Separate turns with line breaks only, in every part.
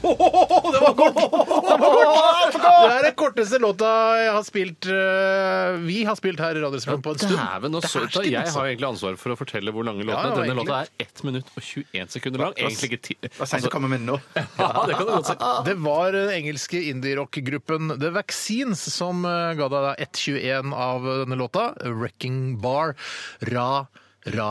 Det er den korteste låta jeg har spilt eh, Vi har spilt her i Radioresepsjonen på en stund.
Dæven, og så,
Dæsken,
jeg
altså.
har egentlig ansvar for å fortelle hvor lange låtene
Ja, ja,
er. Denne
egentlig.
låta er 1 minutt og 21 sekunder lang. Egentlig ikke ti...
Hva sier du
Altså,
kommer med nå?
ja, det kan du godt si.
Det var den engelske indie-rock-gruppen The Vaccines som eh, ga deg da 1.21 av denne låta. Wrecking Bar. Ra, ra,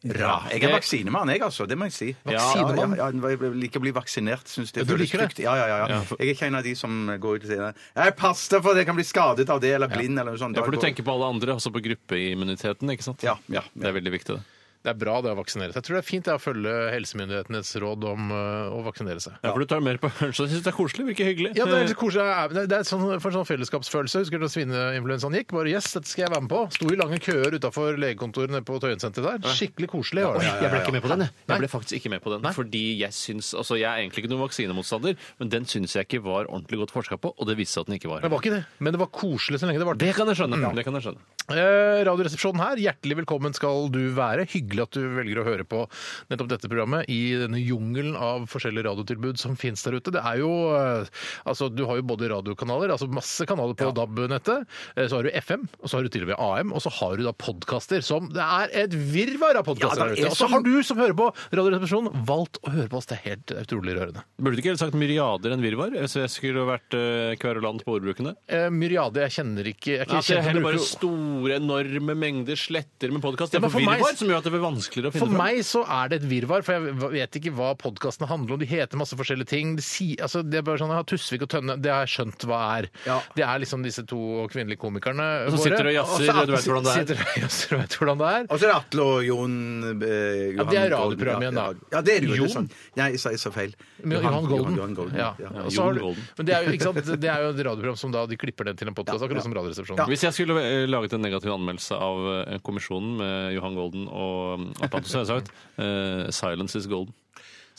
ra.
Jeg er vaksinemann, jeg, altså. Det må jeg si.
Vaksinemann?
Ja, ja, ja, jeg liker å bli vaksinert, syns det
Ja, du
føles
liker det?
trygt. Ja, ja, ja, ja. Jeg er ikke en av de som går ut og sier Jeg pass deg for det, jeg kan bli skadet av det, eller blind, eller noe sånt.
Ja, for du tenker på alle andre, altså på gruppeimmuniteten, ikke sant?
Ja, ja, ja.
Det er veldig viktig, det.
Det er bra det å vaksinere seg. Jeg tror det er fint det å følge helsemyndighetenes råd om eh, å vaksinere seg.
Ja, for du tar mer på Så jeg syns det er koselig, virker hyggelig.
Ja, det er litt koselig. Det er- Det er sånn, for sånn fellesskapsfølelse. Husker du da svineinfluensaen gikk? Bare yes, dette skal jeg være med på. Sto i lange køer utafor legekontorene på Tøyensenteret der. Skikkelig koselig var det.
Jeg ble ikke med på den. jeg. Jeg ble faktisk ikke med på den, fordi jeg syns Altså, jeg er egentlig ikke noen vaksinemotstander, men den syns jeg ikke var ordentlig godt forska på, og det viste seg at den ikke var.
Det var ikke det, men det var koselig så lenge det varte.
Det kan jeg skjønne. Det kan jeg skjønne.
Eh, Radioresepsjonen her, hjertelig velkommen skal du være. Hyggelig at du velger å høre på nettopp dette programmet i denne jungelen av forskjellige radiotilbud som finnes der ute. Det er jo eh, Altså, du har jo både radiokanaler, altså masse kanaler på DAB-nettet. eh, Så har du FM, og så har du til og med AM, og så har du da podkaster som Det er et virvar av podkaster
Ja, det er
der ute. Og så
som-
har du som hører på Radioresepsjonen, valgt å høre på oss. Det er helt utrolig rørende.
Burde du ikke heller sagt myriader enn virvar? Så jeg skulle vært eh, kverulant på ordbrukene.
Eh, Myriade, jeg kjenner ikke Jeg er ikke
altså,
kjent
At det er
til å
altså, heller
bruke-
bare store, enorme mengder sletter med podkast. Det
Ja,
er
men for
for
meg-
virvar som gjør at det blir vanskeligere å finne
For
fram.
meg så er det et virvar, for jeg vet ikke hva podkastene handler om. De heter masse forskjellige ting. De si, altså, det er bare sånn, ja, Tusvik og Tønne, det har jeg skjønt hva er.
Ja.
Det er liksom disse to kvinnelige komikerne
Og
våre.
så sitter du og jazzer,
så-
og du vet hvordan det er.
Sitter og jazzer, og vet hvordan det er.
Og så er det Atle og Jon eh, Johan
det er
Golden,
radioprogram igjen, da.
ja. Ja, det er det jo.
Jon?
Jon? Nei, jeg sa, jeg sa feil.
Med Johan Golden.
Johan Golden.
Ja.
Ja.
Og så har du-
Jon Golden.
Men det er, jo, ikke sant? det er jo et radioprogram som da de klipper ned til en podkast, akkurat som Radioresepsjonen.
Hvis jeg skulle eh, laget en negativ anmeldelse av eh, Kommisjonen med Johan Golden og mm, Apato, så hadde jeg sagt eh, 'Silence is golden'.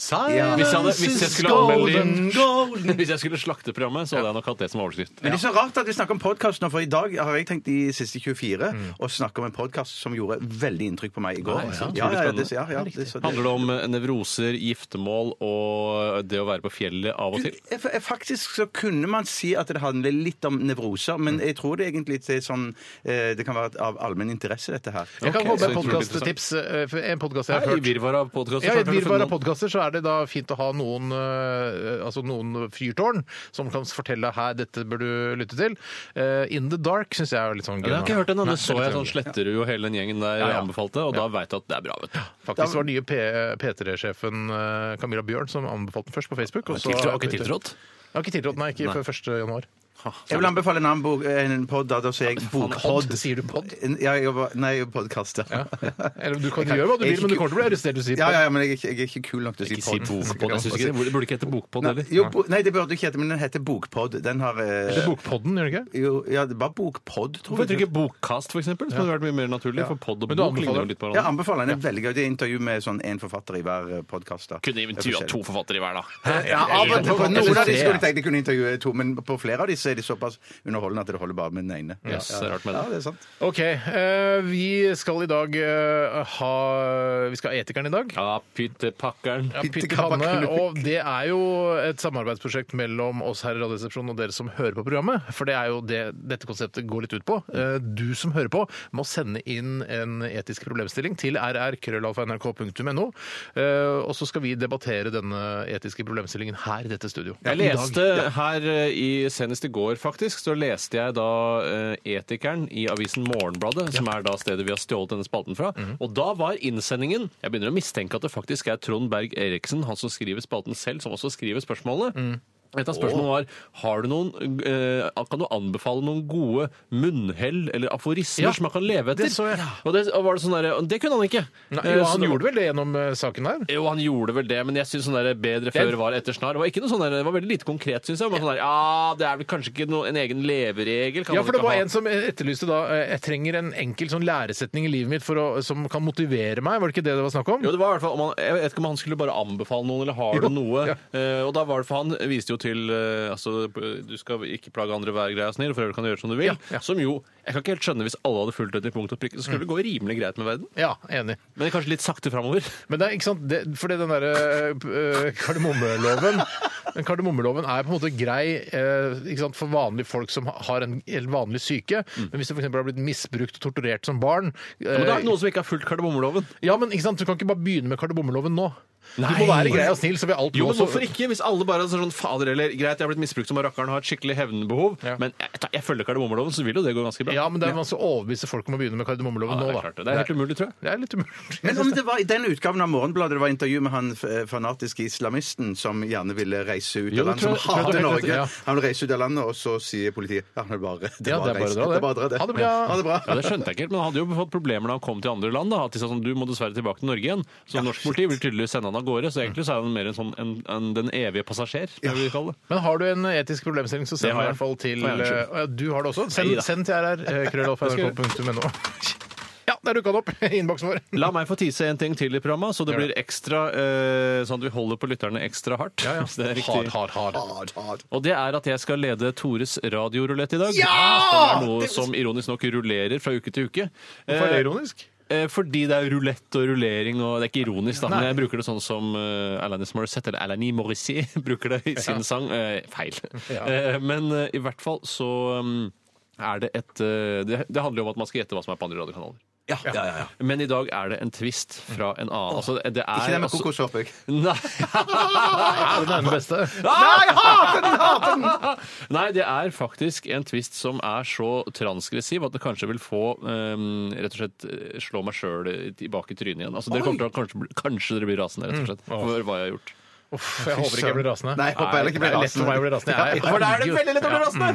Ja.
Hvis jeg, hadde, hvis, jeg skulle
golden,
anmelde, hvis jeg skulle slakte programmet, så hadde jeg nok hatt det som overskrift.
Men det er så rart at vi snakker om podkast nå, for i dag har jeg tenkt de siste 24 å snakke om en podkast som gjorde veldig inntrykk på meg i går.
Nei, sant?
ja, ja, ja, det,
Spennende.
ja, ja, det, så det,
Handler det om eh, nevroser, giftermål og eh, det å være på fjellet av og til?
Du, eh, Faktisk så kunne man si at det handler litt om nevroser, men
Mm.
jeg tror det egentlig det er sånn eh, Det kan være av allmenn interesse, dette her.
Jeg kan
Ok,
komme
så
med
utrolig
podkasttips. eh, for En podkast jeg har
Nei,
hørt.
I virvaret av podkaster.
Ja, I et virvar av podkaster så er det da fint å ha noen, eh, altså noen fyrtårn som kan fortelle deg her, dette bør du lytte til. Eh, In the Dark syns jeg er litt sånn
Ja, det har jeg ikke hørt ennå.
Nei,
Det så
er
jeg
litt
sånn Sletterud og hele den gjengen der
ja.
anbefalte, og da veit jeg at det er bra. vet du.
Faktisk var nye P- P3-sjefen eh, Camilla Bjørn som anbefalte den først på Facebook. og så-
Tiltrådt, ikke tiltrådt?
Jeg har ikke tiltrådt, nei. Ikke før 1. januar.
Jeg vil anbefale en annen bok, en pod, da, da sier jeg bokpod.
Sier du pod?
Ja, jeg var, nei, podkast, ja.
Eller du kan gjøre hva du vil, men du kommer til å bli arrestert hvis du sier
Ja,
pod.
ja, ja, men jeg er ikke, jeg er ikke kul nok til å si
Ikke si
pod.
bokpod. Jeg synes ikke, det burde ikke hete bokpod
Nei,
heller.
jo, bo, nei, det burde du ikke hete, men den heter Bokpod. Den har eh,
Det er Bokpodden, gjør det ikke?
jo, Ja, det var Bokpod, tror
Hvorfor heter det ikke Bokkast, for eksempel? Som hadde vært mye mer naturlig, for pod og
Men du
bok ligner
anbefaler-
jo litt på
Jeg
hverandre.
anbefaler den. Det er Veldig gøy. Det er intervju med sånn én forfatter i hver podkast.
Kunne intervjua to forfattere i hver, da.
Ja, av og til. På noen av de skulle jeg tenkt jeg kunne intervjue to, men på flere av de så er de såpass underholdende at det holder bare med den ene. Ja,
Yes, det er rart med det.
ja, det er sant.
OK. eh, vi skal i dag eh, ha Vi skal ha Etikeren i dag.
Ja, pyttepakkeren.
Ja, Pytte
Kappa
Kanne,
Knut.
og det er jo et samarbeidsprosjekt mellom oss her i Radioresepsjonen og dere som hører på programmet. For det er jo det dette konseptet går litt ut på. Eh, Du som hører på, må sende inn en etisk problemstilling til rrkrøllalfa.nrk.no. eh, Og så skal vi debattere denne etiske problemstillingen her i dette studio.
Jeg
I dag.
leste her eh, i, senest i går, faktisk, så leste jeg da eh, Etikeren i avisen Morgenbladet, som er da stedet vi har stjålet denne spalten fra.
Mhm.
Og da var innsendingen Jeg begynner å mistenke at det faktisk er Trond Berg Eriksen, han som skriver spalten selv, som også skriver spørsmålene.
Mm.
Et av spørsmålene var har du noen, eh, kan du anbefale noen gode munnhell eller aforismer
Ja,
som man kan leve etter.
det så jeg.
Og det, og var det, sånn der, det kunne han ikke. Eh, sånn
Nei, jo, han gjorde vel Eh, det gjennom eh, saken her?
Jo, han gjorde vel det, men jeg syns sånn der bedre før var etter snar. Det var, ikke noe sånn der, det var veldig lite konkret, syns jeg. Men sånn der, ja, det er vel kanskje ikke noe, en egen leveregel? kan
Ja,
man
for det
ikke
var
ha.
en som etterlyste da eh, Jeg trenger en enkel sånn læresetning i livet mitt for å, som kan motivere meg. Var det ikke det det var snakk om?
Jo, det var i hvert fall, om han, Jeg vet ikke om han skulle bare anbefale noen, eller har
Jo,
du noe?
ja.
Eh, og da var det for Han viste jo til eh, altså, Du skal ikke plage andre, være grei og snill, for øvrig kan du gjøre som du vil.
Ja, ja. Mm.
Som jo Jeg kan ikke helt skjønne hvis alle hadde fulgt det til punkt og prikke, så skulle det gå rimelig greit med verden.
Ja, enig.
Men det er kanskje litt sakte framover.
Men det er ikke sant, det, fordi den derre øh, kardemommeloven den Kardemommeloven er på en måte grei øh, ikke sant, for vanlige folk som har en helt vanlig syke. Men hvis du f.eks. har blitt misbrukt og torturert som barn
Mm. Ja, men da er
øh,
det noen som ikke har fulgt kardemommeloven.
ja, men ikke sant, Du kan ikke bare begynne med kardemommeloven nå.
Nei.
Du må være grei og snill, så vil alt nå
Jo, men
så-
hvorfor ikke? Hvis alle bare er sånn fader eller greit, jeg har blitt misbrukt som rakkeren, har et skikkelig hevnbehov,
Ja.
men jeg, jeg følger kardemommeloven, så vil jo det gå ganske bra.
Ja, men det er vanskelig å overbevise folk om å begynne med kardemommeloven
Ja, det
nå,
er
da.
klart det. Det er helt umulig, tror jeg.
Det er litt umulig.
Men om det var i den utgaven av Morgenbladet det var intervju med han eh, fanatiske islamisten som gjerne ville reise ut
Jo, det
av landet,
tror
som
jeg- tror jeg
hater
det er helt
Norge.
riktig, ja.
Han vil reise ut av landet, og så sier politiet ja, det er bare, det
Ja,
er bare, å reise.
å dra,
det er bare å dra, det.
Ha det bra.
Ha det bra.
Ja, Det skjønte jeg ikke helt, men han hadde jo fått problemer da han kom til andre land. da, at de sa sånn, Du må dessverre tilbake til Norge igjen. Så norsk politi vil tydeligvis sende han av gårde. Så egentlig så er han mer en sånn, en, en, den evige passasjer. som vi kaller det.
Men har du en etisk problemstilling, så
Det
send den
har
i
jeg.
hvert fall til
Å, ja, unnskyld.
Å, ja, Du har det også? Send,
Neida.
send til rr.krøllalfa.nrk.no. Ja, der dukka det opp i innboksen vår.
La meg få tise en ting til i programmet, så det
Gjør
blir ekstra eh, sånn at vi holder på lytterne ekstra hardt.
Ja, ja.
Hvis det er riktig.
Hard, hard, hard.
Hard, hard.
Og det er at jeg skal lede Tores radiorulett i dag.
Ja!
Som er noe som ironisk nok rullerer fra uke til uke.
Hvorfor er det ironisk?
Eh, Fordi det er rulett og rullering, og det er ikke ironisk, da. Men
Nei.
jeg bruker det sånn som eh, Alanis Morissette, eller Alanis Morrissey, bruker det i sin sang. Eh, Feil.
Ja.
Eh, Men eh, i hvert fall så um, er det et eh, Det det handler jo om at man skal gjette hva som er på andre radiokanaler.
Ja, ja, ja, ja.
Men i dag er det en twist fra en annen. Altså, det er
Ikke det med
altså-
kokoshoppe.
Nei.
Den er den beste.
ah, Nei, det er faktisk en twist som er så transgressiv at det kanskje vil få eh, rett og slett eh, slå meg sjøl tilbake i trynet igjen. Altså, dere kommer til å kanskje, bli- kanskje dere blir rasende, rett og slett, for hva jeg har gjort.
Uff, jeg håper ikke jeg blir rasende.
Nei, jeg håper heller ikke jeg blir
det er lett for meg å bli rasende. Jeg-
Ja, for da er det
herregud. mm.
veldig lett å bli rasende.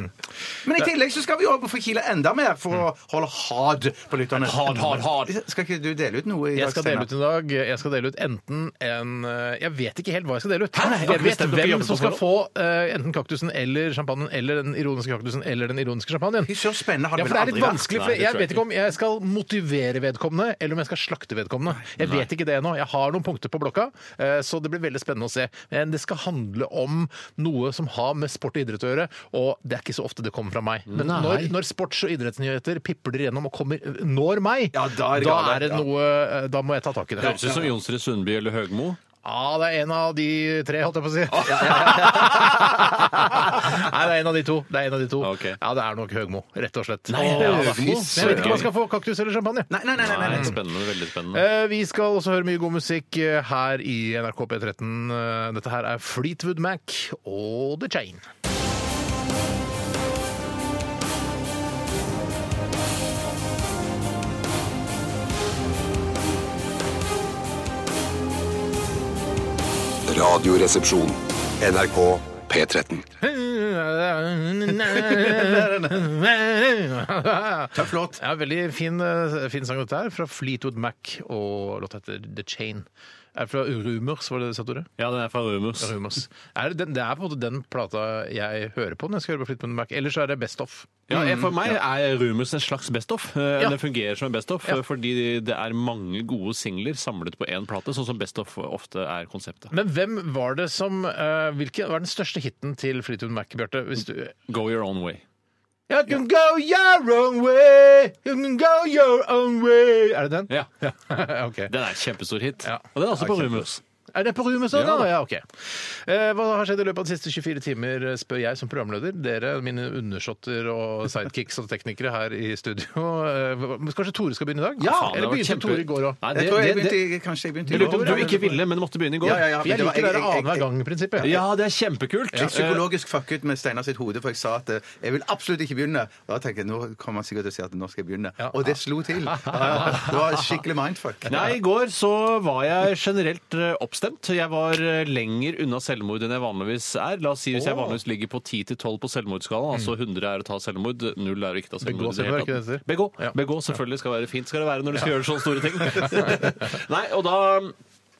Men i tillegg så skal vi over på få kile enda mer for å holde hard på lytterne.
Hard, hard, hard.
Skal ikke du dele ut noe i
Jeg skal
Steinar?
dele ut i dag Jeg skal dele ut enten en eh, Jeg vet ikke helt hva jeg skal dele ut.
Hæ?
Jeg vet
Bestemte dere
hvem
jobben
som
på
skal få eh, enten kaktusen eller champagnen eller den ironiske kaktusen eller den ironiske champagnen.
Fy, Så spennende har
Ja,
det
for
vel
det er
aldri
litt
vært.
vanskelig,
Nei,
for
det
jeg
tror jeg
vet ikke om jeg skal motivere vedkommende, eller om jeg skal slakte vedkommende. Jeg vet ikke det nå. Jeg har noen punkter på blokka, eh, så det blir veldig spennende å se. Men det skal handle om noe som har med sport og idrett å gjøre, og det er ikke så ofte det kommer fra meg. Men
Nei.
når, når sports- og idrettsnyheter pipler gjennom og kommer, når meg,
Ja, da er det
da,
gale,
er det
ja.
noe, eh, da må jeg ta tak i det.
Høres ut som Jonsrud Sundby eller Høgmo.
Ja, det er en av de tre, holdt jeg på å si. Nei, det er en av de to. Det er en av de to.
Ok.
Ja, det er nok Høgmo, rett og slett.
Nei, det er
Åh,
Høgmo.
fy søren. Jeg vet ikke om man skal få kaktus eller champagne.
Nei, nei, nei, nei, nei.
Nei, spennende, veldig spennende.
Eh, Vi skal også høre mye god musikk eh, her i NRK P13. Eh, Dette her er Fleetwood Mac og The Chain.
Radioresepsjon. NRK P13.
Tøff
låt.
Ja, veldig fin, eh, fin sang dette her, fra Fleetwood Mac og låta heter The Chain. Er det fra Rumors, var det det satt ordet?
Ja, den er fra Rumus.
Rumors. Er det, den, det er på en måte den plata jeg hører på når jeg skal høre på Fleetwood Mac. Ellers så er det Best Off.
Mm, Ja, jeg- For meg er Rumus en slags best-of.
Ja.
Den fungerer som en best-of
Ja.
fordi det er mange gode singler samlet på én plate, sånn som best-of ofte er konseptet.
Men hvem var det som eh, Hvilken var den største hiten til Fleetwood Mac, Bjarte? Hvis du
Go your own way.
You can go your own way, you can go your own way Er det den?
Ja,
ok.
Den er en kjempestor hit.
Ja.
Og den er
Ja,
også på
kjempe-
Rumus.
Er det på rommet sånn,
Ja,
da?
da.
Ja, ok. Eh, hva har skjedd i løpet av de siste 24 timer, spør jeg som programleder. Dere, mine undersåtter og sidekicks og teknikere her i studio. Eh, hva- men Kanskje Tore skal begynne i dag?
Faen, det
Eller
har vært
begynte
kjempe-
Tore i går òg?
Nei,
Jeg
det-
tror jeg
det- det-
begynte, kanskje jeg begynte i
Jeg lurer på
går,
om du
ja,
ikke
men-
ville, men måtte begynne i går.
Ja, ja, ja.
For jeg
men det var-
liker det der
jeg- jeg-
annenhver gang-prinsippet. jeg.
Ja, det er kjempekult.
Jeg psykologisk fucket med Steinar sitt hode, for jeg sa at eh, jeg vil absolutt ikke begynne. Og da tenker jeg, nå kommer han sikkert til å si at nå skal jeg begynne. Og det slo til. Ja, ja. Det var skikkelig mindfuck.
Eh, Nei, I går så var jeg generelt eh, oppstemt. Jeg var eh, lenger unna selvmord enn jeg vanligvis er. La oss si Hvis jeg vanligvis ligger på 10-12 på selvmordsskalaen, altså 100 er å ta selvmord, 0 er å ikke ta
Mm. Begå
selvmord i det
selvmord,
hele
er ikke det det heter?
tatt. Begå,
Ja.
begå selvfølgelig skal være fint skal det være når du skal gjøre sånne store ting. Nei, og da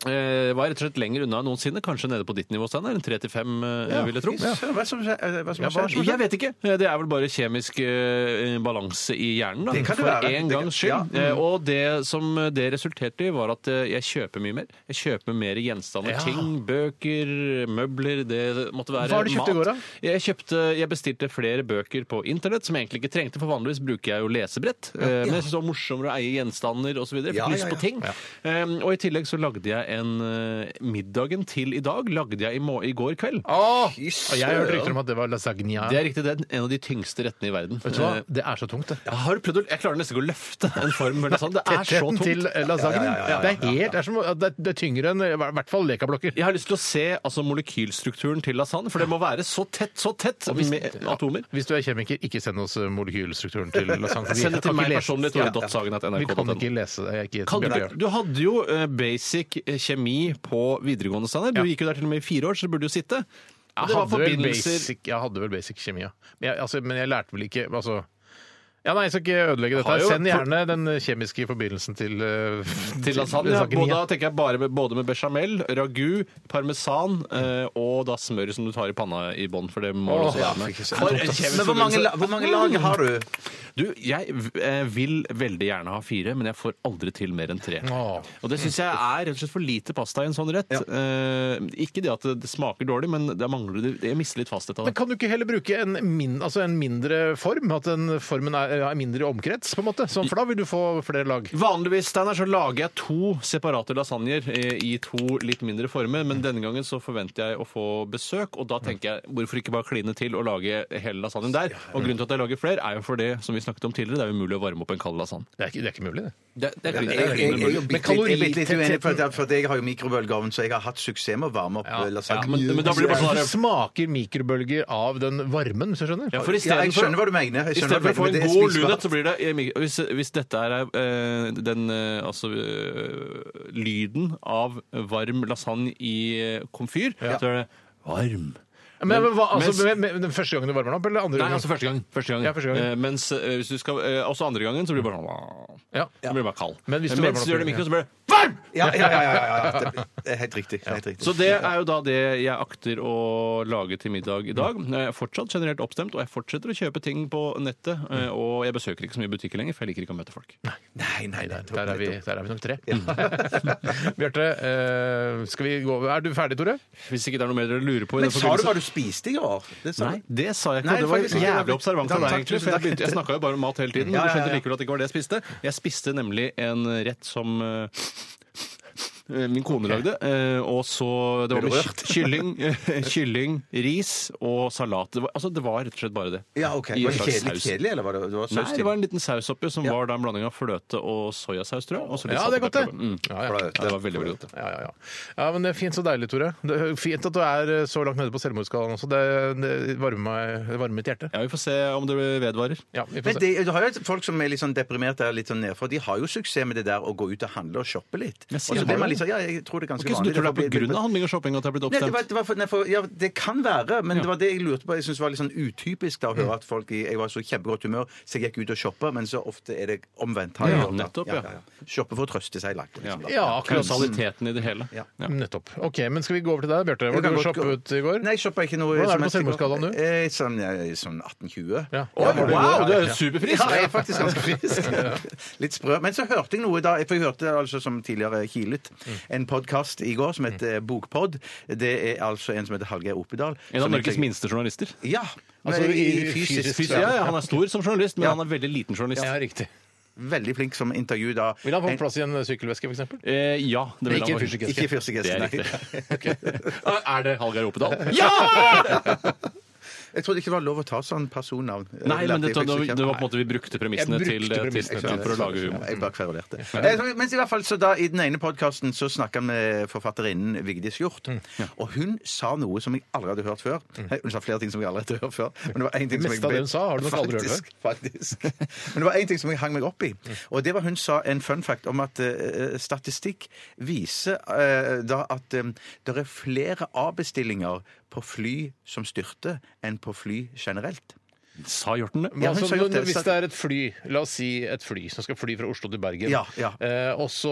eh, var rett og slett lenger unna enn noensinne. Kanskje nede på ditt nivå, Steinar. En tre til fem, eh, vil jeg tro.
Fy søren, Hva som skje- eh, hva som
Ja,
har
hva,
skjedd?
jeg vet ikke. Eh, Det er vel bare kjemisk eh, balanse i hjernen, da.
Det kan det
For
være.
en
Det kan-
gangs
ja. Mm.
skyld. Eh, Og det som eh, det resulterte i, var at eh, jeg kjøper mye mer. Jeg kjøper mer gjenstander.
Ja.
Ting, bøker, møbler, det måtte være mat.
Hva har du kjøpt i går, da?
Jeg, kjøpte, jeg bestilte flere bøker på internett, som jeg egentlig ikke trengte, for vanligvis bruker jeg jo lesebrett. Eh, Men jeg synes det var morsommere å eie gjenstander osv. Fikk
Ja, ja,
lyst på
ja.
ting. Eh, Og i tillegg så lagde jeg en eh, Middagen til i dag lagde jeg i, må i går kveld.
Åh!
Fy
Og jeg hørte
søren.
rykter om at det var lasagna.
Ah! Det er riktig, det er den- en av de tyngste rettene i verden.
Vet du hva?
Eh,
Det er så tungt, det.
Jeg, har prøvd å, jeg klarer nesten ikke å løfte en form. Eller sånn. Det er så
Tettheten
tungt.
til eh, lasagnen. Det er helt, det er, som, det er- det er tyngre enn eh, i hvert fall lekablokker.
Jeg har lyst til å se altså, molekylstrukturen til lasagne, for det må være så tett, så tett med atomer.
Hvis du er kjemiker, ikke send oss eh, molekylstrukturen til lasagne. for vi
Send det til
kan
meg
ikke lese-
personlig,
Ja, ja.
tore.sagen.nrk.no.
Vi kan ikke lese det. Jeg er ikke
Kan du,
Bjørte Gjørv.
du hadde jo eh, basic eh, kjemi på videregående standard. Du
Ja.
gikk jo der til og med i fire år, så det burde jo sitte. Og
Jeg
det var
hadde, vel
forbindelser
basic, jeg hadde vel basic kjemi, ja. Men jeg, altså, men jeg lærte vel ikke altså, ja, nei, Jeg skal ikke ødelegge dette.
Har jo-
her. Send gjerne den kjemiske forbindelsen til, eh,
til lasagne. Ja.
lasagnen,
Både, da
ja.
tenker jeg bare med, både med bechamel, ragu, parmesan eh, og da smør som du tar i panna i bånn, for det må
Åh,
også
ja,
være med.
ikke sant.
For en kjemisk
Men hvor mange,
forbindelse.
la- hvor mange lag har du?
Du, jeg v- eh, vil veldig gjerne ha fire, men jeg får aldri til mer enn tre.
Åh.
Og det syns jeg er rett og slett for lite pasta i en sånn rett. Eh, ikke det at det- det smaker dårlig, men det mangler det. Jeg mister litt fasthet av
Men
det.
kan du ikke heller bruke en, min, altså en mindre form? At den formen er, er mindre i omkrets, på en måte? Sånn, for da vil du få flere lag.
Vanligvis Steiner, så lager jeg to separate lasagner eh, i to litt mindre former, men denne gangen så forventer jeg å få besøk, og da tenker jeg hvorfor ikke bare kline til og lage hele lasagnen der? Og grunnen til at jeg lager flere, er jo for det som vi snakket om tidligere, det er umulig å varme opp en kald lasagne.
Det er ikke, det er ikke mulig, det.
Det, det
Jeg, jeg, jeg,
det
er jo bitte litt- jeg er bitte litt uenig, for,
Kaloritettheten
at- for at jeg har jo mikrobølgeovn, så jeg har hatt suksess med å varme opp eh,
ja,
lasagne.
men, men da blir det bare
Du
sånn her-
smaker mikrobølger av den varmen, hvis du skjønner?
Ja, for i
Ja, jeg
stedet for-
skjønner hva du mener. Jeg
I
skjønner
stedet
hva
for
du mener,
å få en
men det
god
spiser bare-
lunhet, så blir det jeg mikro- Hvis, hvis dette er eh, den eh, altså eh, lyden av varm lasagne i eh, komfyr, så er det varm.
Men, men, hva, altså,
mens-
med, med, den første gangen du varmer den opp, eller andre
Nei, altså første gang. Første gang.
Ja, første gang.
Eh, mens eh, hvis du skal eh, Også andre gangen så blir det bare sånn
Ja.
Så blir det bare kald. Eh,
Men hvis du varmer
mens
opp-
du gjør det i mikro, så blir det
Ja, ja, ja. ja, ja, ja. Det- Det er helt riktig. Helt riktig.
Så det er jo da det jeg akter å lage til middag i dag.
Mm.
Jeg er fortsatt generelt oppstemt, og jeg fortsetter å kjøpe ting på nettet. eh,
Mm.
Og jeg besøker ikke så mye butikker lenger, for jeg liker ikke å møte folk.
Nei, nei, nei.
Der er, vi, der er vi nok tre. Bjarte, eh, skal vi gå over? Er du ferdig, Tore?
Hvis ikke det er noe mer dere lurer på i
Men
den
sa du
forbindelse
hva du spiste i går? Det sa
Nei,
du.
det sa jeg ikke.
Nei,
det var
faktisk ikke.
jævlig observant av
Takk,
deg,
takk,
egentlig.
tusen
For jeg,
takk.
begynte, jeg snakka jo bare om mat hele tiden.
Ja, ja,
men Du skjønte
ja.
likevel at det ikke var det jeg spiste. Jeg spiste nemlig en rett som eh, Min kone lagde, eh, og så Det var med ky- kylling, eh, kylling, ris og salat. Det var, altså, det var rett og slett bare det.
Ja, ok.
I
Var
en
det
slags
kjedelig,
saus.
kjedelig, eller var det, det var saus
Nei,
til?
det var en liten saus oppi, som var da en blanding av fløte og soyasaus, tror jeg. og så litt
Ja, det er
salt og
godt, det.
pepper. Mm.
Ja, ja.
Fløte.
Ja, det var veldig, veldig godt.
Ja, ja, ja. ja, men det er fint så deilig, Tore. Det er fint at du er eh, så langt nede på selvmordsskalaen også. Det, det, varmer meg, det varmer mitt hjerte.
Ja, Vi får se om det vedvarer.
Ja, vi får
Men
se.
det, du har jo folk som er litt sånn deprimerte eller litt sånn nedfor. De har jo suksess med det der å gå ut og handle og shoppe litt.
Jeg
Og
sier
så blir
det.
man litt sånn, ja, jeg tror det er ganske
Ok, så du
vanlig.
tror det er
får bli-
på grunn av handling og shopping at jeg er blitt
Nei, det,
oppstemt?
var, det, var for, nei, for, ja, det kan være, men det var det jeg lurte på. Jeg synes det var litt sånn utypisk da, å
Mm.
høre at folk i, Jeg var så kjempegodt humør, så jeg gikk ut og shoppa, men så ofte er det omvendt. har jeg
Ja,
hørt, da.
nettopp, ja.
Shoppe for å trøste seg. Lagt, liksom, da.
Ja, akkurat.
Kausaliteten i det hele.
Ja.
Ja.
Nettopp. Ok, men Skal vi gå over til deg, Bjarte?
Jeg
Var
kan
du og
godt
shoppe
gå-
ut i går?
Nei, shoppa ikke noe.
Hvordan er det
som
på
helst i går.
selvmordsskalaen nå?
Eh, Sånn, eh, sånn 18-20.
Ja.
Oi,
Ja,
wow,
ja,
du er
ja.
jo superfrisk!
Ja, jeg er faktisk ganske frisk. Litt sprø. Men så hørte jeg noe da, for jeg hørte altså som tidligere kilet, en podkast i går som heter Bokpod. Det er altså en som heter Hallgeir Oppedal.
En av
som
Norges
jeg-
minste journalister.
Ja. men
Altså, i-
i- fysisk.
Fysisk, ja, ja, Han er stor som journalist, men han er veldig liten journalist.
Ja, riktig.
Veldig flink som intervju da.
Vil han få
En-
plass i en sykkelveske, f.eks.?
Eh, ja, det vil
Ikke
han
fysisk.
Ikke fyrstikkesten,
Det er
nei.
Er det Hallgeir Opedal? Ja!
Jeg trodde ikke det var lov å ta sånn personnavn.
Nei, men det, det, var
Jeg-
det var på en måte vi brukte premissene
Jeg brukte
til, eh, til,
premissene.
til for å lage humor.
Jeg bare kverulerte. Eh, så- Mens i hvert fall så da, i den ene podkasten så snakka med forfatterinnen Vigdis Hjorth,
Mm.
og hun sa noe som jeg aldri hadde hørt før. Nei, Hun sa flere ting som jeg aldri hadde hørt før. Men det var en ting som
meste
jeg
av Mm. det hun sa har du nok aldri hørt Mm.
Faktisk, Faktisk. Men det var én ting som jeg hang meg opp i, og det var hun sa en fun fact om at eh, statistikk viser eh, da at det er flere avbestillinger på fly som styrter, enn på fly generelt.
Sa hjorten det?
Ja, hun
altså,
sa jo det,
hvis
så-
det er et fly, la oss si et fly som skal fly fra Oslo til Bergen,
Ja, ja.
Eh, og så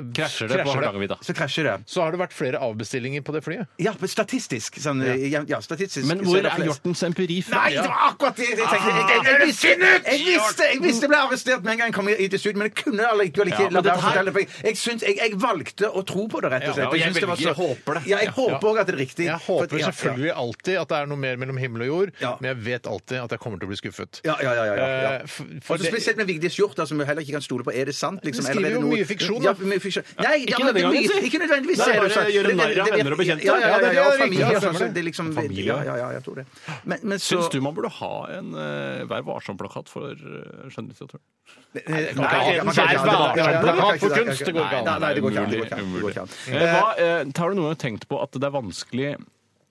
eh,
Krasjer det på Hardangervidda.
Så krasjer det.
Så har det vært flere avbestillinger på det flyet.
Ja, men statistisk. Sånn, ja. Ja, statistisk
Men
så
hvor
det
er Ah,
flest.
hjortens empiri fra?
Nei, det var akkurat det jeg tenkte! Jeg, jeg, jeg, visste, jeg, visste, jeg visste jeg ble arrestert med en gang jeg kom i- hit i studio, men jeg kunne allikevel ikke
Ja, men
la være å
dette her-
fortelle. For jeg, jeg, syns- jeg, jeg valgte å tro på det, rett og slett.
Ja, og jeg
syns det var så-
velger- jeg håper det.
Ja, jeg håper òg at det er riktig.
Jeg
For- ja,
håper
ja.
selvfølgelig alltid at det er noe mer mellom himmel og jord,
Ja.
men jeg vet alltid at jeg kommer til å bli skuffet.
Ja, ja, ja. ja, ja.
Eh, f- for
Og så
det-
spesielt med Vigdis Hjorth, da, som vi heller ikke kan stole på. Er det sant? Liksom,
Hun
eller er
skriver
det
jo
noe-
mye fiksjon, da.
Ja, mye fiksjon. Nei, ja, men
Ikke
det er
denne gangen,
mye-
si.
Ikke nødvendigvis.
Nei,
er det
bare
sant.
gjøre narr av
Det- det- det-
venner og bekjente.
Ja, ja, ja.
Ja, det er
ja, og
riktig,
familie,
ja,
og sånn,
stemmer det.
Det er liksom
Familie,
Ja,
ja.
ja, ja, jeg tror det. Men, men så
Syns du man burde ha en eh, Vær varsom-plakat for eh, skjønnlitteraturen?
Nei,
Nei,
man kan ikke
det er
ha det. Ja, ja, ja, man
bare-
kan ikke
plakat for
det,
kunst,
kan
det går ikke an.
Nei, nei, det går ikke an. Det
Umulig,
går ikke an, det går ikke an.
umulig. Eh, Hva, eh, har du noen gang tenkt på at det er vanskelig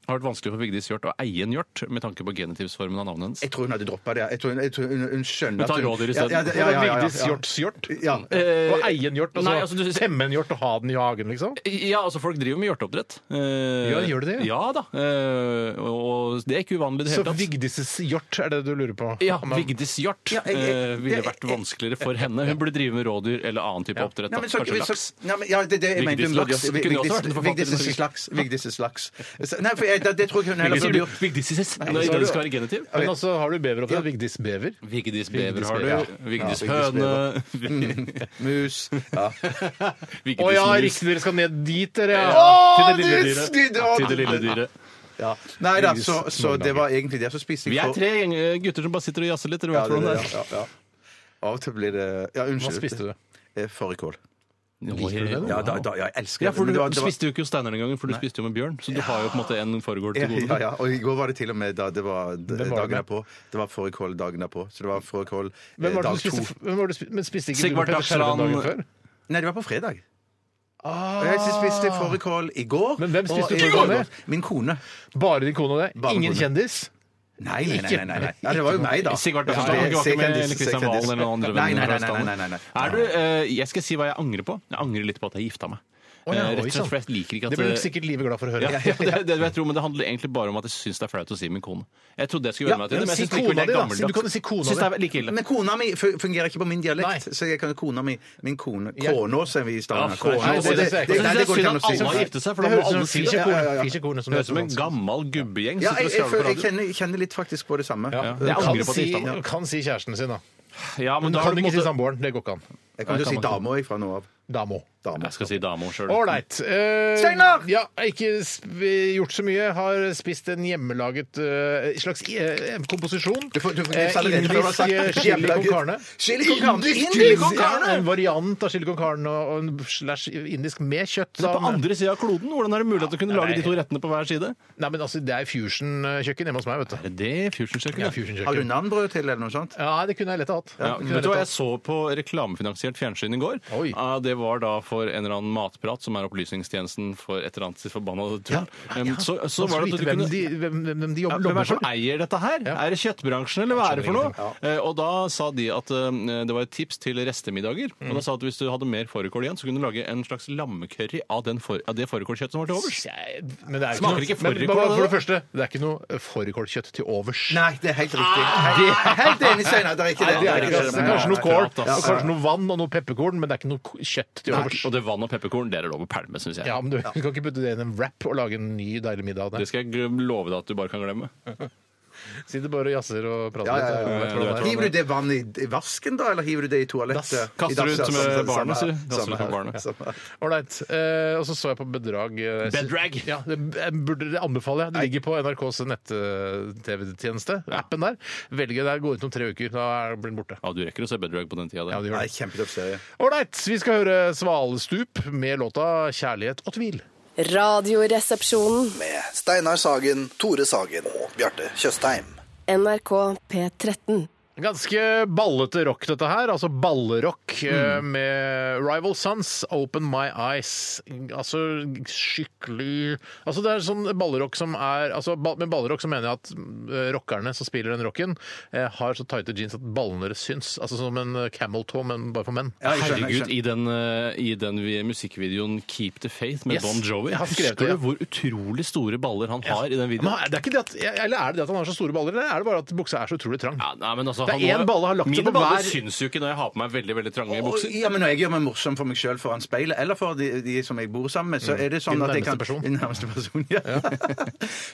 har vært vanskelig for Vigdis Hjort å eie en hjort med tanke på genitivsformen av navnet hennes?
Jeg tror hun hadde droppa det. Jeg tror hun, jeg tror hun, hun skjønner
Men ta rådyr i stedet.
Ja, ja, ja, ja, ja, ja.
Vigdis Hjorts hjort?
Ja.
Å eie en hjort, altså,
Eh, nei, altså, du-
temme en hjort og ha den i hagen, liksom?
Ja, altså folk driver med hjorteoppdrett. Eh,
Ja, gjør de det?
Ja da. Eh, og det er ikke uvanlig i det
Så
hele tatt.
Vigdis' hjort er det du lurer på?
Ja,
Om han-
Vigdis Hjort
Ja, jeg- jeg-
eh, ville
jeg-
vært vanskeligere for henne. Hun burde drive med rådyr eller annen type oppdrett.
Nei,
da.
men så,
Kanskje
så,
laks.
nei, men, ja, det, det, jeg mente hun
Vigdis
burde
Laks
gjort-
kunne også vært en
Vigdis
forfatter i
Vigdis
Norge.
Slaks. Vigdis Slaks. Så- Nei, for jeg, det, det tror jeg hun heller burde gjort.
Vigdisis. Når
så har
det
du-
skal være genitiv.
Men altså, har du beveroppdrett? Vigdis bever?
Vigdis bever har
bever,
du.
ja.
Vigdis
Ja, Vigdis
høne.
Mus. Ja.
Vigdis
Å ja,
mus.
riktig, dere skal ned dit, dere! ja.
Til det
det
lille
er
dyret.
snidd,
Ja,
å-
Til det lille dyret.
Ja. Nei da, så, så det var egentlig det. Så spiste
Vi
jeg
er
for-
tre gjeng- gutter som bare sitter og jazzer litt. dere
Ja,
vet
det,
hvordan
det,
det
ja, ja, ja. Av og til blir det Ja,
Hva
unnskyld.
spiste du?
Eh, Fårikål.
er.
du det?
Ja, da, da, ja, jeg elsker
Ja, for
Men
du
det var- det var-
spiste jo ikke hos Steinar den gangen, for du spiste jo med bjørn. Så du har jo på en måte en foregår til
Ja,
gode.
ja, og i går var det til og med da det var d-
det
dagen
med?
derpå. Det var fårikål dagen derpå. Så det var fårikål eh,
Hvem
dag
var det du spiste,
to.
f- hvem var det du spiste, men spiste ikke
Sigvart
du Petter Skjerven dagen
Dagsland-
før?
Nei, det var på fredag. Og jeg spiste fårikål i går.
Ah. Men hvem
og
spiste
i
fårikål
går-
med?
Min kone.
Bare din kone og deg?
Bare
Ingen
kone.
kjendis?
Nei, nei, nei. nei,
Ikke-
nei, nei. Ja, det var jo meg, da.
Sigvart
Ja,
Dagsland,
jeg-
ikke
se
var ikke med
Candice, se
Kristian
Candice.
Valen eller noen andre
Nei,
venner
nei,
fra
nei, nei,
Østlandet.
nei, nei.
Er du, eh, jeg skal si hva jeg angrer på. Jeg angrer litt på at jeg gifta meg.
Å, ja, oi, sånn.
Eh, rett
sant.
og slett, for jeg liker ikke at eh,
Det blir sikkert livet glad for å høre.
Ja, ja, det, det vil jeg tro, men det handler egentlig bare om at jeg syns det er flaut å si min kone. Jeg trodde jeg skulle
Ja,
venne meg til
men si
det, men jeg syns
kona
likevel det er
di, da.
gammeldags.
Du kan jo si kona
Syns det er like ille.
Men kona mi fu- fungerer ikke på min dialekt,
Nei.
så jeg kan jo kona mi Min kone
Jeg-
Kånå, som vi i Stavanger.
Ja, nei,
Kånå.
det-
Og det- det-
det- det-
nei, det går ikke an å
det-
si.
alle har
Nei.
giftet seg, for
Det
da må
høres ut
alle
som
si det.
fisjekorn.
Ja, ja, ja.
Fisjekornet som
Høres ut som
heter på
en
dansk.
gammel gubbegjeng.
Ja, jeg,
som sitter og
jeg, føler-
skravler på
jeg,
radio.
kjenner, jeg kjenner litt faktisk på det samme.
Ja.
Jeg
Kan,
angrer på at
si,
jeg gifta meg.
kan si kjæresten sin, da.
Ja, men
Men
da har
kan ikke
du på en
si
måte-
samboeren. Det går ikke an.
Jeg kommer til å si dama jeg, fra nå av.
Damo.
Dame.
Jeg skal si dama sjøl.
Ålreit. Uh,
Steinar!
Ja, ikke sp- gjort så mye. Har spist en hjemmelaget eh, slags eh, komposisjon.
Du får- du får-
Eh,
jeg sa det rett før du har
indisk
sagt
eh,
det.
chili con
Hjemmelaget.
carne.
Chili con carne.
Indisk
Indisk
chili
con carne.
Ja, En variant av chili con carne og og en slash indisk med kjøtt.
Det er på
da.
andre sida av kloden. Hvordan er det mulig at du kunne
Ja,
lage
nei.
de to rettene på hver side?
Nei, men altså, Det er fusion-kjøkken hjemme hos meg. vet du.
Er det fusion-kjøkken?
Ja,
Har
Ja,
du
fusion-kjøkken.
nanbrød til, eller noe sånt?
Ja, det kunne jeg lett ha hatt.
Ja,
Det kunne
vet
jeg
du
lett
hva,
ha
Jeg så på reklamefinansiert fjernsyn i går.
Oi.
Ah, Det var da for en eller annen matprat, som er opplysningstjenesten for et eller annet forbanna tull. Um, Så,
Man
så
skulle
var det at
vite
du
hvem
kunne
de, hvem, hvem de
ja,
jobber,
hvem er
jobber
det som
for.
eier dette her?
Ja.
Er det kjøttbransjen, eller hva er det for noe?
ingenting.
Eh, Og da sa de at eh, det var et tips til restemiddager. Og
Mm.
da sa at hvis du hadde mer fårikål igjen, så kunne du lage en slags lammecurry av, den for, av det fårikålkjøttet som var til overs.
Men det er
Smaker
noe-
ikke altså?
men
fårikål,
bare For
da?
det første, det er ikke noe fårikålkjøtt til overs.
Nei, det er helt riktig. Helt, helt enig, Steinar. Det er ikke det.
Det er ikke det. altså.
Nei,
Kanskje noe kål,
akkurat,
og
ass.
kanskje noe vann og noe pepperkorn, men det er ikke noe kjøtt til
Nei,
overs.
Og det vann og pepperkorn, det er det lov å pælme, syns jeg.
Ja, men du, du kan ikke putte det inn i en wrap og lage en ny deilig middag av
Det
det.
skal jeg gl- love deg at du bare kan glemme.
Sitter bare og jazzer og
Ja,
prater
ja, ja, ja,
litt. Jeg vet
du
hva det
vet
er.
Hiver du det vannet i i vasken, da? Eller hiver du det i toalettet?
Dass.
Kaster
I dass,
ut
ja,
med
sånn,
barnet,
sånn her.
sier du. Kaster
Sånn
ut med
her,
barnet.
sånn her.
Ålreit. Eh, og så så jeg på Bedrag. eh,
Bedrag?
Ja, det jeg burde det anbefaler jeg. Det ligger på NRKs nett-TV-tjeneste, appen der. Velg det der, gå ut om tre uker. Da er- blir den borte.
Ja, du rekker å se Bedrag på den tida.
Ja,
der.
det gjør
Nei,
det.
kjempetøff serie.
Ålreit, vi skal høre Svalestup med låta 'Kjærlighet og tvil'.
Radioresepsjonen.
med Steinar Sagen, Tore Sagen og Bjarte Tjøstheim.
NRK P13.
Ganske ballete rock, dette her. Altså ballerock eh,
Mm.
med Rival Sons, Open My Eyes. Altså skikkelig Altså Det er sånn ballerock som er altså, ba- Med ballerock så mener jeg at eh, rockerne som spiller den rocken, eh, har så tighte jeans at ballene deres syns. Altså Som en eh, camel toe, men bare for menn.
Ja, jeg skjønner, jeg
Herregud,
skjønner.
i den, eh, i den vi- musikkvideoen 'Keep the Faith' med
Yes.
Bon Jovi
Jeg har skrevet
Husker
det, ja.
du hvor utrolig store baller han har i den videoen?
Men det er ikke det at, eller er det det at han har så store baller, eller er det bare at buksa er så utrolig trang?
Ja, nei, men altså,
Det er
han må-
én balle har lagt seg
Mine
på
baller
hver-
syns jo ikke når jeg har på meg veldig veldig
Og-
trange bukser.
Ja, men Når jeg gjør meg morsom for meg sjøl foran speilet, eller for de, de som jeg bor sammen med, så er det sånn
Din
at jeg
nærmeste
kan
person.
Din nærmeste person, ja.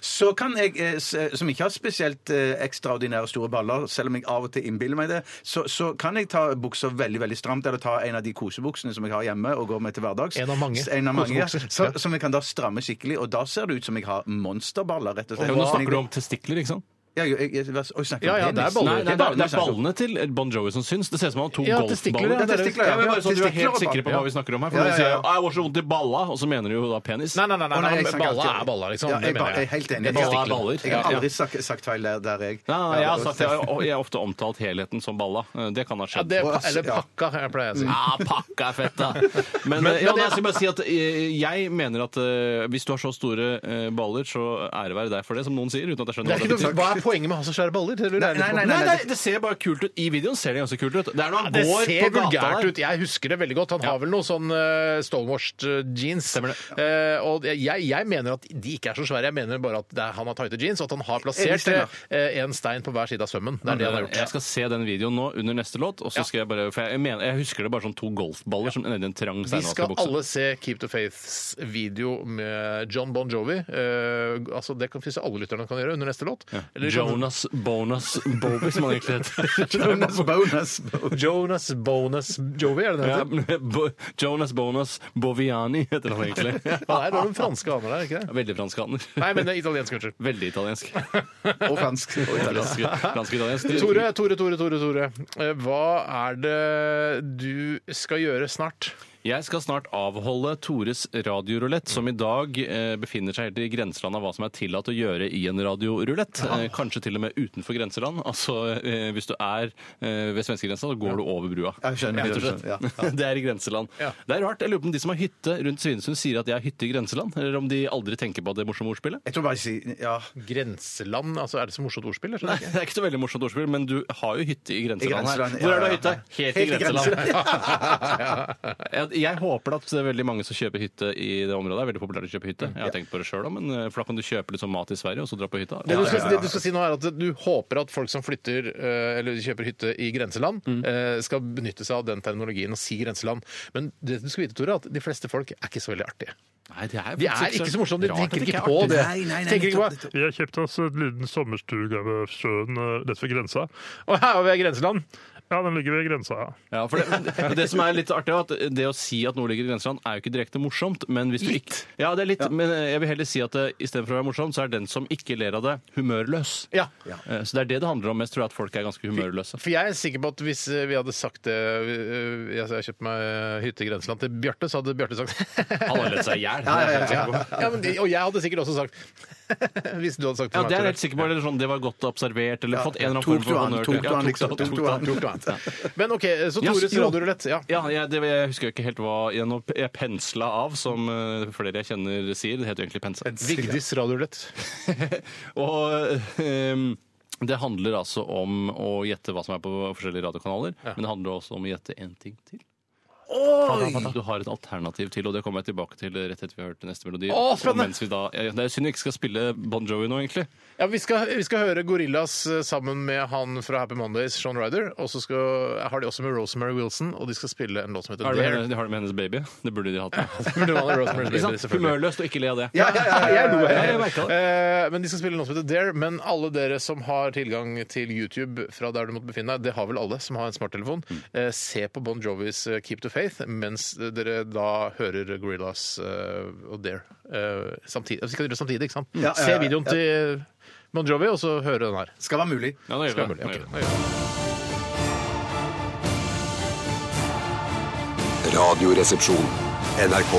så kan jeg, eh, s- som ikke har spesielt eh, ekstraordinære store baller, selv om jeg av og til innbiller meg det, så, så kan jeg ta bukser veldig veldig stramt, eller ta en av de kosebuksene som jeg har hjemme og går med til hverdags.
En av mange.
S- En av mange ja.
Kosebukser.
så,
Ja.
som jeg kan da stramme skikkelig, og da ser det ut som jeg har monsterballer, rett og slett.
Ja, men nå snakker du om testikler, ikke sant?
Ja, jeg, jeg, jeg, og snakker
Ja,
om
ja, det er
penis.
baller.
Nei, nei, det, er, det er
vi snakker om.
ballene til Bon Jovi som syns. Det ser ut som han har to
Ja, testikler, ja,
golfballer. Ja,
det er
sånn. testikler,
men
ja,
bare sånn at du er
testikler og
helt sikre på
baller.
hva vi snakker om her. For
Ja,
noen
ja,
sier
ja.
'Å, jeg var så vondt i balla', og så mener du jo da penis.
Nei, nei, nei, nei,
Å, nei,
nei,
jeg snakker
balla
alltid-
er balla, liksom.
Ja,
Det
jeg, ba-
mener
jeg er helt enig.
Balla er baller.
Jeg har
Ja, ja.
aldri sagt, sagt feil der, der jeg.
Nei, nei, jeg,
Ja,
har sagt, jeg, har- jeg har ofte omtalt helheten som balla. Eh, Det kan ha
Ja,
skjedd.
det,
Å,
eller
ja.
pakka, jeg pleier jeg å si.
Ja, Ah, pakka er fett, da! Men, eh, ja, nei, jeg skal bare si at eh, jeg mener at eh, hvis du har så store eh, baller, så ære være deg for det, som noen sier. uten at
Det
jeg skjønner
er
hva
ikke
det
noe,
betyr.
hva er poenget med å ha så svære baller? Det lurer jeg litt på.
Nei, nei,
Nei, nei, det ser bare kult ut. I videoen ser det ganske kult ut. Det er når han
Det
går
ser
på gata
vulgært
der.
ut. Jeg husker det veldig godt. Han har vel noe sånn uh, stonewashed eh, jeans.
Stemmer det.
Eh, og jeg, jeg mener at de ikke er så svære. Jeg mener bare at det er, han har tighte jeans, og at han har
Enig,
plassert
stemmer.
eh, en stein på hver side av sømmen. Det er det han har gjort.
Jeg skal se den videoen nå under neste låt, og så skal jeg bare For jeg, mener, jeg husker det bare som to golfballer som nedi en trang
Vi skal
steinvaskebukse.
alle se Keep the Faiths video med John Bon Jovi. Eh, altså Det kan finnes alle lytterne kan gjøre under neste låt. Eller- sånn
Jonas Bonus Boby, som han egentlig heter.
Bonus, bonus, bonus.
Jonas Bonus Jovi, er det det?
Ja,
heter?
Bo- Jonas Bonus Boviani heter han egentlig.
Ja, det er noen franske haner der, ikke det?
Veldig franskhaner.
Nei, men det er italiensk, unnskyld.
Veldig italiensk.
Og fransk. Og italiensk.
Ganske, ganske italiensk.
Tore, Tore, Tore, Tore, Tore. Eh, Hva er det du skal gjøre snart?
Jeg skal snart avholde Tores radiorulett, som i dag eh, befinner seg helt i grenseland av hva som er tillatt å gjøre i en radiorulett. Eh, kanskje til og med utenfor grenseland. Altså eh, hvis du er eh, ved svenskegrensa, så går du over brua.
Jeg skjønner,
Rett og slett.
jeg skjønner,
Det er i grenseland.
Ja.
Det er rart. Jeg lurer på om de som har hytte rundt Svinesund, sier at de har hytte i grenseland, eller om de aldri tenker på det morsomme ordspillet.
Jeg tror bare jeg sier ja.
Sånn
Grenseland? Altså, er det så morsomt ordspill? Jeg
Nei,
skjønner ikke.
det er ikke så veldig morsomt ordspill, men du har jo hytte i grenseland,
grenseland,
her. Hvor er
ja,
du
ja,
har hytte?
ja.
Helt i
Helt i
grenseland. Jeg, jeg håper at det er veldig mange som kjøper hytte i det området. Det er veldig populært å kjøpe hytte. Jeg har tenkt på det sjøl òg, men eh, for da kan du kjøpe litt sånn mat i Sverige og så dra på hytta.
Det du, skal, det du skal si nå er at du håper at folk som flytter eh, eller kjøper hytte i grenseland, eh, skal benytte seg av den terminologien og si grenseland. Men det du skal vite, Tore, er at de fleste folk er ikke så veldig artige.
Nei, det er,
De er ikke så morsomme. De tenker ikke på det.
Nei, nei, nei,
Tenker ikke
nettopp,
på
nettopp.
Vi har kjøpt oss en liten sommerstue ved sjøen eh, rett ved grensa.
Å, her er vi i grenseland!
Ja, den ligger ved grensa, ja.
Ja, for det, men det som er litt artig, er at det å si at noe ligger i grenseland, er jo ikke direkte morsomt. Men hvis du litt. Ikke, ja, det er litt, men eh, jeg vil heller si at det, istedenfor å være morsomt, så er den som ikke ler av det, humørløs.
Ja.
Eh, Så det er det det handler om mest, tror jeg, at folk er ganske humørløse.
For jeg er sikker på at hvis eh, vi hadde sagt det eh, Jeg har kjøpt meg eh, hytte i grenseland til Bjarte, så hadde Bjarte sagt
Han har ledd seg i hjel.
ja, men de, og jeg hadde sikkert også sagt Hvis du hadde sagt
Ja, det er jeg
Tore.
helt sikker på. Eller sånn, det var godt observert, eller fått en eller annen
Tok
form
du
for
an,
honnør.
tok du
Ja,
an, liksom.
det,
Tok du an.
Tok du an. Men OK, så
Ja,
Tores
jo.
radiorulett. Ja.
Ja, jeg, det, jeg husker ikke helt hva jeg, nå- jeg pensla av, som eh, flere jeg kjenner sier. Det heter jo egentlig pensa.
Vigdis radiorulett.
Og ehm, det handler altså om å gjette hva som er på forskjellige radiokanaler, men det handler også om å gjette én ting til. Du har et alternativ til, og det kommer jeg tilbake til rett etter vi har hørt neste melodi.
Å,
Og
spennende!
mens vi da, ja, det er synd vi ikke skal spille Bon Jovi nå, egentlig.
Ja, vi, skal, vi skal høre Gorillas eh, sammen med han fra Happy Mondays, Sean Ryder. Og så skal- har de også med Rosemary Wilson, og de skal spille en låt som heter
Har de,
Dare.
har de med hennes baby? Det burde de hatt. med.
Burde man ha Rosemary's
Ikke
Baby,
sant?
selvfølgelig.
Humørløst og ikke le av det.
Ja, ja, ja, ja, ja, ja,
Ja,
ja.
jeg merket det.
Eh, Men de skal spille en låt som heter Dare. Men alle dere som har tilgang til YouTube fra der du måtte befinne deg, det har vel alle som har en smarttelefon,
Mm.
eh, se på Bon Jovis eh, Keep to Faith mens dere da hører Gorillas eh, og Dare eh, samtidig. Vi skal gjøre det samtidig, ikke sant?
Ja, ja,
Se
ja,
videoen
ja.
til Bon Jovi, og så høre den her.
Skal være mulig.
Ja, nå gjør vi
Skal
det.
være mulig.
Nå
Ok,
gjør vi det.
nå gjør vi det.
Radioresepsjon. NRK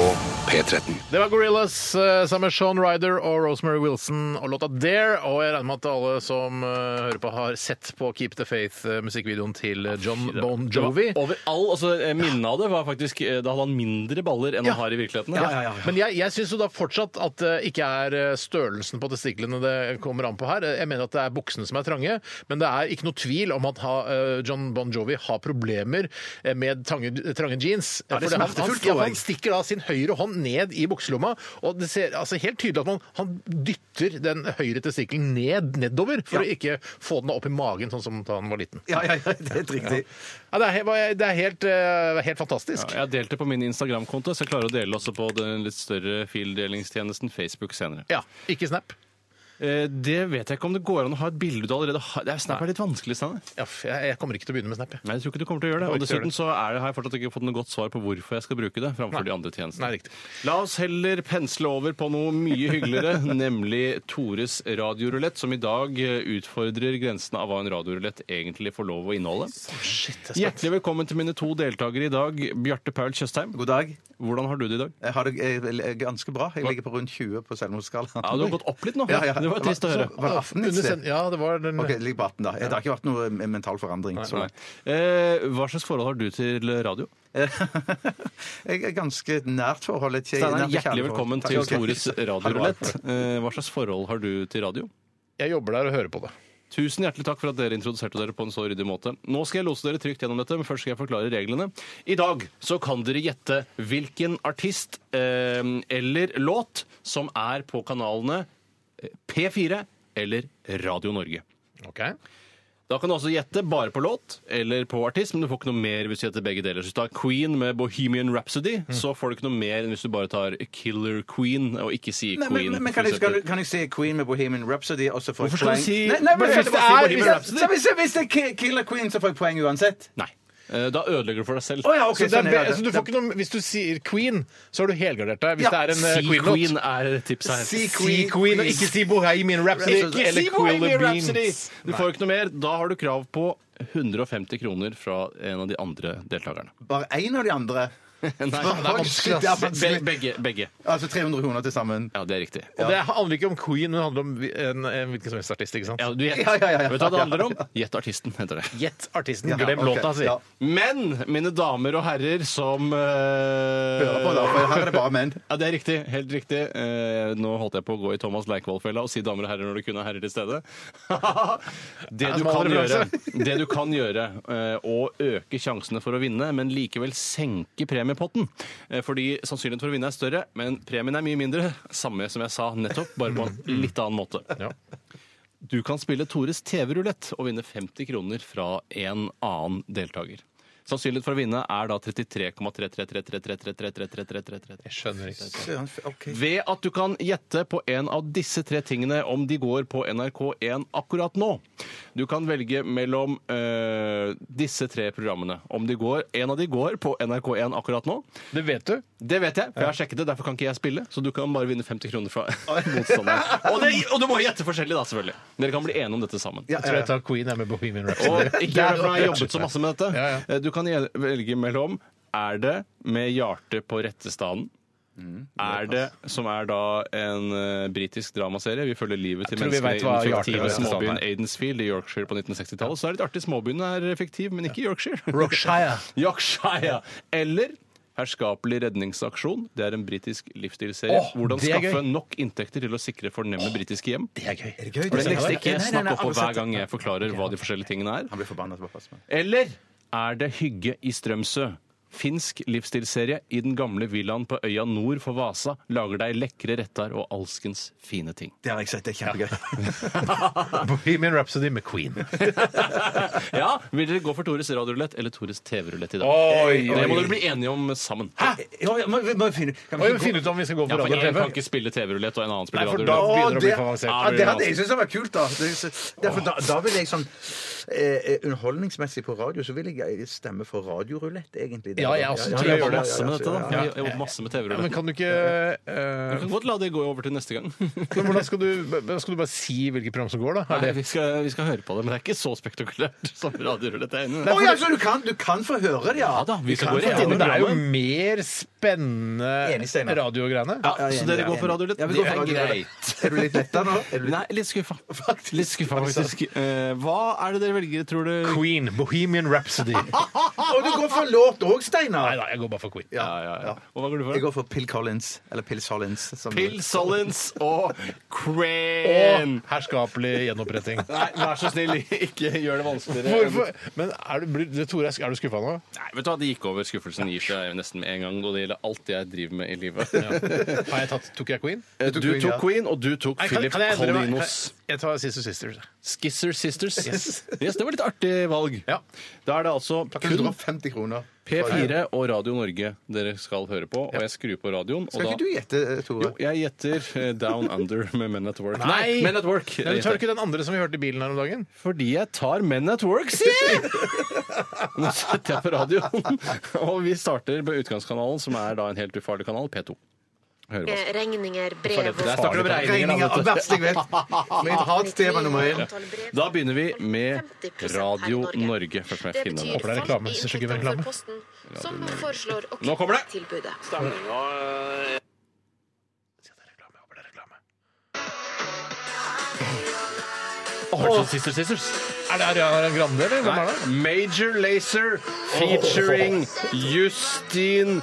P13.
Det var Gorillas eh, sammen med Sean Ryder og Rosemary Wilson og låta Dare. Og jeg regner med at alle som eh, hører på, har sett på Keep the Faith-musikkvideoen til eh, John Bon Jovi.
Det var Over all, altså eh, Minnet av det var faktisk eh, Da hadde han mindre baller enn
Ja.
han har i virkeligheten.
Men jeg, jeg syns jo da fortsatt at det ikke er eh, størrelsen på testiklene det kommer an på her. Eh, Jeg mener at det er buksene som er trange, men det er ikke noe tvil om at ha, eh, John Bon Jovi har problemer eh, med trange, trange jeans.
det
For
smakte
han,
fullt, tror jeg.
han stikker da sin høyre hånd ned i bukselomma, og det ser altså, helt tydelig at man, han dytter den høyre testikkelen ned, nedover for å ikke få den opp i magen, sånn som da han var liten.
Ja, ja, ja, det er helt riktig.
Ja, det er, he- det er helt, eh, helt fantastisk.
Ja, jeg delte på min Instagram-konto, så jeg klarer å dele også på den litt større fildelingstjenesten Facebook senere.
Ja, ikke snap.
Eh, Det vet jeg ikke om det går an å ha et bilde du allerede har. Det er- Snap er litt vanskelig, Steinar.
Ja, f- Jeg jeg kommer ikke til å begynne med snap. jeg.
Nei, jeg tror ikke du kommer til å gjøre
Jeg kommer
det. Og
ikke til å
dessuten så er det, har jeg fortsatt ikke fått noe godt svar på hvorfor jeg skal bruke det framfor
Nei.
de andre tjenestene.
Nei, riktig.
La oss heller pensle over på noe mye hyggeligere, nemlig Tores radiorulett, som i dag eh, utfordrer grensene av hva en radiorulett egentlig får lov å inneholde. Hjertelig velkommen til mine to deltakere i dag, Bjarte Paul Tjøstheim.
God dag.
Hvordan har du det i dag?
Jeg har det eh, vel, eh, ganske bra. Jeg ligger på rundt 20 på selvmordsskalaen.
Ja, du har gått opp litt nå.
Ja, ja.
Det var trist å høre.
Var det aften i
Ah, Under
sted?
send- Ja, det var den
Ok, det ligger på 18 da. Det har ikke vært noe eh, mental forandring. så
Nei.
langt.
Eh, hva slags forhold har du til radio?
Jeg er ganske nært forhold. et kje- nært
Steinar,
kjærlig
hjertelig
forhold.
velkommen
Takk
til
skal du ha.
Tores radiorulett. Eh, hva slags forhold har du til radio?
Jeg jobber der og hører på det.
Tusen hjertelig takk for at dere introduserte dere på en så ryddig måte. Nå skal jeg lose dere trygt gjennom dette, men først skal jeg forklare reglene. I dag så kan dere gjette hvilken artist eh, eller låt som er på kanalene eh, P4 eller Radio Norge. Da kan du også gjette bare på låt eller på artist, men du får ikke noe mer hvis du gjetter begge deler. Så hvis du tar Queen med Bohemian Rhapsody,
Mm.
så får du ikke noe mer enn hvis du bare tar Killer Queen og ikke sier
Nei,
Queen.
men, men, men
for
kan, jeg,
eksempel.
kan, kan jeg si Queen med Bohemian Rhapsody? Og så får jeg
Hvorfor skal du
poeng?
si-
Nei, nei, men,
Bare
jeg-
hvis det er-
hvis,
Bohemian Rhapsody.
så hvis, hvis det er Ki- Killer Queen, så får jeg poeng uansett.
Nei. Eh, Da ødelegger du for deg selv.
Å ja, ok,
Så, det er,
sånn
be-
er det.
så du får ikke noe, Hvis du sier Queen, så har du helgardert deg. Hvis
Ja,
det er en eh,
Si
Queen-låt.
Queen er tipset her.
Si
Si Queen, og ikke si Bohemian Rhapsody.
Ikke
eller
si
Queen
Bohemian
Beans.
Rhapsody! Du får jo ikke noe mer. Da har du krav på 150 kroner fra en av de andre deltakerne.
Bare én av de andre.
Nei,
vanskelig, ass.
det er vanskelig. Be- Begge. begge.
Altså 300 kroner til sammen.
Ja, det er riktig.
Og det handler ikke om Queen, men det handler om vi- en, en hvilken som helst artist. ikke sant?
Ja, du,
Ja, ja, ja, ja.
Vet du hva det handler om? Gjett artisten, heter det.
Gjett artisten.
Ja,
Glem
ok,
låta, si.
ja.
Men, mine damer og herrer som eh,
Hører på da, for her er det bare menn.
Ja, det er riktig. Helt riktig. Eh, nå holdt jeg på å gå i Thomas Leikvoll-fella og si damer og herrer når det kun er herrer til stede. det,
er
du
smal
kan gjøre,
referanse.
det du kan gjøre, eh, å øke sjansene for å vinne, men likevel senke premiepotten. Eh, fordi sannsynligheten for å vinne er større, men premien er mye mindre. Samme som jeg sa nettopp, bare på en litt annen måte.
Ja.
Du kan spille Tores TV-rulett og vinne 50 kroner fra en annen deltaker. Sannsynligheten for å vinne er da 33,333333333333.
Jeg skjønner ikke.
Ved at du kan gjette på en av disse tre tingene om de går på NRK1 akkurat nå. Du kan velge mellom eh, disse tre programmene. Om de går, en av de går på NRK1 akkurat nå.
Det vet du.
Det vet jeg, for jeg har sjekket det. Derfor kan ikke jeg spille. Så du kan bare vinne 50 kroner fra motstanderen. Og, det, og du må gjette forskjellig, da, selvfølgelig. Dere kan bli enige om dette sammen.
Jeg tror jeg tar Queen jeg, med Bohemian Rhapsody.
Og ikke gjør det, for nå har jeg jobbet så masse med dette.
Ja, ja.
Eh, Du kan gjel- velge mellom Er det med hjertet på rette staden?
Mm.
er det, som er da en eh, britisk dramaserie. Vi følger livet til
tror vi
menneskene i
vet hva Hjerte
den
på
fiktive
rette staden
småbyen
er.
Aidensfield i Yorkshire på 1960-tallet. Så er det litt artig. Småbyen er fiktiv, men ikke Yorkshire.
Rockshire.
Yorkshire. Eller Herskapelig redningsaksjon. Det er en britisk livsstilsserie.
Åh,
Hvordan
det er
skaffe
gøy.
nok inntekter til å sikre fornemme britiske hjem.
Det er gøy.
Er det gøy?
Det
Nei,
neste
nei,
ikke
nei,
snakk
nei, alle
oppå
altså,
hver
sett-
gang jeg forklarer hva de forskjellige tingene er.
Han blir forbanna. så bare pass meg.
Eller er det Hygge i Strømsø? Finsk livsstilsserie i den gamle villaen på øya nord for Vasa lager deg lekre retter og alskens fine ting.
Det har jeg sett. Det er kjempegøy.
Bohemian Rhapsody med Queen.
Ja, Vil dere gå for Tores radiorulett eller Tores TV-rulett i dag?
Oi,
det må dere bli enige om sammen. Hæ?
Ja, ja, må, må vi finne, kan
Og vi
vi
må
finne
finne ut om vi skal gå
Ja,
for radio og
for En kan
TV.
ikke spille TV-rulett, og en annen
Nei,
spiller
for da
radiorulett.
begynner det å bli
det-
for avansert.
Ja,
Ja, det hadde jeg syntes var kult, da. Det, derfor, da, da eh, vil jeg sånn eh, Underholdningsmessig på radio så vil jeg stemme for eh, radiorulett, egentlig. det.
Ja, jeg også tror
Jeg
jeg gjør det.
jobber masse med dette, da.
Ja.
Jeg jobber masse med
Ja, men
TV-rulletten.
kan du ikke eh,
Vi kan godt la det gå over til neste gang.
men hvordan skal, du, hvordan skal du bare si hvilket program som går, da?
Nei,
Er det?
vi, skal, vi skal høre på det, men det er ikke så spektakulært som radiorulett. Jeg er enig i
Å
det.
ja, så du kan, du kan få høre det, ja!
Ja da, vi skal
kan
gå
få
rett
høre
inn i
Men det er jo
programmet.
mer
Enig, Steinar.
spennende radiogreiene.
Ja,
Ja, jeg
så
er
dere
enig,
går
jeg er
for
enig.
radiorulett?
Ja, vi
Det
går for
er
radiorulett.
greit.
Er du litt letta nå? Er du litt...
Nei, litt skuffa. Litt skuffa, faktisk. Eh, hva er det dere velger, tror du?
Queen, Bohemian Rhapsody. Nei
Og du går for låt òg, Steinar!
da, jeg går bare for Queen.
Ja, ja, ja. Og hva går du
Jeg
for?
går for Pill Collins. Eller Pill Sollins. som-
Phil Sollins og Crane.
Og herskapelig gjenoppretting.
Nei, vær så snill, ikke gjør det vanskeligere.
Hvorfor? Men er du, blir- du, Tore, er du skuffa nå?
Nei, vet du hva, Det gikk over. Skuffelsen gir seg nesten med en gang. Og det gjelder alt jeg driver med i livet.
Har jeg tatt, tok jeg Queen?
Eh, Du
Queen, ja.
tok Queen, og du tok Philip Collinos.
Jeg tar Sister Sisters.
Skisser Sisters. Yes.
Yes.
Det var litt artig valg.
Ja.
Da er det altså kun
150 kroner.
P4 og Radio Norge dere skal høre på. Og jeg skrur på radioen, og
Skal
da
ikke du gjette, eh, Tore?
Jo, jeg gjetter eh, Down Under med Men at Work.
Nei!
Men at Work.
Nei, du tar
gjetter jeg.
ikke den andre som vi hørte i bilen her om dagen?
Fordi jeg tar Men at Work, sier jeg! Nå setter jeg på radioen, og vi starter på utgangskanalen, som er da en helt ufarlig kanal, P2. Hører på oss.
Regninger,
Der
brev
starter vi på
Regninger av verste jeg vet. Mitt hatstema nummer én.
Da begynner vi med Radio Norge. Først må jeg finne den.
Håper det er reklame, så det ikke blir reklame.
Som foreslår å
Nå kommer det!
kutte tilbudet.
sånn
Oh. Sister Sisters. Er det Ariana Grande, eller? Hvem er det?
Major Lazer featuring Justin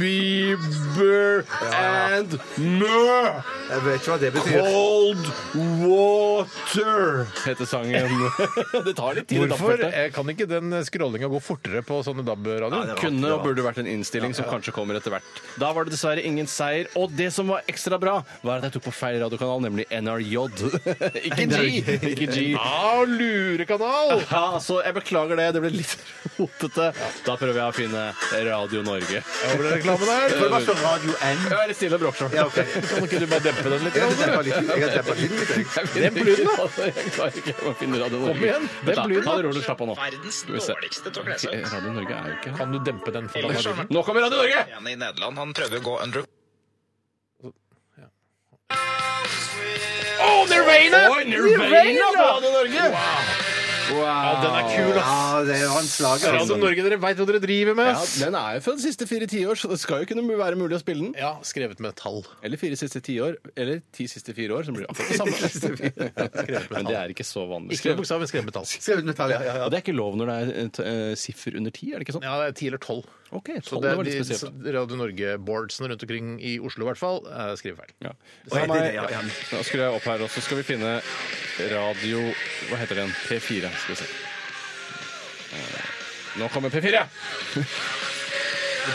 Bieber and Mø!
Jeg vet ikke hva det betyr.
Cold Water heter sangen. det tar litt tid.
Hvorfor eh, kan ikke den scrollinga gå fortere på sånne DAB-radioer?
Kunne og burde vært en innstilling som kanskje kommer etter hvert. Da var det dessverre ingen seier. Og det som var ekstra bra, var at jeg tok på feil radiokanal, nemlig NRJ. ikke G. Ikke G.
Ah, lurekanal!
Ja, så jeg beklager det. Det ble litt rotete. Da prøver jeg å finne Radio Norge.
Ja, ble det reklame der?
Det var så Radio N.
Vær litt stille og bråk,
Ja, ok.
Kan ikke du bare dempe den litt?
Jeg har dempa litt. Jeg har dempa litt. jeg.
Demp lyden, da! Jeg klarer ikke å finne Radio Norge.
Kom igjen, demp
Vent da,
lyden,
Ta
da.
det rolig, slapp av nå.
Verdens
Skal vi se.
dårligste til å kle seg.
Ok, Radio Norge er jo ikke her.
Kan du dempe den for
Ellers så-
meg?
Nå kommer Radio Norge!
En i Nederland, han prøvde å gå under
Oh, Nirvana! Oi, Nirvana på Radio Norge!
Ja, den er kul, ass!
Ja, det er jo en slager. altså.
Radio Norge, dere veit hva dere driver med,
Sånn. Ja,
ass!
den er jo fra de siste fire tiår, så det skal jo kunne være mulig å spille den.
Ja, skrevet med tall.
Eller fire siste tiår, eller ti siste fire år, som blir akkurat det samme. Men det er ikke så vanlig.
Ikke med bokstav, men skrevet med tall.
Skrevet med tall, ja. ja, ja.
Og det er ikke lov når det er eh, t- eh, siffer under ti, er det ikke sånn?
Ja, det er ti eller tolv.
Ok,
Så
tolv
det
det
er
var litt
de,
spesielt.
så Radio Norge-boardsene rundt omkring i Oslo i hvert fall eh, skriver feil.
Ja.
Så er det det, ja, ja.
Nå skulle jeg opp her også. Skal vi finne radio Hva heter den? P4. Skal vi se. Eh, Nå kommer P4!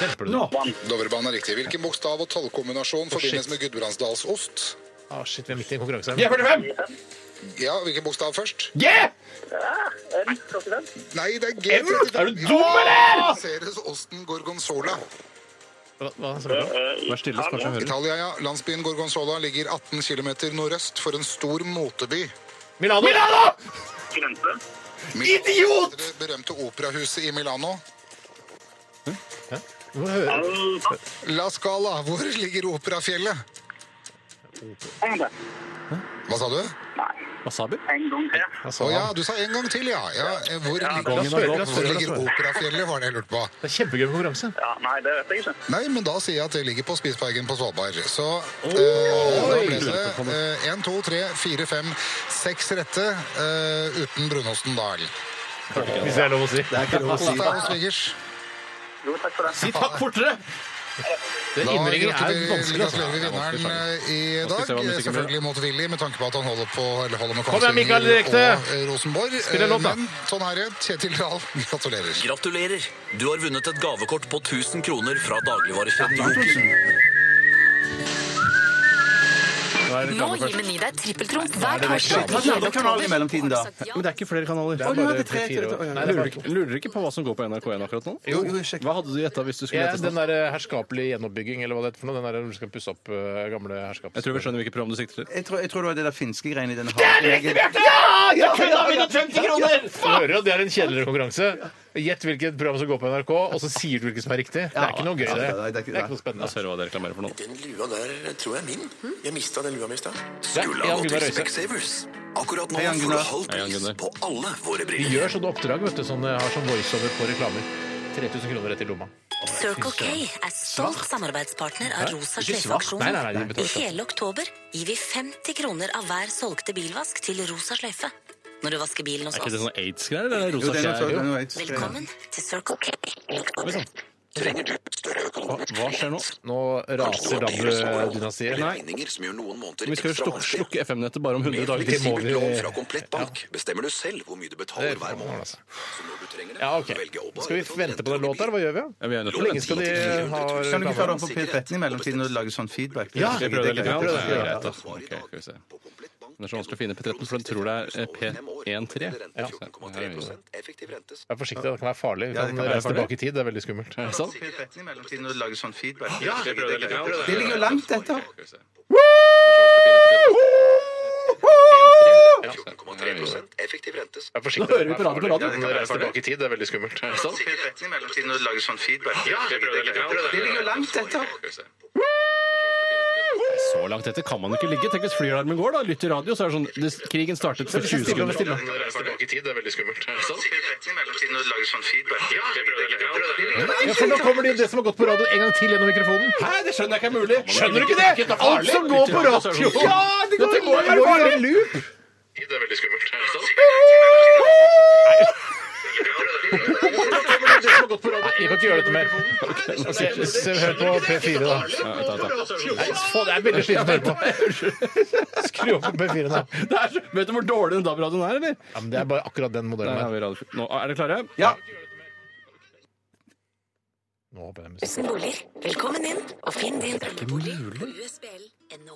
Demper du
Nå.
den?
Dovrebanen er riktig. Hvilken bokstav og tallkombinasjon forbindes med Gudbrandsdalsost?
Ah, shit, vi er midt i en konkurranse. her.
G45!
Ja, hvilken bokstav først?
G!
Nei, det er G32.
Er du dum, eller?!
Plasseres osten gorgonzola.
Hva, hva sa du?
Vær stille, så kanskje jeg hører.
Italia, ja. Landsbyen Gorgonzola ligger 18 km nordøst for en stor moteby.
Milano!
Idiot! Det berømte operahuset i Milano.
Du må høre.
La Scala, hvor ligger operafjellet? Hva sa du?
Wasabi?
Hva
Å
sa
ja,
han?
du sa en gang til, ja. ja eh, hvor,
la oss
ligger,
høre, la oss
hvor
høre, la oss
ligger
høre.
operafjellet, var det jeg lurte på.
Det er kjempegøy med konkurranse.
Nei, men da sier jeg at det ligger på Spitsbergen på Svalbard. Så eh, da ble det én, to, tre, fire, fem, seks rette eh, uten brunosten, da. Erlend.
Hvis det er lov å si.
Det er ikke lov å si.
Ost er hos svigers.
Si takk fortere!
Den
Da
innringningen er
gratulerer
vanskelig. altså.
gratulerer vi vinneren eh, i
Nå skal vi
dag.
se hva musikken blir.
Selvfølgelig motvillig med tanke på at han holder på eller holder med
Kom igjen, Mikael, direkte!
eh, og eh, Rosenborg.
Spill en låt, da.
Eh, Men sånn er det. Kjetil Dahl, gratulerer.
Gratulerer! Du har vunnet et gavekort på 1000 kroner fra dagligvarekjeden Joker.
Nå gir Meny deg trippeltrumf hver
Shit, Hva skjer med kanalen i mellomtiden, da?
Men det er ikke flere kanaler.
Å, nå er det tre, tre, tre. Å, ja.
Lurer dere ikke- lurer dere ikke på hva som går på NRK1 akkurat nå?
Jo, jo, sjekk.
Hva hadde du gjetta hvis du skulle
Ja,
gjette?
den
sånn?
der eh, herskapelige gjenoppbygging, eller hva det heter for noe. Den der hvor du skal pusse opp eh, gamle herskap.
Jeg tror vi skjønner hvilket program du sikter til.
Jeg tror, jeg tror det var det der finske greiene i den Det er riktig, Bjarte!
Jeg kunne ha vunnet 50 kroner!
Du hører jo at det er en kjedeligere konkurranse. Gjett hvilket program som går på NRK, og så sier du hvilket som er riktig. Det er ikke noe gøy, det.
nei, det er
Det
ikke-
er ikke noe
La
spennende. altså.
oss høre hva dere reklamerer for nå.
Den lua der tror jeg er min. Jeg mista den lua mi i stad.
Skulle ha Jan gått til Gunnar Røise.
Akkurat nå
Hei, Jan får du Gunnar.
halv
Hei, Jan pris Gunnar.
på alle våre
Vi gjør sånne oppdrag vet du, som eh, har sånn voiceover på reklamer. 3000 kroner rett i lomma.
Circle K er stolt samarbeidspartner av Rosa
Ikke svart.
sløyfe-aksjonen.
Nei, nei, nei, de
I
betaler skatt.
hele oktober gir vi 50 kroner av hver solgte bilvask til Rosa sløyfe. Når du vasker bilen
Er
hos
ikke det
oss.
sånn aids-greier? eller er det
Jo,
rosa
det er noe
fjær?
sånt, det er noe aids.
Velkommen til Circle K.
Hva, hva skjer nå?
Nå raser DAB-dynastiet.
Regninger som gjør noen måneder
Vi skal jo
ekstra
slukke,
vanskelig.
slukke FM-nettet bare om 100 dager.
Det må
Fleksibelt
vi-
lån fra Komplett Bank bestemmer du selv hvor mye du betaler
Det er
hver
faen,
måned.
altså.
Så når du trenger det,
Ja, OK.
kan du velge Obba,
Skal vi
Eventuelt
vente på den
Renter og
låta, eller hva gjør vi? da?
Ja, vi er nødt
Hvor
til
lenge skal
Kan
de ha
du ikke ta det
reklame?
opp på P13 i mellomtiden og lage sånn feedback?
Ja,
Vi prøver det litt.
Ja,
grann,
prøv
så
det.
er det greit, da.
Svar i
Ok,
dag
skal vi se.
på Komplett Bank.
Den er så vanskelig å finne P13, for den tror det er eh, P13.
Ja.
Vær forsiktig, det kan være farlig. Vi
Ja, det
kan
kan
være
reise
farlig.
tilbake i tid, det er veldig skummelt.
Er det sant?
P13 i mellomtiden og lage sånn feedback? Det
Det
ligger jo langt etter.
Effektiv rente.
Nå hører vi på radio på radio.
Vi kan reise tilbake i tid, det er veldig skummelt.
P13 i mellomtiden og lage sånn feedback? Det ligger jo langt etter.
Så langt etter kan man ikke ligge. Tenk hvis flyalarmen går, da. Lytt til radio, så er det sånn det, Krigen startet for 20
Stille og
sekunder.
stille.
P13 i mellomtiden og lage sånn feedback?
Ja, for nå kommer de, det som har gått på radio en gang til gjennom mikrofonen.
Hæ, det skjønner jeg ikke er mulig!
Skjønner du ikke det? Alt som går på radio! Ja, det går, det går, det går i loop! Det er veldig skummelt. Nei, jeg kan ikke gjøre dette mer. Ok, se- se- Hør på P4, da. Nei, få- Det er veldig slitsomt å høre på. Skru opp på P4 nå.
Det er så, vet du hvor dårlig den DAB-radioen er, eller?
Ja, men det er bare akkurat den modellen
Der har
der.
vi radio. Nå, er dere klare?
Ja.
Nå håper jeg den
Tusen boliger. Velkommen inn og finn din drømmebolig på usbl.no.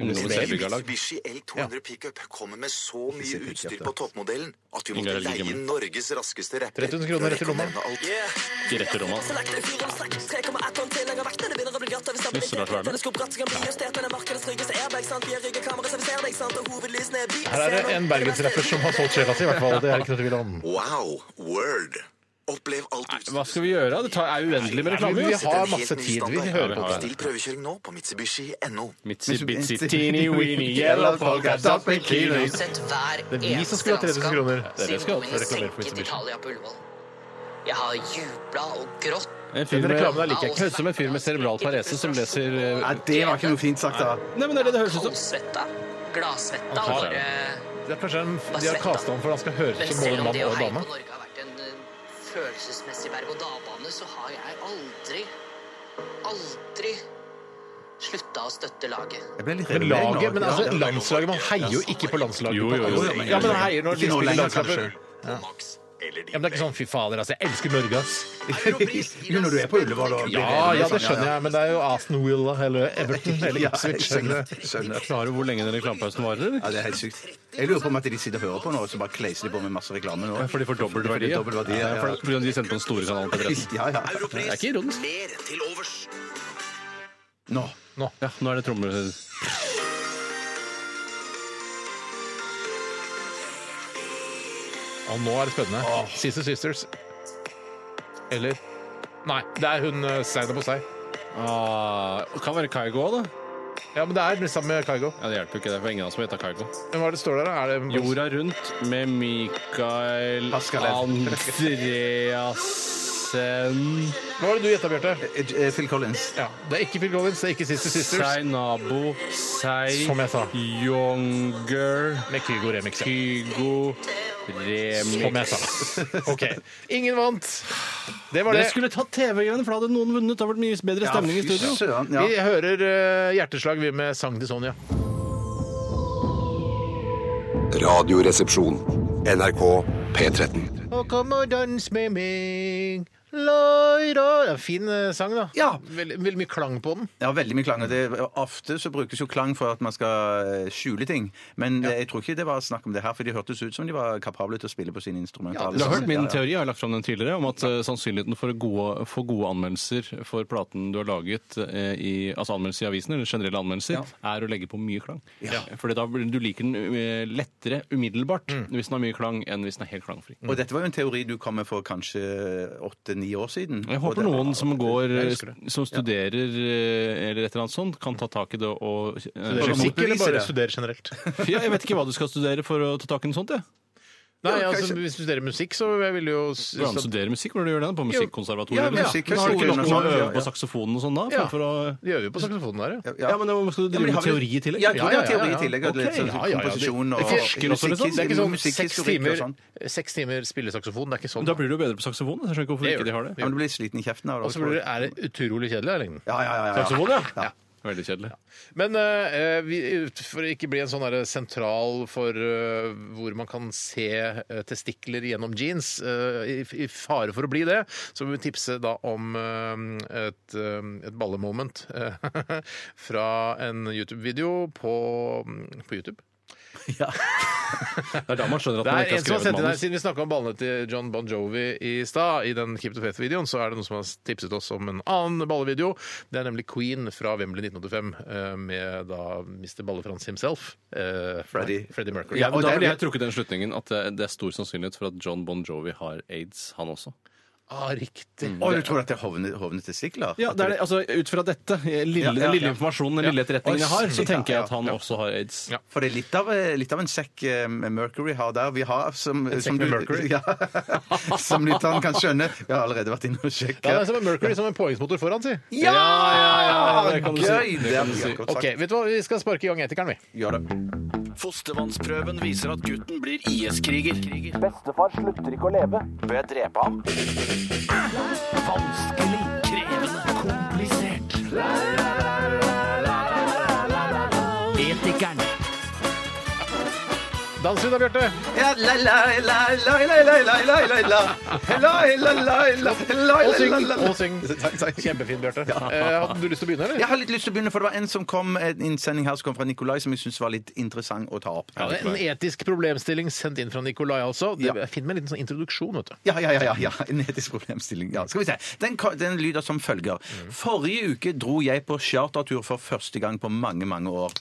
Mitsubishi L200 pickup kommer med så mye utstyr på toppmodellen at vi måtte
Ingar er like
leie inn Norges raskeste rapper.
3000 kroner rett i lomma.
Rett i rommet. Jøss, Lars Werner.
Her er det en bergensrapper som har solgt sjela si, i hvert fall. Det er ikke noe tvil om.
Wow, word! Opplev alt
Hva skal vi gjøre? Det tar, er uendelig med
Nei, men
reklame.
vi
jo.
har masse tid. Vi hører på det.
Still prøvekjøring nå på Mitsubishi.no.
Mitsi, bitsi, teeny, weeny, yellow polka, dot bikinis.
Sett hver
Det er vi som skulle ha 3000 kroner. Det er det vi skal ha for å reklamere for Mitsubishi.
Italia på Ullevål. Jeg har jubla og grått.
En fyr
Den
med,
reklamen der liker jeg ikke.
høres ut som en fyr med cerebral parese som leser eh,
Nei, det var ikke noe fint sagt, da.
Nei, men det er det det høres ut som.
Kaldsvetta, gladsvetta
Han
og
har det.
bare
Det er kanskje en, de har kasta om for han skal høres ut
Men
som både
selv om
mann
det å
og
heie
dame.
på Norge har vært en eh, følelsesmessig berg-og-dal-bane, så har jeg aldri, aldri slutta å støtte laget.
Jeg ble litt
Men
redd.
laget, men altså
Ja.
landslaget, man heier jo ikke på landslaget.
Jo, jo, jo.
Ja, men han heier når de
Ikke nå
spiller
lenger,
landskamper.
kanskje.
Ja, men det er ikke sånn 'fy fader, altså, jeg elsker Norge', ass.
Jo, når du sånn. er på Ullevål og
Ja, ja, det skjønner jeg, men det er jo Aston Villa eller Everton eller Ipswich. skjønner du?
Skjønner.
Klarer du hvor lenge den reklamepausen varer? eller?
Ja, det er helt sykt. Jeg lurer på om at de sitter og hører på nå, og så bare kleiser de på med masse reklame nå.
For de får dobbelt verdi.
de får dobbelt verdi, ja, ja.
for- Fordi de sendte på den store kanalen på P13.
Ja, ja.
Det er ikke ironisk.
Mer til overs.
Nå.
Ja, nå er det trommer.
Og nå er det spennende. Sister Sisters. Eller Nei, det er hun eh, Seina på seg.
Ah, kan være Kaigo òg, da.
Ja, men det er sammen med Kaigo.
Ja, Det hjelper jo ikke, det er for ingen av oss som heter Kaigo.
Men Hva er det står der, da? Er det
Jorda rundt med Mikael
Paskalev.
Andreassen
Hva var det du gjetta, Bjarte?
Eh, eh, Phil Collins.
Ja, det er ikke Phil Collins, det er ikke Sister Sisters.
Seinabo Sei
Som jeg sa.
Younger
Med Kygo Remix. ja.
Kygo
Som jeg
Remix.
sa. OK. Ingen vant. Det var
Dere
det.
skulle tatt TV-greiene, for da hadde noen vunnet. Det hadde vært mye bedre stemning i
fy
studio.
søren, ja.
Vi hører eh, hjerteslag vi med sang til Sonja.
Radioresepsjon. NRK P13.
Og kom og dans med meg. Laira. Det er en Fin eh, sang, da.
Ja.
Veldig, veldig mye klang på den.
Ja, veldig mye klang. Og det, og ofte så brukes jo klang for at man skal eh, skjule ting. Men eh, jeg tror ikke det var snakk om det her, for de hørtes ut som de var kapable til å spille på sine instrumenter. alle
Du har hørt
sammen. Ja,
min
ja.
teori, jeg har lagt fram den tidligere, om at eh, sannsynligheten for å gode, få gode anmeldelser for platen du har laget, eh, i, altså anmeldelser i avisene, eller generelle anmeldelser, er å legge på mye klang.
Ja.
Fordi da blir- du liker den eh, lettere umiddelbart
Mm.
hvis den har mye klang, enn hvis den er helt klangfri.
Og dette var jo en teori du kom med for kanskje åtte-ni år siden.
Jeg
Og
håper
det-
noen som går,
Jeg husker det.
som studerer eh, eller et eller annet sånt, kan ta tak i det og eh,
Studerer
sjekke
musikk
opp
eller
beviser,
bare
ja.
studerer generelt?
Ja, jeg vet ikke hva du skal studere for å ta tak i noe sånt, jeg.
Nei,
Ja,
altså,
kanskje-
Hvis du studerer musikk, så jeg vil jo s-
Hvordan studere musikk? Hvordan gjør du det? På
Ja,
musikkonservatoriet? eller?
musikk-
Men Har du ikke
høyskolen og
nok med
sånn,
å
ja,
øve
ja.
på saksofonen og sånn da?
Ja.
For, for å...
De øver jo på saksofonen der, ja.
Ja.
Ja, men da skal du
Ja, men
drive
de
med
har vel-
teori i tillegg?
Ja, jeg tror de har
Ja, ja, ja,
teori i
ja.
tillegg. og
Ok,
litt sånn
ja, ja, ja.
Komposisjon og
Det
forsker også, liksom.
Det er ikke sånn seks
musikkhistorikk og
timer,
sånn.
seks timer spillesaksofon. Det er ikke sånn.
Da blir du jo bedre på saksofon. Jeg skjønner ikke hvorfor
Det gjør
ikke de har
Ja,
det.
men du blir sliten i kjeften av
Og
det.
så blir det, er det utrolig kjedelig her i lengden.
Ja, ja, ja. ja.
Saksofon, ja.
Ja.
Veldig kjedelig.
Men eh, vi, for å ikke bli en sånn derre sentral for eh, hvor man kan se eh, testikler gjennom jeans, eh, i, i fare for å bli det, så vil vi tipse da om eh, et, eh, et ballemoment eh, fra en YouTube-video på, på YouTube.
Det er da man skjønner at
Det
man
er en som har
ikke har skrevet
sendt inn her,
manus.
Siden vi snakka om ballene til John Bon Jovi i stad, i den Keep the Faith-videoen, så er det noen som har tipset oss om en annen ballevideo. Det er nemlig Queen fra Wembley 1985 eh, med da Mr. Balle-Frans himself. eh,
Freddie.
Freddie Mercury.
Ja,
Ja,
men
og
da
det-
ville jeg trukket den slutningen at eh, det- det er stor sannsynlighet for at John Bon Jovi har aids, han også.
ah, riktig.
Å, du tror at det er hovne, hovne testikler?
Ja, det er det, altså Ut fra dette, eh, lille,
Ja, ja,
den lille
ja.
informasjonen, den lille etterretningen jeg har, så tenker jeg at han også har aids.
Ja.
For det er litt av, litt av en sekk eh, Mercury har der. Vi har som,
En sekk
som
med Mercury?
Ja, som lytteren kan skjønne. Vi har allerede vært inne og
Ja, det er
sjekket.
som en Mercury som en påhengsmotor foran, si.
Ja!
det kan du si.
Gøy!
Det
Det er
kan du si.
akkurat
OK,
sagt.
vet du hva? Vi skal sparke i gang etikeren, vi.
Gjør det.
Fostervannsprøven viser at gutten blir IS-kriger.
Bestefar slutter ikke å leve. Bør jeg drepe ham?
Vanskelig, krevende, komplisert. Etikeren.
Dans ut da, Bjarte.
Ja, la, la, la, la, la, la, la, la, la, la. La, la, la, la, la, la,
Og syng.
la, la.
Og syng. Kjempefint, Bjarte. Eh, hadde du lyst til å begynne, eller?
Jeg har litt lyst til å begynne, for det var en som kom, en innsending her som kom fra Nikolai, som jeg syns var litt interessant å ta opp.
Ja, det er en etisk problemstilling sendt inn fra Nikolai, altså. Det,
Ja.
Finn meg en liten sånn introduksjon, vet du.
Ja, ja, ja, ja, ja. En etisk problemstilling. Ja. Skal vi se. Den, ka- den lyder som følger. Forrige uke dro jeg på chartertur for første gang på mange, mange år.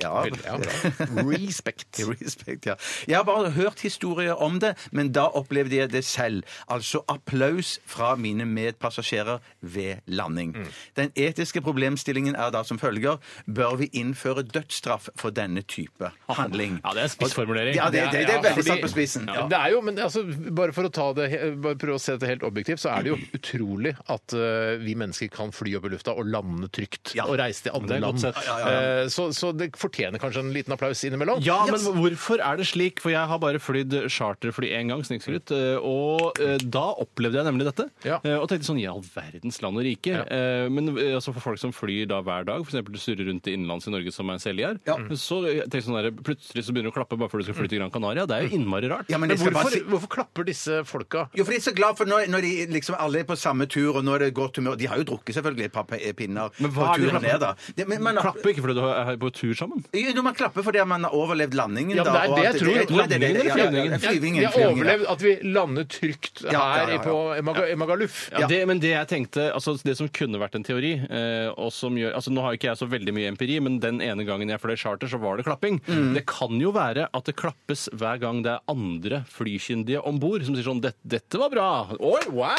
Ja.
Ja. Respekt.
Respekt, ja. Jeg har bare hørt historier om det, men da opplevde jeg det selv. Altså applaus fra mine medpassasjerer ved landing.
Mm.
Den etiske problemstillingen er da som følger Bør vi innføre dødsstraff for denne type handling?
Ja, det er en spissformulering.
Ja, det, det, det er
Ja,
veldig
fordi-
satt på spissen.
Ja. Det er jo, men altså, bare for å ta det, he- bare prøve å se det helt objektivt, så er det jo utrolig at eh, vi mennesker kan fly opp i lufta og lande trygt og reise til andre
er godt
land.
sett. Ja,
Eh, Så, så det fortjener kanskje en liten applaus innimellom.
Ja, men hvorfor er det slik? For jeg har bare flydd charterfly én gang, snikskryt, eh, og eh, da opplevde jeg nemlig dette.
Ja.
Eh, Og tenkte sånn i all verdens land og rike. Eh, Men eh, altså, for folk som flyr da hver dag, f.eks. du surrer rundt i innenlands i Norge som er en selger, så eh, tenkte jeg sånn der, plutselig så begynner du å klappe bare fordi du skal fly til Gran Canaria. Det er jo innmari rart.
Ja, men
Men
jeg skal bare
hvorfor,
si-
hvorfor klapper disse folka?
Jo, for de er så glad for når, når de liksom alle er på samme tur, og når det er godt humør De har jo drukket selvfølgelig et par pe- pinner
Men hva
på
er det
turen
de
ned, da. Det, men, man,
Klapper ikke fordi du er på tur sammen.
Jo, når man klapper fordi man har overlevd landingen,
Ja,
da.
men det er
og
det
alt
jeg tror.
det er det-
Landingen eller
ja, ja,
flyvningen?
ja, Flyvingen.
Vi har
flyvingen, ja.
overlevd at vi lander trygt her
ja, ja, ja.
i- på Maga- Magaluf.
Ja, det, men det jeg tenkte, altså det som kunne vært en teori eh, og som gjør, altså Nå har ikke jeg så veldig mye empiri, men den ene gangen jeg fløy charter, så var det klapping.
Mm.
Det kan jo være at det klappes hver gang det er andre flykyndige om bord som sier sånn dette, 'Dette var bra'. Oi, wow!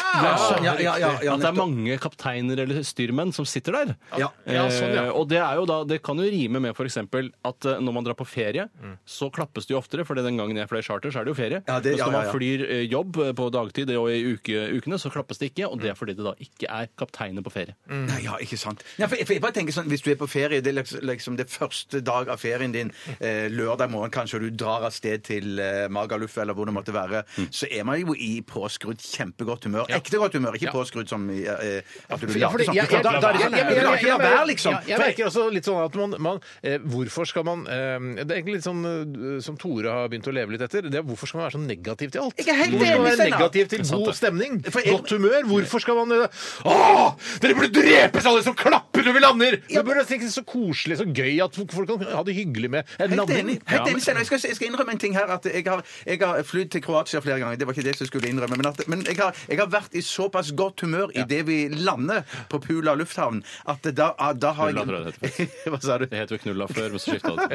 ja, ja, ja, ja,
at det er
nettopp.
mange kapteiner eller styrmenn som sitter der.
Ja.
Ja, sånn, ja.
Eh, og det, er jo da, det kan jo rime med f.eks. at eh, når man drar på ferie,
Mm.
så klappes det jo oftere, for den gangen jeg fløy charter, så er det jo ferie.
Ja, det-
Mens
ja,
når
ja, ja.
man flyr eh, jobb eh, på dagtid og i uke, ukene, så klappes det ikke, og det er fordi det da ikke er kapteiner på ferie.
Nei, ja, ikke sant. Nei, for, for jeg bare tenker sånn, Hvis du er på ferie, det er liksom, liksom det første dag av ferien din, eh, lørdag morgen kanskje, og du drar av sted til eh, Magaluf eller hvor det måtte være, så er man jo i påskrudd kjempegodt humør. Ekte godt humør, ikke påskrudd som i, eh, at du
Ja,
later
fordi
som.
jeg-
Du kan
jeg-
da- da er det
jeg-
sånn,
jeg- jeg-
du kan
jeg-
ikke la være,
jeg-
liksom.
Jeg
For-
merker også litt sånn at man, man eh, hvorfor skal man eh, Det er egentlig litt sånn eh, som Tore har begynt å leve litt etter. Det er Hvorfor skal man være så negativ til alt?
Jeg er helt
hvorfor skal man
enig,
være
Steinar.
negativ til
Det er sant,
god
det.
stemning?
For jeg-
Godt humør? Hvorfor skal man eh, Åh! Dere burde drepes, alle som klapper når vi lander! Det burde tenke så koselig, så gøy at folk kan ha det hyggelig med en
Helt
landing.
enig. Helt enig Steinar. jeg, skal, jeg skal innrømme en ting her. At jeg har, jeg har flydd til Kroatia flere ganger. Det var ikke det som skulle innrømme. Men, at, men jeg, har, jeg har vært i såpass godt humør idet vi lander på Pula lufthavn, at da, da har jeg
Knulla, tror jeg det
Hva sa du?
Det het vel knulla før, men så skifta det.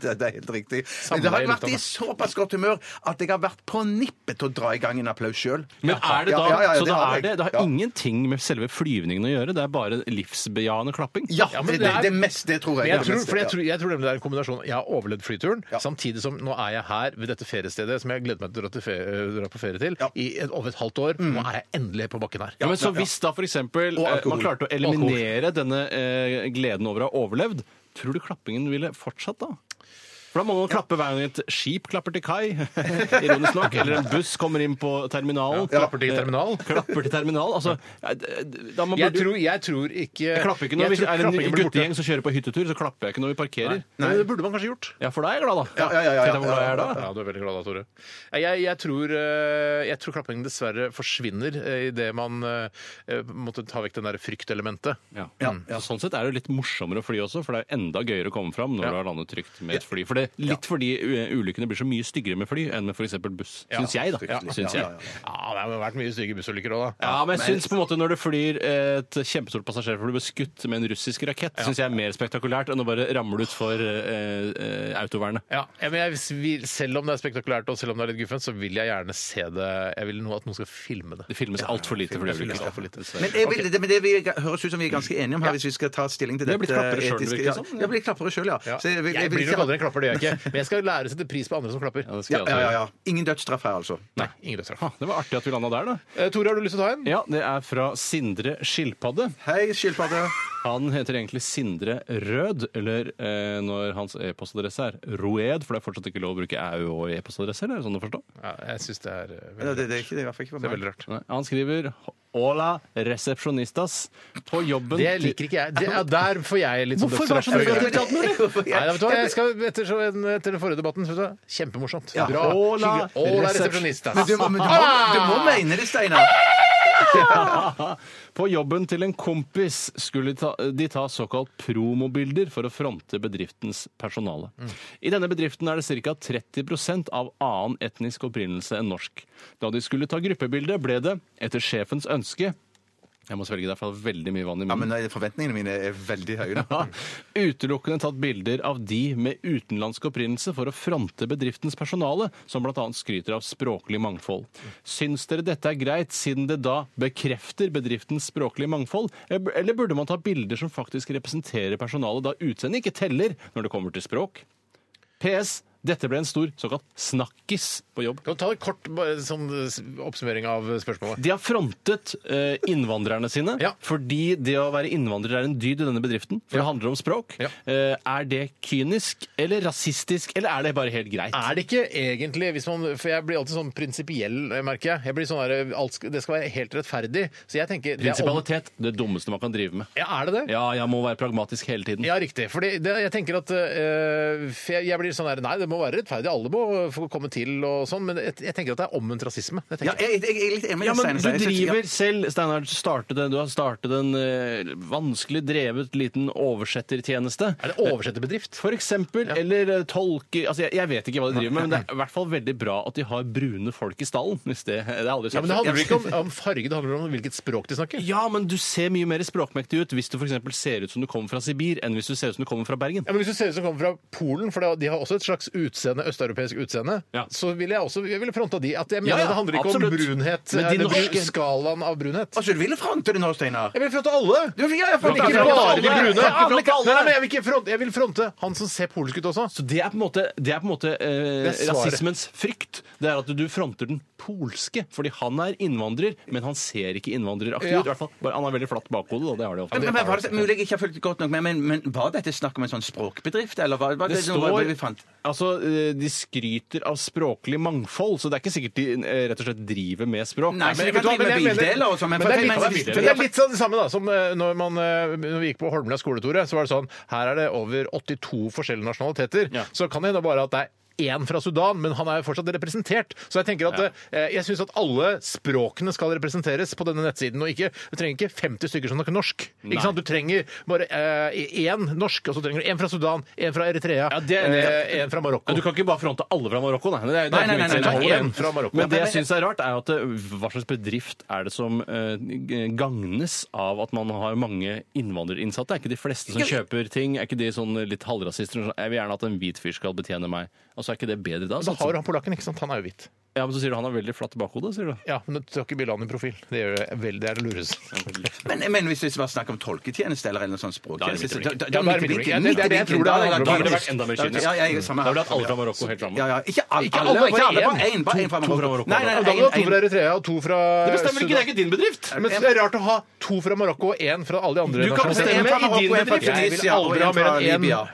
det, det er helt riktig.
Samme
det har
vei,
jeg vært i
lufthavn.
såpass godt humør at jeg har vært på nippet til å dra i gang en applaus sjøl.
Men er det da, så da
har
er
jeg.
det, det har
Ja.
ingenting med selve flyvningen å gjøre, det er bare livsbejaende klapping?
Ja, det, det, det meste, det tror jeg.
Men jeg
Det
tror,
meste,
for jeg,
ja.
tror, jeg tror nemlig det er en kombinasjon. Jeg har overlevd flyturen, samtidig som nå er jeg her ved dette feriestedet som jeg gleder meg til å dra, til fe øh, dra på ferie til i et, over et halvt år. Nå er jeg endelig på bakken her.
Mm. Ja, men så Hvis da f.eks. man
alkohol.
klarte å eliminere denne eh, gleden over å ha overlevd, tror du klappingen ville fortsatt da? For da må man klappe hver gang et skip klapper til kai, ironisk nok, eller en buss kommer inn på terminalen.
Ja, klapper til terminal.
Eh, Klapper til terminal, altså eh, d- da man
Jeg
burde-
tror, jeg tror ikke
Jeg klapper ikke når
jeg
vi
tror
er en
klappingen blir borte.
guttegjeng som kjører på hyttetur, så klapper jeg ikke når vi parkerer.
Nei. Men Det burde man kanskje gjort.
Ja, for da er jeg glad, da.
Ja, ja, ja, ja,
Tenk deg hvor glad jeg er da.
Ja, du er veldig glad da, Tore. Jeg, jeg, tror, eh, jeg tror klappingen dessverre forsvinner idet man eh, måtte ta vekk den der fryktelementet.
Ja. Så sånn sett er det jo litt morsommere å fly også, for det er jo enda gøyere å komme fram når du har landet trygt med et fly. For det, litt fordi u- ulykkene blir så mye styggere med fly enn med f.eks. buss. Syns jeg, da.
Ja,
Syns
ja,
jeg.
ja, ja. Ja, det har vært mye stygge bussulykker òg, da.
Ja, men jeg syns på en måte når det flyr et kjempestort passasjerfly blir skutt med en russisk rakett, synes syns jeg er mer spektakulært enn å bare ramle utfor eh, eh, autovernet.
Ja, ja, men jeg vil, Selv om det er spektakulært og selv om det er litt guffent, så vil jeg gjerne se det. Jeg vil nå at noen skal filme det.
Det filmes altfor lite for
Det
de
filmes
ulykkene.
alt for lite.
Men, jeg vil, det, men det vi høres ut som vi er ganske enige om her, hvis vi skal ta stilling til
Det
dette.
er blitt klappere selv, virker det
ja.
som.
Jeg blir klappere sjøl, ja.
Ja.
Så
Jeg,
vil- vil
blir
ikke
nok
ha-
aldri en klapper, det gjør jeg ikke. Men jeg skal lære å sette pris på andre som klapper.
Ja, det skal
Ja,
jeg
ja,
altså
ja,
gjøre.
ja. Ingen dødsstraff her, altså.
Nei, ingen dødsstraff.
Ah, Det var artig at vi landa der, da.
Eh, Tore, har du lyst til å ta en?
Ja, det er fra Sindre Skilpadde.
Hei, skilpadde.
Han heter egentlig Sindre Rød, eller eh, når hans e-postadresse er Roed, for det er fortsatt ikke lov å bruke au og e-postadresse, eller er det sånn å forstå?
Ja, jeg syns det er eh,
Ja,
veldig,
det, det er ikke det, i hvert fall ikke
det
for
er
meg.
veldig rart.
Nei, han skriver Hola resepsjonistas på jobben
Det liker ikke jeg. Det, ja, der får jeg litt sånn
Hvorfor være så
dødsstraff.
negativ til alt mulig?
Hvorfor
Nei,
jeg-
vet du hva, jeg skal etter, så en, etter den forrige debatten vet du, hva, Kjempemorsomt.
Ja.
Bra.
Hola,
Hyggelig. Hola,
resepsjon-
resepsjonista.
Men du, må- men du, må,
Ah!
du må mene det, Steinar.
På jobben til en kompis skulle ta, de ta såkalt promobilder for å fronte bedriftens personale.
Mm.
I denne bedriften er det ca. 30 av annen etnisk opprinnelse enn norsk. Da de skulle ta gruppebilde, ble det, etter sjefens ønske Jeg må svelge derfor veldig mye vann i
Ja,
munnen.
men nei, Forventningene mine er veldig høye. nå.
Ja. Utelukkende tatt bilder av de med utenlandsk opprinnelse for å fronte bedriftens personale, som bl.a. skryter av språklig mangfold. Syns dere dette er greit, siden det da bekrefter bedriftens språklige mangfold? Eller burde man ta bilder som faktisk representerer personalet, da utseendet ikke teller når det kommer til språk? PS. Dette ble en stor såkalt snakkis på jobb.
Kan du ta en kort bare, sånn, eh, oppsummering av spørsmålet?
De har frontet eh, innvandrerne sine
Ja.
fordi det å være innvandrer er en dyd i denne bedriften. For det handler om språk.
Ja.
Eh, er det kynisk eller rasistisk, eller er det bare helt greit?
Er det ikke egentlig hvis man, For jeg blir alltid sånn prinsipiell, eh, merker jeg. jeg blir sånn der, eh, alt, skal- det skal være helt rettferdig. Så jeg tenker det er, om-
Prinsipalitet, det dummeste man kan drive med.
ja, er det det?
Ja, jeg må være pragmatisk hele tiden.
Ja, riktig. Fordi det, jeg tenker at eh, for jeg, jeg blir sånn der, Nei, det må være rettferdig. Alle må få komme til og sånn. Men jeg, jeg tenker at det er omvendt rasisme. Det tenker
Ja,
jeg.
jeg, jeg, jeg er litt enig med
Ja,
deg,
men
Steinar.
du
Jeg synes- ja.
driver selv, Steinar. startet en- Du har startet en eh, vanskelig drevet liten oversettertjeneste.
Er det oversetterbedrift?
For eksempel, eller eh, tolke altså jeg, jeg vet ikke hva de driver med, men det er i hvert fall veldig bra at de har brune folk i stallen. Hvis det, det er aldri
Ja,
sagt
men Det
før.
handler ikke om, om farge, det handler om hvilket språk de snakker.
Ja, men du ser mye mer språkmektig ut hvis du for eksempel ser ut som du kommer fra Sibir, enn hvis du ser ut som du kommer fra Bergen.
Ja, men Hvis du ser ut som kommer fra Polen, for det- de har også et slags utseende, østeuropeisk utseende,
Ja.
så ville jeg også jeg ville fronta de. At jeg mener
Ja, ja,
det handler ikke
absolutt.
om brunhet. eh,
Men de
eller
norske-
skalaen av brunhet.
Altså, du ville fronte det nå, Steinar?
Jeg vil fronte alle!
Du, ja, jeg
Men
fronter
ikke
det.
bare de brune.
Ikke fronte
Nei,
alle.
nei, men jeg vil, ikke fronte, jeg vil fronte han som ser polsk ut også.
Så det er på en måte, det er på en måte eh,
Det er svaret.
rasismens frykt. Det er at du fronter den polske, fordi han er innvandrer, men han ser ikke innvandreraktig
Ja.
ut. I hvert fall, bare, han har veldig flatt bakhode, da. Det har de ofte.
Men, men, var det, mulig jeg ikke har fulgt godt nok med, men, men var dette snakk om en sånn språkbedrift, eller var, var det,
Det
noe
står
vi fant?
altså, eh, de skryter av språklig mangfold, så det er ikke sikkert de eh, rett og slett driver med språk.
Nei, så de
men,
kan
vet du
drive
hva, men
med
jeg mener-
bildeler og sånn, men-
men det
men-
er litt-
men-
bildeler.
Men det er litt sånn det samme da, som eh, når, man, eh, når vi gikk på Holmlia skole, Tore, så var det sånn Her er det over 82 forskjellige nasjonaliteter. Så kan det hende bare at det er én fra Sudan, men han er jo fortsatt representert. Så jeg tenker at eh, jeg syns at alle språkene skal representeres på denne nettsiden. Og ikke, du trenger ikke 50 stykker som snakker norsk.
Nei.
Ikke sant? Du trenger bare eh, én norsk, og så trenger du én fra Sudan, én fra Eritrea,
Ja, det er enig.
eh, én fra Marokko.
Ja, du kan ikke bare fronte alle fra Marokko, nei. Det er, det
Nei,
er
nei,
ikke
nei,
vits
nei,
i.
nei,
Det er
nei.
én fra Marokko.
Men
Men det
det-
jeg syns er rart, er at eh, hva slags bedrift er det som eh, gagnes av at man har mange innvandrerinnsatte? Er ikke de fleste som kjøper ting? Er ikke de sånn litt halvrasister? Sånn, Jeg vil gjerne at en hvit fyr skal betjene meg. Altså, Er ikke det bedre da?
Da har du han polakken, ikke sant? Han er jo hvit.
Ja, men Så sier du han har veldig flatt bakhode, sier du.
Ja, men du tar ikke bildet av han i profil. Det, gjør det, vel, det er det lureste.
Men, men hvis det var snakk om tolketjeneste eller en sånn språktjeneste
Da er det
da- da-
midt i blinken.
da- midt i
Ja, da er det midt i blinken. Ja, det- det- jeg tror det
Da
er
jeg-
andre
da-
veien.
Det hadde vært enda mer
da-
kynisk.
Ja, jeg er samme
Da ville
her.
du hatt alle fra Marokko helt
Ja,
framme.
ja. Ikke alle, alle,
Ikke alle,
ikke alle,
bare
bare
én.
én. Bare én fra
To- to
Marokko.
fra Marokko.
Nei, nei,
Da kan du
én-
ha to fra
én.
Eritrea og to fra
Det bestemmer ikke, det er ikke din bedrift!
Men det er rart å ha to fra Marokko og én fra alle de andre.
Du kan
nasjonaliteter.
bestemme
En fra
i din
Marokko, en fra
bedrift.
Jeg vil
Tunisia og
aldri ha
en
mer
fra
enn én.
Libya.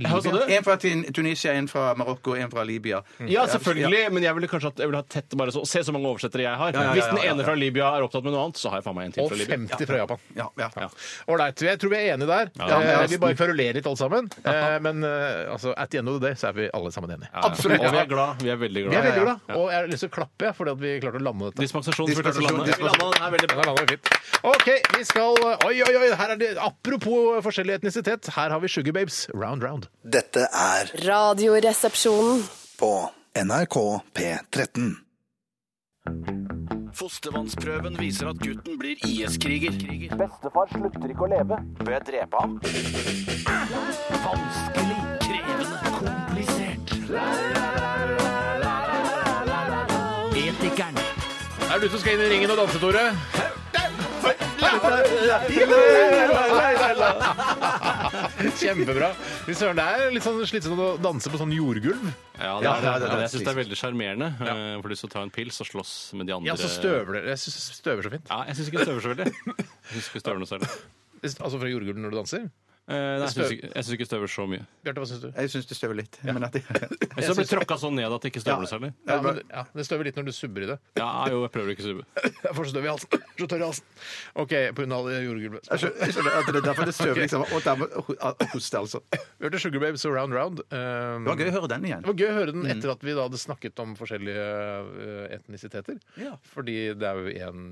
Hva sa du?
En fra Tin- Tunisia, en fra Marokko, en fra Libya.
Ja, selvfølgelig, men jeg ville kanskje hatt, jeg ville hatt tett bare så, Se så mange oversettere jeg har.
ja, ja,
Hvis den
ja, ja.
ene fra Libya er opptatt med noe annet, så har jeg faen meg en til
Og
fra Libya.
50 fra Japan.
Ja, ja. ja.
Ålreit. Jeg tror vi er enige der.
Ja,
Eh,
nesten.
vi bare kverulerer litt alle sammen. Eh, Men eh, altså, at the end of the day så er vi alle sammen enige.
Og vi er glad. Vi er veldig
Vi
glad.
er veldig glad, og jeg har lyst til å klappe jeg, fordi at vi klarte å lande dette.
Dispensasjon for dette
Dispensasjon,
landet.
dispensasjon.
Landet er veldig
Den
bra.
er landet fint. OK, vi skal eh, Oi, oi, oi! Her er det, apropos forskjellig etnisitet, her har vi Sugar Babes, Round Round.
Dette er
Radioresepsjonen.
på NRK P13.
Fostervannsprøven viser at gutten blir IS-kriger.
Bestefar slutter ikke å leve. Bør jeg drepe ham?
Vanskelig, krevende, komplisert. Etikeren.
Er det du som skal inn i ringen og danse, Tore? Kjempebra. Fy søren, det er litt sånn slitsomt å danse på sånn jordgulv.
Ja, det
Ja,
er,
ja, det er
men jeg syns det er
trist.
veldig sjarmerende. eh, Får lyst til å ta en pils og slåss med de andre.
Ja, så støver det. Jeg syns det støver så fint.
Ja, jeg syns ikke det støver så veldig. Jeg syns ikke det støver noe særlig.
Altså fra jordgulv når du danser.
Eh, nei, jeg syns ikke, jeg syns ikke det støver så mye.
Bjarte, hva syns du?
Jeg syns det støver litt. Men at jeg,
Jeg syns det blir tråkka sånn ned at det ikke støver noe særlig.
Ja, men, ja, det støver litt når du subber i det.
Ja, jo, jeg prøver ikke å subbe.
Jeg får så støv i halsen. Så tørr i halsen. OK, på grunn av det jordgulvet.
jeg skjønner- jeg skjønner at det er derfor det støver liksom. Og dermed hoste, altså. Det
Vi hørte Sugar Babes og Round Round. Um,
var gøy å høre den igjen.
Det var gøy Mm. å høre den etter at vi da hadde snakket om forskjellige eh, etnisiteter.
Ja.
Fordi det er jo en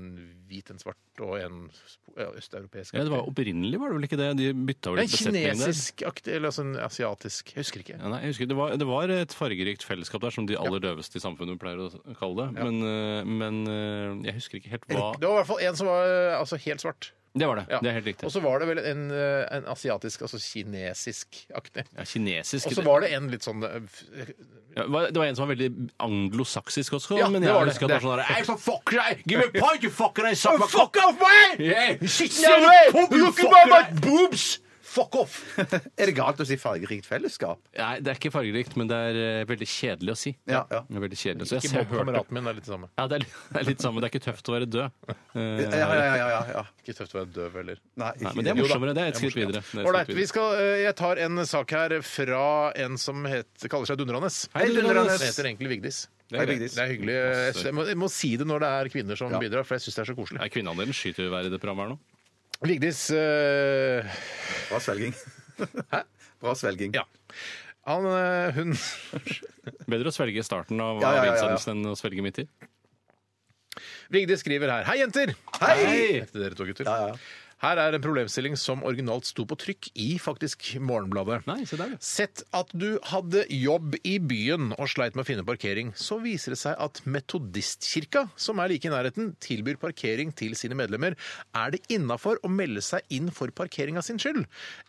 hvit, en svart og en sp- ja, østeuropeisk.
Ja, det var Opprinnelig var det vel ikke det? De bytta vel
en
litt besetningen der.
kinesisk-aktig, eller altså en asiatisk. Jeg husker ikke.
Ja, nei, jeg husker, det, var, det var et fargerikt fellesskap der, som de aller døveste i samfunnet pleier å kalle det. Men, øh, men øh, jeg husker ikke helt hva
Det var i hvert fall en som var eh, altså, helt svart.
Det var det.
Ja.
Det er helt riktig.
Og så var det vel en, eh, en asiatisk, altså kinesisk-aktig.
ja, kinesisk
Og så var det en litt sånn eh, f-
ja, var- det var en som var veldig anglosaksisk også,
Ja,
men
det
jeg
var det.
husker at det var sånn der, «Hey, for fuck deg! Give me a point, you fucker! I suck my cock!
Fuck off, man!
Yeah!
Shit,
Shit,
no way!
fuck, you
Look at my
fucker!
boobs! Fuck off!
Er det galt å si fargerikt fellesskap?
Nei, det er ikke fargerikt, men det er øh, veldig kjedelig å si.
Ja, ja.
Det er veldig kjedelig. Så jeg
Ikke
ser,
mobb
hørte
kameraten min, det er litt det samme.
ja, det, er, litt- det er litt samme. Det er ikke tøft å være død. Eh,
Ja, ja, ja. ja, ja, ja.
Ikke tøft å være døv heller.
Nei,
Nei,
ikke
men det er
Jo da,
morsommere. Det er
det
et
er
skritt videre. Det er et skritt
Ålreit.
videre.
vi skal, eh, Jeg tar en sak her fra en som het, kaller seg Dundranes.
Hei, Dundranes.
Hun heter egentlig Vigdis.
Det er greit.
Det er hyggelig. Jeg sy- Jeg må, jeg må si det når det er kvinner som bidrar, for jeg syns det er så koselig.
Nei, Kvinneandelen skyter jo hver i det programmet her nå.
Vigdis eh,
Bra svelging. Bra svelging.
Ja. Han, eh, hun
Bedre å svelge i starten av
Ja, ja, ja, ja.
innsendelsen enn å svelge midt i.
Vigdis skriver her. Hei, jenter!
Hei!
Etter dere to gutter.
Ja, ja.
Her er en problemstilling som originalt sto på trykk i faktisk Morgenbladet.
Nei, se der, ja.
Sett at du hadde jobb i byen og sleit med å finne parkering. Så viser det seg at Metodistkirka, som er like i nærheten, tilbyr parkering til sine medlemmer. Er det innafor å melde seg inn for parkeringa sin skyld?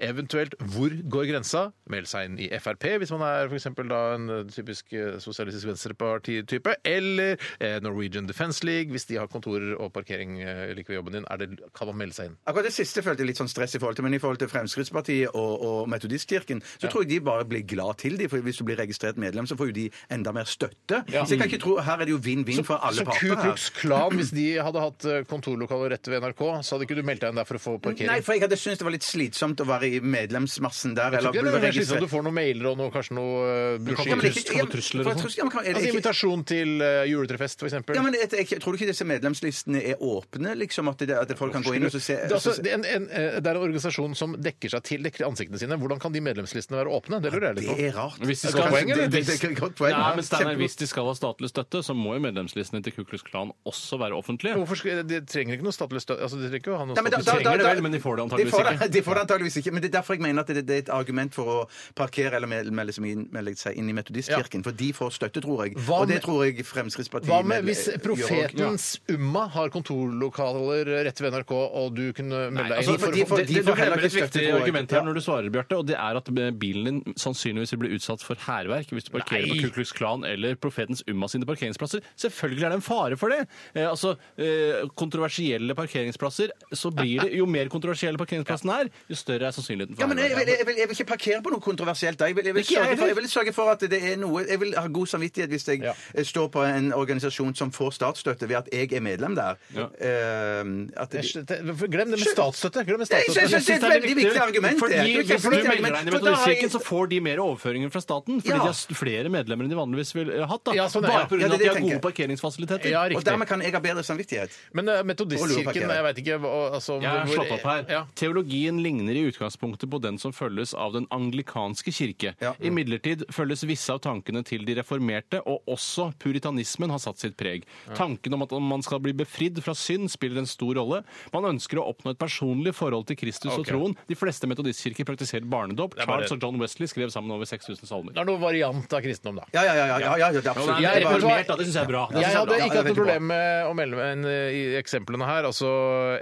Eventuelt hvor går grensa? Meld seg inn i Frp, hvis man er for eksempel da en eh, typisk eh, sosialistisk venstreparti-type. Eller eh, Norwegian Defence League, hvis de har kontorer og parkering eh, like ved jobben din. Er det, kan man melde seg inn?
Akkurat var det siste jeg følte litt sånn stress i forhold til. Men i forhold til Fremskrittspartiet og, og Metodistkirken, så tror jeg de bare blir glad til de, for hvis du blir registrert medlem, så får jo de enda mer støtte.
Ja.
Så jeg kan ikke tro Her er det jo vinn-vinn for alle
Så
parter.
Ku
her.
Klux Klan, hvis de hadde hatt eh, kontorlokaler rett ved NRK, så hadde ikke du meldt deg inn der for å få parkering?
Nei, for jeg hadde syntes det var litt slitsomt å være i medlemsmassen der.
Jeg tror
eller
ikke det
bli
er
registrert.
slitsomt. Du får noen mailer og noe, kanskje noe eh,
kan
brosjyrer.
man ikke- Får du trusler og sånn? Ja, men kan- er det
Altså
ikke-
invitasjon til eh, juletrefest, for eksempel.
Ja, men jeg, jeg, Tror du ikke disse medlemslistene er åpne? liksom At, det, at folk kan gå inn og så se
det, er altså, det, er en, en, eh, det er en organisasjon som dekker seg til, dekker ansiktene sine. Hvordan kan de medlemslistene være åpne? Det lurer jeg litt på.
Det er rart.
Hvis de
det godt
skal,
poeng, eller?
hvis,
Det er et godt poeng,
Nei,
ja.
men Steinar,
Kjempegodt.
hvis de skal ha statlig støtte, så må jo medlemslistene til Ku Klux Klan også være offentlige.
Hvorfor skal, de trenger ikke noe statlig støtte? Altså, de trenger ikke å ha noe
Nei, men da-
statlig
da-
støtte.
da-
trenger det vel, men de får det antageligvis
får det-
ikke.
De får det antageligvis ikke, men det er derfor jeg mener at det, det er et argument for å parkere eller mel- melde seg inn, melde seg inn i Metodistkirken. For de får støtte, tror jeg.
Hva
og det
med-
tror jeg Fremskrittspartiet
Hva med
mel-
hvis
gjør også.
profetens umma har kontorlokaler rett ved NRK, og du kunne
Nei,
melde deg
altså,
inn?
for, for,
de
du
får heller
glemmer et
ikke støtte,
viktig
tror jeg.
argument her når du svarer, Bjarte, og det er at bilen din sannsynligvis vil bli utsatt for hærverk hvis du parkerer
Nei.
på Ku Klux Klan eller Profetens Umma sine parkeringsplasser. Selvfølgelig er det en fare for det! Eh, altså, eh, kontroversielle parkeringsplasser, så blir det Jo mer kontroversielle parkeringsplassen er, jo større er sannsynligheten for
Ja, men jeg vil,
hærverk.
jeg, vil, jeg vil ikke parkere på noe kontroversielt. da. Jeg vil, jeg, vil
Ikke jeg
sørge for,
heller.
jeg vil sørge for at det er noe Jeg vil ha god samvittighet hvis jeg eh, står på en organisasjon som får statsstøtte ved at jeg er medlem der. Eh, at
Jeg
det,
skjønte- Glem det med statsstøtte! Glem det med
Jeg
statsstøtte.
synes- jeg synes det er et veldig viktig argument.
Fordi,
det. Det er et
hvis du
kjempeviktig
melder
argument,
deg inn i
for da har jeg-
Metodistkirken, så får de mer overføringer fra staten. Fordi
Ja.
de har s- flere medlemmer enn de vanligvis ville eh, hatt. Da.
Ja, sånn er det.
Bare pga.
Ja, det er
at
det
de
jeg
har gode
tenker.
parkeringfasiliteter.
Ja,
og
riktig.
dermed kan jeg ha bedre samvittighet.
Men eh, metodistkirken, jeg veit ikke hva altså,
Jeg har
hvor-
slått opp her.
Ja.
Teologien ligner i utgangspunktet på den som følges av den anglikanske kirke. Imidlertid følges visse av tankene til de reformerte, og også puritanismen har satt sitt preg. Tanken om at om man skal bli befridd fra synd, spiller en stor rolle. Man ønsker å oppnå et personlig forhold til Kristus og
Ok.
troen. De fleste metodistkirker praktiserer barnedåp.
er bare-
Charles og John Wesley skrev sammen over 6000 salmer.
Det er noe variant av kristendom, da.
Ja, ja, ja. ja, ja, ja, det er absolutt.
Jeg er
Det er bare-
reformert, da. Det syns jeg er bra. Det
Jeg
synes jeg er
hadde
bra.
ikke hatt noe
veldig bra.
problem med å melde meg inn eh, i eksemplene her. Altså,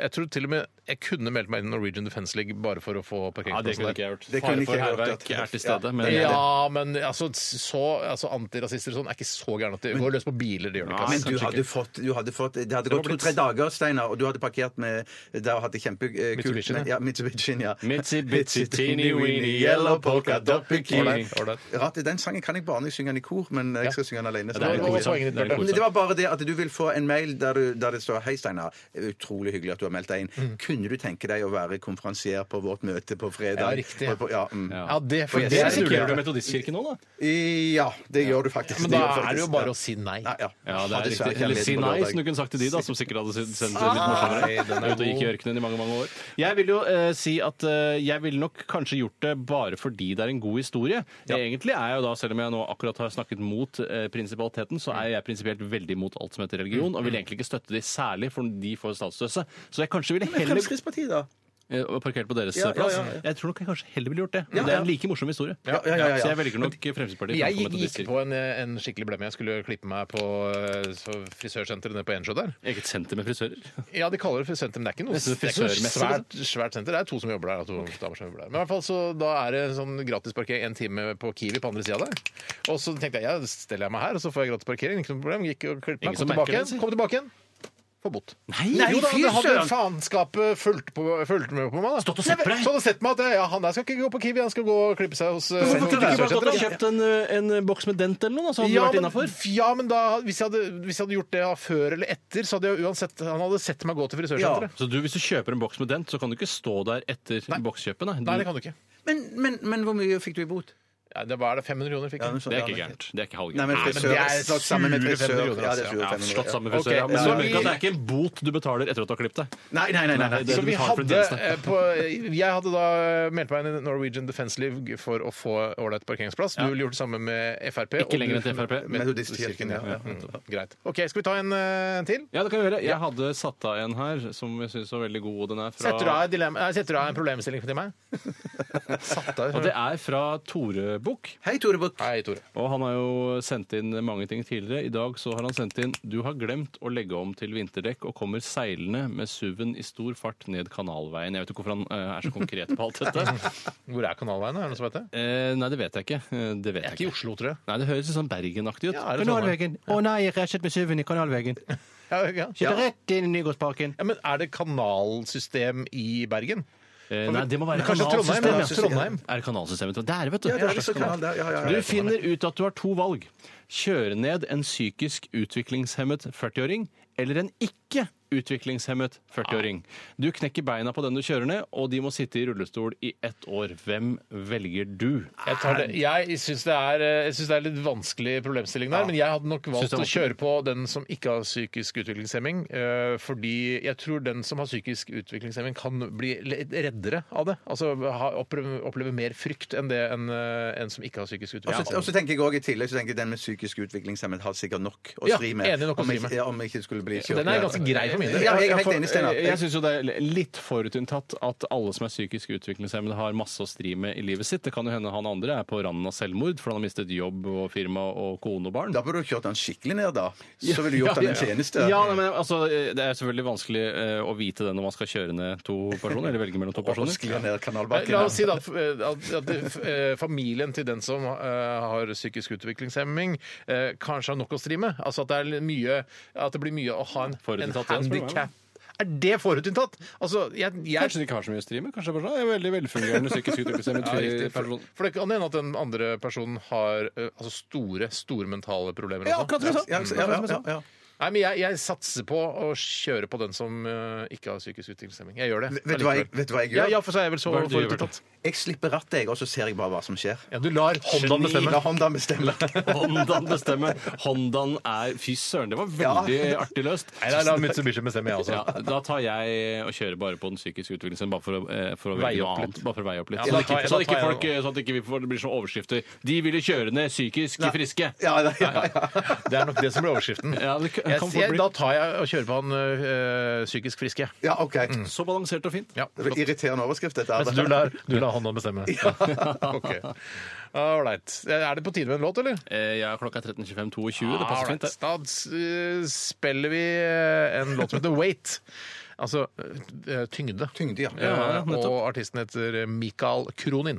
jeg tror til og med jeg kunne meldt meg inn i Norwegian Defence League bare for å få
Ja, det
parkeringsplassen
kunne ikke jeg gjort.
Det kunne ikke
Fare
jeg
for
gjort,
hærverk
ja.
er til stede. Men
Ja, men altså, så, altså, antirasister og sånn er ikke så gærne at de går løs på biler. De gjør det ikke.
Men
ass.
du
Kanskje
hadde
ikke.
fått, du hadde fått Det hadde
var
gått to-tre dager, Steinar, og du hadde parkert med der og hatt det kjempekult.
Mitsubishien,
Ja, Mitsubishien, ja.
Mitsi-bitsi, teeny-weeny, yellow polka dot bikini.
Ålreit, ålreit. Rart, den sangen kan jeg bare når jeg synger den i kor, men jeg skal synge den alene.
det er litt koselig. Poenget ditt, Bjarte.
Men det var bare det at du vil få en mail der, du, der det står Hei, Steinar. Utrolig hyggelig at du har meldt deg inn.
Mm.
Kunne du tenke deg å være konferansier på vårt møte på fredag?
Ja, riktig.
Og på- Ja, mm.
Ja, det,
Og jeg
det
det
ser
er
ikke-
ikke
risikerer du metodistkirken nå, da.
ja, det gjør du faktisk.
Men da er det jo bare å si nei.
Nei, ja.
Ja, det
Ja,
er
dessverre
riktig.
ikke
Eller
jeg
si
med på
nei,
lørdag.
som du kunne sagt til de, da, som sikkert hadde sendt sendt det litt morsommere. Ute og gikk i ørkenen i mange, mange år. Jeg vil jo eh, si at eh, jeg ville nok kanskje gjort det bare fordi det er en god historie. Egentlig er jeg jo da, selv om jeg nå akkurat har snakket mot eh, prinsipaliteten, så er jeg prinsipielt veldig mot alt som heter religion, og vil egentlig ikke støtte de særlig, for de får statsstøtte. Så jeg kanskje ville heller
Fremskrittspartiet, da?
Eh, og Parkert på deres
Ja, ja,
plass.
ja, ja.
Jeg tror nok jeg kanskje heller ville gjort det.
Ja,
Men det er
ja.
en like morsom historie.
Ja, ja, ja, ja.
Så jeg velger nok Fremskrittspartiet.
Jeg
framfor
gikk- gikk
metodister.
på en, en skikkelig blemme. Jeg skulle klippe meg på eh, så frisørsenteret nede på Ensjø der.
Eget senter med frisører.
Ja, de kaller det for senter, men det er ikke noe,
Det er
det er ikke noe
frisørmessig,
svært, svært senter. Det er to som jobber der. da, To damer som jobber der. Men i hvert fall, så Da er det sånn gratisparkering en time på Kiwi på andre sida der. Og så tenkte jeg ja, steller jeg meg her, og så får jeg gratisparkering. Ikke noe problem. Gikk og klippet
Ingen
meg. Kom
som merker
tilbake
det,
igjen.
si.
Kom tilbake igjen. Få bot.
Nei,
jo da,
fy
det hadde
søren!
faenskapet fulgt, på, fulgt med på meg. da.
Stått og sett på deg.
Stått og sett meg at ja, han der skal ikke gå på Kiwi, han skal gå og klippe seg hos eh, noen
Hvorfor kunne du ikke bare
frisørsenter,
gått og
da?
kjøpt en, en boks med dent eller noe? da, Så hadde
Ja
du vært
men,
innafor.
ja, men da, hvis jeg, hadde, hvis jeg hadde gjort det før eller etter, så hadde jeg uansett Han hadde sett meg gå til frisørsenteret.
Så du, hvis du kjøper en boks med dent, så kan du ikke stå der etter bokskjøpet? Nei,
Nei, det kan du ikke.
Men, men, men hvor mye fikk du i bot?
Ja, det var det 500 kroner fikk
Ja,
jeg.
noe sånt,
Det er
ja,
ikke
men-
gærent. Det er ikke
Nei, men
halvgærent.
men
frisør
det er
er slått sammen med
sure
frisør.
500 kroner,
Ja, det er
altså,
sure
ja.
500.
Slått sammen
Ok,
frisør, ja. Men
ja,
du mener ikke at det
vi-
er ikke en bot du betaler etter at du har klippet deg.
Nei, nei, nei. nei, nei.
det
Så
du
vi
betaler for
hadde
tjenestene.
eh, på, Jeg hadde da eh, meldt meg inn i Norwegian Defence League for å få ålreit parkeringsplass. Du ville gjort det samme med Frp. og
Ikke
du-
lenger enn til Frp.
Metodistkirken, ja.
ja. Mm, Greit. OK, skal vi ta en eh, til?
Ja, det kan vi gjøre. Jeg hadde satt av en her som jeg syns var veldig god. Den er fra
Setter du av, et dilemma, eh, setter du av en problemstilling til meg? Satt av.
Og det er fra Tore Bukk.
Hei, Tore Bukk.
Og han har jo sendt inn mange ting tidligere. I dag så har han sendt inn 'Du har glemt å legge om til vinterdekk' og kommer seilende med SUV-en i stor fart ned kanalveien. Jeg vet ikke hvorfor han eh, er så konkret på alt dette.
Hvor er kanalveien? Er det noen som vet det?
Eh, nei, det vet jeg ikke. Eh, Det vet jeg
ikke i Oslo, tror jeg.
Nei, det høres litt sånn Bergen-aktig ut.
Ja, er det sånn,
Å nei, jeg krasjet med SUV-en i kanalveggen.
Ja, ja.
Kjørte rett inn i Nygårdsparken.
Ja, men er det kanalsystem i Bergen?
Eh, nei, det må være
Kanskje Trondheim, ja.
kanalsystemet.
Trondheim.
Er det kanalsystemet? Der, vet du.
Ja, det er visst kanal der. Ja, ja, ja.
Du finner ut at du har to valg. Kjøre ned en psykisk utviklingshemmet 40-åring, eller en ikke utviklingshemmet 40-åring. Du knekker beina på den du kjører ned, og de må sitte i rullestol i ett år. Hvem velger du?
Jeg, tar det. jeg syns det, er- eh, jeg syns det er litt vanskelig problemstilling der, men jeg hadde nok valgt
Syns det er
å kjøre på den som ikke har psykisk utviklingshemming, eh, fordi jeg tror den som har psykisk utviklingshemming kan bli litt reddere av det. Altså ha- oppleve, oppleve mer frykt enn det en, eh, en som ikke har psykisk
Og
Altså,
så- Og så
utviklingshemming.
tenker jeg også i tillegg så tenker jeg den med psykisk utviklingshemmet har sikkert nok å
Ja,
stri med.
enig nok
om,
å stri
ikke-
med.
ja, om ikke det skulle bli
Så den er ganske grei for min del.
Ja, jeg er helt
For- Eh,
enig, Steinar.
Jeg syns jo det er litt forutinntatt at alle som er psykisk utviklingshemmede, har masse å stri med i livet sitt. Det kan jo hende han andre er på randen av selvmord, for han har mistet jobb og firma og kone og barn.
Da burde du kjørt den skikkelig ned, da. Så ville du gjort den en tjeneste.
Ja, nei, men altså, Det er selvfølgelig vanskelig eh, å vite det når man skal kjøre ned to personer. eller velge mellom to personer.
skli ned kanalbakken.
La oss si da f- eh, at at det- f- eh, familien til den som eh, har psykisk utviklingshemming, eh, kanskje har nok å stri med. Altså at det, er litt mye, at det blir mye å ha en, en
Forutinntatt, ja, spør du meg, da.
handikap. Er det forutinntatt? Altså, jeg, jeg
Kanskje de ikke har så mye å stri med? Kanskje det er bare sånn, jeg er veldig velfungerende psykisk utviklingshemmet.
Ja, riktig. For,
person.
for det kan hende at den andre personen har eh, altså store store mentale problemer.
Ja,
også.
akkurat som jeg sa.
Mm.
Ja, ja, ja, ja, ja.
Nei, men jeg, jeg satser på å kjøre på den som eh, ikke har psykisk utviklingshemming. Jeg gjør det.
Vet du hva jeg, vet du hva jeg gjør?
Ja, ja, for så er jeg vel så
Hva er det du gjør,
forutinntatt.
Bjarte? Jeg slipper rattet, jeg, og så ser jeg bare hva som skjer.
Ja, du lar Hondaen bestemme.
La Hondaen bestemme.
Hondaen bestemmer. Hondaen er Fy søren, det var veldig
Ja.
artig løst.
Nei, nei, la Mitsubishi bestemme, jeg også.
Ja, da tar jeg og kjører bare på den psykiske utviklingen, bare for å, eh, for å
Veie
velge noe
opp litt.
annet. Bare for å veie opp
Ja,
litt.
da
Sånn at
tar jeg-
ikke, sånn
da
at ikke,
tar jeg
folk, eh, sånn at ikke vi får, det blir sånne overskrifter. De ville kjøre ned psykisk friske.
ja, ja,
Det er nok det som blir overskriften.
Ja, det kan-
jeg,
kan fort
jeg,
bli.
da tar jeg og kjører på han eh, psykisk friske.
Ja, OK.
Så balansert og fint.
Ja,
Det var Irriterende overskrift, dette. her.
Mens Altså, du lar, du lar Hondaen bestemme. Ok. All right. Er det på tide med en låt, eller?
Eh, Ja, klokka er 13.25. Det passer fint, det.
Alright, Da eh, spiller vi eh, en låt som heter Wait. Altså eh, tyngde.
Tyngde, ja.
Ja,
Eh,
nettopp.
og artisten heter Mikael Kronin.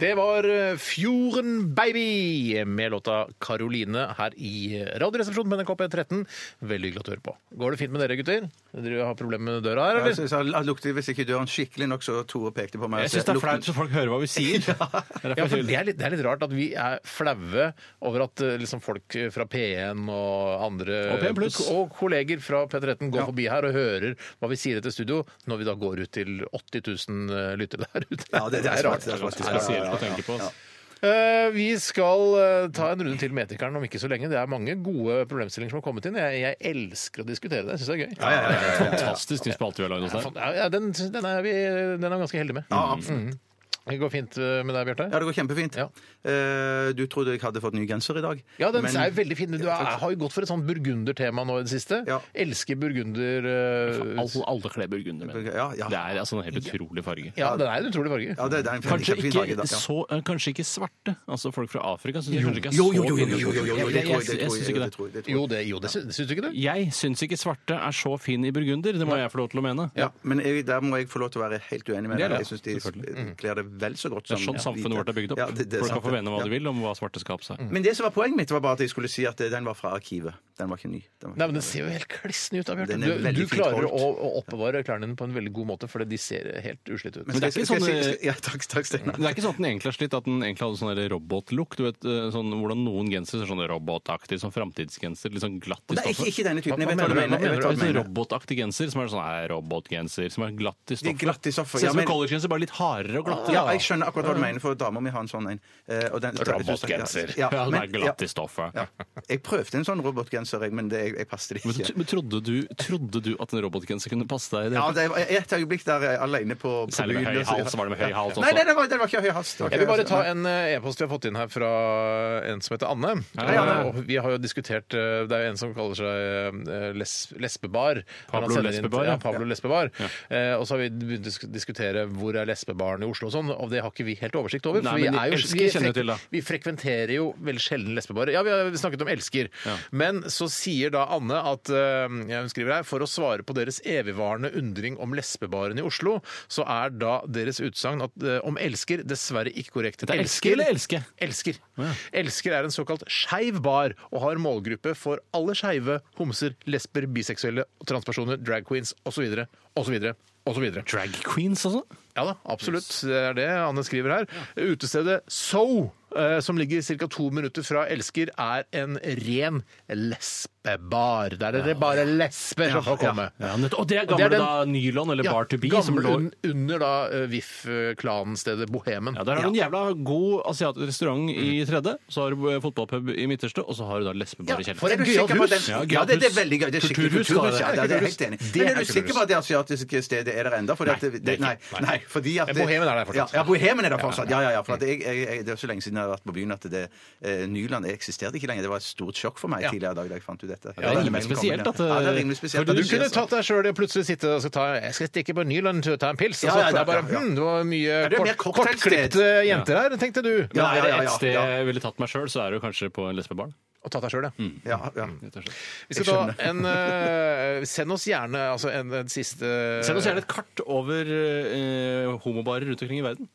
Det var eh, Fjorden Baby med låta Karoline her i Radioresepsjonen med NRK P13. Veldig hyggelig at du hører på. Går det fint med dere, gutter? Dere har problemer med døra her,
Ja,
eller?
så- så han lukter hvis ikke døren skikkelig nok, så Tore pekte på meg.
Jeg syns det er flaut så folk hører hva vi sier. Det er
Ja,
derfor
for
jeg-
det, er litt, det er litt rart at vi er flaue over at eh, liksom, folk fra P1 og andre
Og P1+.
og kolleger fra P13 går forbi her og hører hva vi sier etter studio, når vi da går ut til 80 000 eh, lyttere der ute.
Ja, det, det er rart. Det er
Det er
faktisk-
spesielt å tenke på. ass.
Eh, vi skal eh, ta en runde til med Etikeren om ikke så lenge. Det er mange gode problemstillinger som har kommet inn. Jeg, jeg elsker å diskutere det. Jeg syns det er gøy.
Ja, ja, ja, ja, ja.
Fantastisk ny spalte vi har lagd oss der.
Ja, ja, den, den, er vi, den er vi ganske heldige med.
Ja, absolutt.
Det går fint eh, med deg, Bjarte?
Ja, det går kjempefint. Eh, du trodde jeg hadde fått ny genser i dag.
Ja, den
Men-
er veldig fin. Du er, har jo gått for et sånt burgundertema nå i det siste.
Ja.
Elsker burgunder... eh,
Alle, alle kler burgunder. men Det
Ja, ja.
er altså en helt utrolig farge.
ja, den er en utrolig farge.
Ja, det, det er en fin,
Kanskje
kjempefin dag i
ikke,
dag. Ja.
så, eh, kanskje ikke svarte. Altså Folk fra Afrika syns jeg kanskje ikke er så
Jo, jo, jo, jo, jo, jo, jo, jo, jo, det tror jeg, det
Jeg- jeg
tror jeg,
syns
det
ikke det.
tror jeg, det tror jeg.
Jo, det, jo, det syns syns du ikke det?
Jeg syns ikke svarte er så fin i burgunder. Det må jeg få lov til å mene.
Ja, men jeg, der må jeg få lov til å være helt uenig med
Det
deg.
er lov,
Jeg syns de sp- kler det vel så godt
Det
som
er sånn samfunnet
hvite.
vårt er bygd opp.
Ja, det- det er
Folk
sant,
kan få
det.
mene hva
Ja. Mm.
de vil om hva svarte skal ha på seg.
Men det som var poenget mitt, var bare at jeg skulle si at eh, den var fra arkivet. Den var ikke ny. Den var ikke
Nei, men
ny.
Den ser jo helt klissen ut. av Bjarte.
Den er
Du,
veldig
du
fint
klarer
holdt.
å, å oppbevare klærne dine på en veldig god måte, fordi de ser helt uslitt ut.
Skal jeg-
Men det er ikke
skal jeg
sånn,
si- Ja, takk, takk Steinar.
Det er ikke sånn at den egentlig har slitt, at den egentlig hadde sånn der robotlook. Du vet, eh, sånn, hvordan noen gensere ser sånn robotaktig, sånn framtidsgenser, litt sånn glatt i
Det er ikke,
stoffet.
ikke denne typen. Jeg
Hva-
vet
hva
hva du mener. Jeg
mener du?
vet hva du
Det er sånn
mener.
Robotaktig genser som er sånn eh, robotgenser, som er glatt i stoffet.
glatt i stoffet,
Ser
ja,
ut som en
men-
collegegenser, bare litt hardere og glattere.
Ja, Ja, jeg skjønner akkurat hva du mener, for dama mi har en sånn en. eh, og den-
Robotgenser.
Ja,
Ja, den
men-
er glatt i stoffet.
Ja. Jeg prøvde en sånn robotgenser, jeg, men det, jeg, jeg passet det
Men,
ikke.
men trodde, du, trodde du at en robotgenser kunne passe deg i det?
Ja, det var et øyeblikk der jeg, alene på, på
Særlig med
byen,
høy
og så-
hals, var det med høy hals også?
Nei, nei, det var, det var ikke høy hals. det var ikke
Jeg vil bare
høy hals.
ta en eh, e-post vi har fått inn her fra en som heter Anne.
Hei, Anne.
Eh, Og vi har jo diskutert eh, Det er jo en som kaller seg eh, les, lesbebar.
Pablo
Han sender inn-
Lesbebar,
Ja,
ja.
Pablo Lesbebar. Eh, Og så har vi begynt å disk- diskutere hvor er lesbebaren i Oslo og sånn, og det har ikke vi helt oversikt over.
Nei,
for vi,
men
er jo,
Elsker
vi,
kjenner jeg til, da.
vi frekventerer jo veldig sjelden lesbebarer. Ja, vi har snakket om elsker. Men så sier da Anne at eh, ja, hun skriver her, for å svare på deres evigvarende undring om lesbebaren i Oslo, så er da deres utsagn at, eh, om elsker dessverre ikke korrekt.
Det er elsker eller elske?
Elsker. Elsker er en såkalt skeiv bar og har målgruppe for alle skeive, homser, lesber, biseksuelle, transpersoner, drag queens osv. osv.
Drag queens, altså?
Ja da, absolutt. Det er det Anne skriver her. Utestedet So, eh, som ligger ca. to minutter fra Elsker, er en ren lesbebar. Der er det bare lesber som får komme.
Ja, nett- og det er gamle
den-
da Nylon eller
Ja,
Bar to Be
gamle,
som lå
un, Under da eh, VIF-klanstedet Bohemen.
ja, Der har du en jævla god asiatisk restaurant i tredje, så har du eh, fotballpub i midterste, og så har du da
Ja,
lesbebar i kjelleren.
for en
Er du
gøyal
sikker på at den-
hus.
Ja,
Ja, det, det er
kulturhus.
veldig gøy. Det er skikkelig
Kulturhus,
kulturhus. Ja,
da, det
det
er
er jeg helt
kulturhus.
enig. i.
Det
Men
er
er du sikker på
kulturhus.
at det asiatiske stedet er der ennå? Fordi at det-
det er ikke.
Nei, nei, fordi at
Men
det-
Bohemen er der fortsatt.
Ja, ja, Bohemen er der fortsatt. Ja, ja, ja. For at jeg, jeg, jeg, det er så lenge siden jeg har vært på byen at det, eh, Nyland eksisterte ikke lenger. Det var et stort sjokk for meg
Ja.
tidligere i dag da jeg fant ut dette.
det er rimelig spesielt at, eh,
Ja, det er rimelig spesielt.
Du
at det
kunne
skjer sånn.
tatt deg sjøl i å plutselig sitte og skal ta, jeg skal stikke på Nyland og ta en pils. Og
Ja,
så
ja,
er det bare,
ja, ja.
hm, det var mye
Ja, det er mer
kort-
cocktailsted.
kortklipte jenter her, tenkte du.
Men
Ja,
er
ja,
det
ja,
ett
ja,
sted
ja.
jeg ville tatt meg sjøl, så er det jo kanskje på en lesbebar.
Og tatt deg sjøl, ja.
Ja, ja.
rett og slett.
Vi skal ta en, eh, send oss gjerne altså en, en siste
Send oss gjerne et kart over eh, homobarer rundt omkring i verden.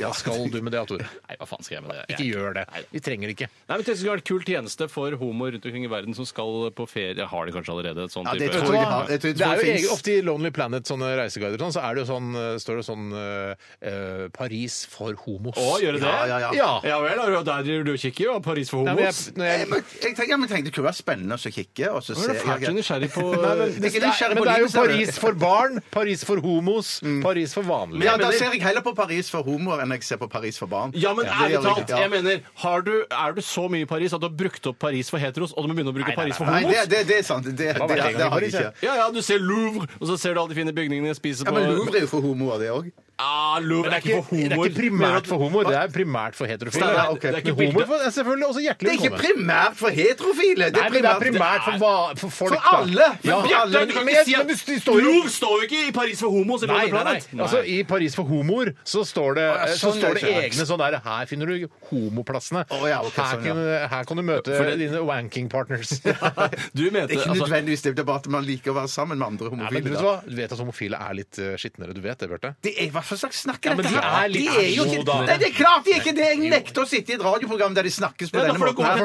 Hva skal du med det, Tore?
Nei, hva faen skal jeg med det?
Ikke
Jeg-
gjør det. Vi trenger det ikke.
Nei, men Det skulle vært en kul tjeneste for homoer rundt omkring i verden som skal på ferie. Har de kanskje allerede et sånt
Ja, det
type?
Vet
tror
du
jeg de
hva?
har. Jeg
Det
tror- jeg tror
er jo
det finnes.
egen, ofte i Lonely Planet, sånne reiseguider, og sånn, så er det jo sånn, eh, står det sånn eh, eh, Paris for homos.
Å, gjør det det?
Ja, ja, ja.
ja vel, er du- der driver du og kikker, ja. Paris for
Nei, men
homos.
jeg, når jeg,
Jeg, men jeg tenkte, ja, men tenkte det kunne være spennende å så kikke og så
Nå
se.
er du fælt
Ja,
så nysgjerrig på
Nei, men,
Jeg er
det,
ikke
er,
nysgjerrig
men
på
det er jo
livet, ser du.
Paris for barn, Paris for homos, Paris for vanlige.
ja, da ser jeg heller på Paris for homoer enn jeg ser på Paris for barn.
Ja, men
Det gjør
ærlig
jeg
talt,
ikke. Ja.
jeg mener, har du, er du så mye i Paris at du har brukt opp Paris for heteros, og du må begynne å bruke Paris for
Nei,
homos?
det, det, det er sant. Det, det,
har vært
det,
en gang i
det har jeg
Paris,
ikke.
Ja, ja, du ser Louvre, og så ser du alle de fine bygningene, spiser
Ja,
på
Men Louvre er jo for homoer, det òg.
Ah, Louvre
Det er, ikke, det er ikke primært for homoer, det er primært for heterofile.
Nei, nei, det er ikke
Men homoer
bildet.
får- er selvfølgelig også hjertelig
Det er ikke
velkommen.
primært for heterofile! Det
Nei,
er
men det
primært,
er primært for, hva- for folk,
For alle!
da. Ja,
Men
ja,
Bjarte,
men,
du kan
men,
ikke si
men
at
det står jo
Louvre står jo ikke i Paris for homos! Eller
Nei,
Lonely
nei, nei.
Planet.
Altså, I Paris for homoer så står det,
ja,
så
sånn,
står det
ja, ja.
egne sånn der Her finner du homoplassene.
Å, ja, ok,
her,
sånn, ja.
kan, her kan du møte
For det-
dine wanking partners.
du mente
Det er ikke
altså,
nødvendigvis det, det er bare at man liker å være sammen med andre
Nei,
homofile.
men du, vet
da.
hva? du vet at homofile er litt eh, skitnere. Du vet det, Bjarte?
det er, hva for slags snakk
Ja,
er
men
dette?
de
her?
er litt-
de er jo
Jo
ikke
da.
Nei, det er klart de er ikke det! Jeg nekter å sitte i et radioprogram der de snakkes på
Nei, da
denne
får du
måten.
gå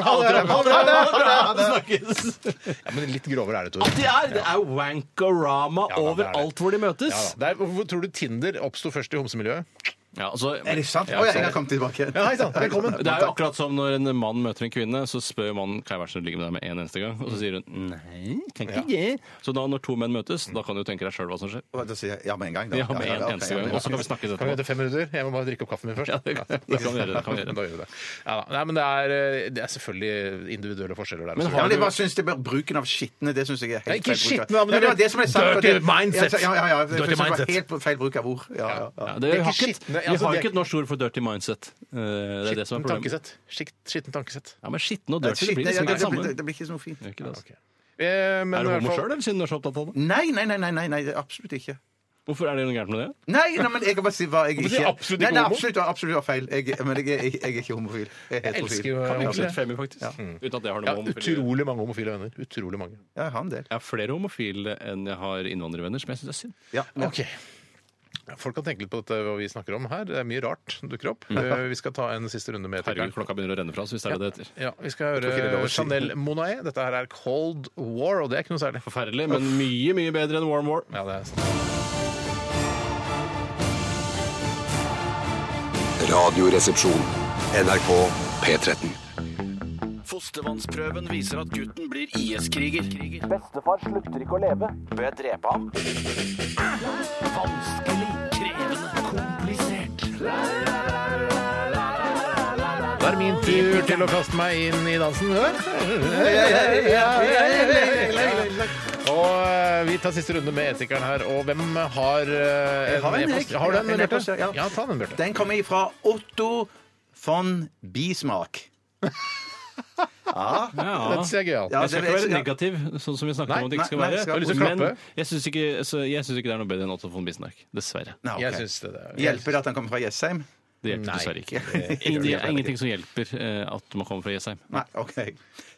her.
til et annet
Ha det, ha det, ha det, ha det.
Snakkes!
Ja, men Litt grovere er det, Tore.
At de er! Det er wankorama
Ja, da, det er det.
overalt hvor de møtes.
Ja, da. Det er, hvor tror du Tinder oppsto først i homsemiljøet?
Ja, altså,
Er det sant? Å ja, jeg har kommet tilbake.
Ja, hei sann. Velkommen.
det er jo akkurat som når en mann møter en kvinne, så spør mannen kan jeg være så snill å ligge med deg med en eneste gang, og så sier hun nei, kan ikke jeg. Så da når to menn møtes, da kan du jo tenke deg sjøl hva som skjer.
Og Da sier jeg ja med en gang, da.
Ja, med en
ok,
eneste
ja,
gang.
men-
Og så kan vi snakkes
Kan vi vente
etterpå.
fem minutter? Jeg må bare drikke opp kaffen min først.
Ja, det- det kan vi gjøre, det kan vi gjøre.
Da gjør vi det. Ja, da. Nei, men det er, eh, det er selvfølgelig individuelle forskjeller der. også.
Ja, men jeg bare synes det bør- Bruken av skitne det synes jeg er helt
Ja, ikke
feil bruk av-
skitne, da, men
Ja,
det
det var det som jeg sa.
dirty
for det-
mindset.
Ja, ja, ja, ja.
Dirty
Det var
mindset.
helt feil bruk av ord. Ja, ja, ja.
Ja, det,
Det er
har
ikke
ikke,
skitne-
vi
altså,
har
det er-
ikke et norsk ord for dirty mindset. Eh, Det er det
Skitten
som er problemet.
tankesett. Skitt- Skitten tankesett.
Ja, Men skitne og
Det, er
dirty det
skitne,
blir
ja, det,
liksom ikke det
det,
samme.
blir- det blir ikke så noe fint.
Det Er ikke det, altså.
Eh, men
Er
i
du
hvert
homo
fall-
sjøl, eller siden du er så opptatt av det?
Nei, nei, nei, nei, nei, nei, det er absolutt ikke.
Hvorfor er det noe gærent med det?
Nei, nei, men jeg kan bare si hva jeg
Hvorfor
ikke
sier du absolutt ikke
nei, nei,
homo?
absolutt, det var absolutt var feil. Jeg, men jeg, er- jeg, jeg er ikke homofil. Jeg er
Jeg
heterofil.
elsker jo
Kan bli
homofile.
absolutt femi, faktisk. Uten at jeg
Ja,
har noe homofil.
utrolig mange homofile venner. Utrolig mange.
Ja, jeg har en del.
Jeg har flere homofile enn jeg har innvandrervenner, som jeg syns er synd.
Ja, ja.
Ok. Folk kan tenke litt på dette, hva vi snakker om her. Det er mye rart som dukker opp. Eh, Vi skal ta en siste runde med
Herregud,
etikeren.
klokka begynner å renne fra oss, hvis det er det det heter.
Ja, vi skal
ikke det er lov
høre
å si.
Chanel Monae. Dette her er Cold War, og det er ikke noe særlig.
Forferdelig, men mye, mye bedre enn Warm War.
Ja, det er sant.
Radioresepsjon. NRK P13.
Fostervannsprøven viser at gutten blir IS-kriger.
Bestefar slutter ikke å leve. Bør jeg drepe ham?
Vanskelig, krevende, komplisert.
Da er det min tur til å kaste meg inn i dansen. Og eh, vi tar siste runde med etikeren her. Og hvem har eh,
Jeg har en,
e-post?
jeg.
Har du
Ja,
en,
en
Bjarte?
e-post, ja.
Ja, ta den, Bjarte.
Den kommer ifra Otto von Bismarck. Ja.
Ja. Jeg skal ikke være negativ, sånn som vi snakket
Nei,
om at det ikke skal
nei, nei,
være.
jeg har lyst til å
Men
klappe.
jeg syns ikke, så jeg synes ikke det er noe bedre enn Otto von Bismarck. Dessverre.
Nei, ok. Hjelper det at han kommer fra Jessheim?
Det hjelper
Nei.
dessverre ikke.
Det gjør det
Ingen- Det er
ikke.
ingenting som hjelper eh, at man kommer fra Jessheim.
Nei, OK.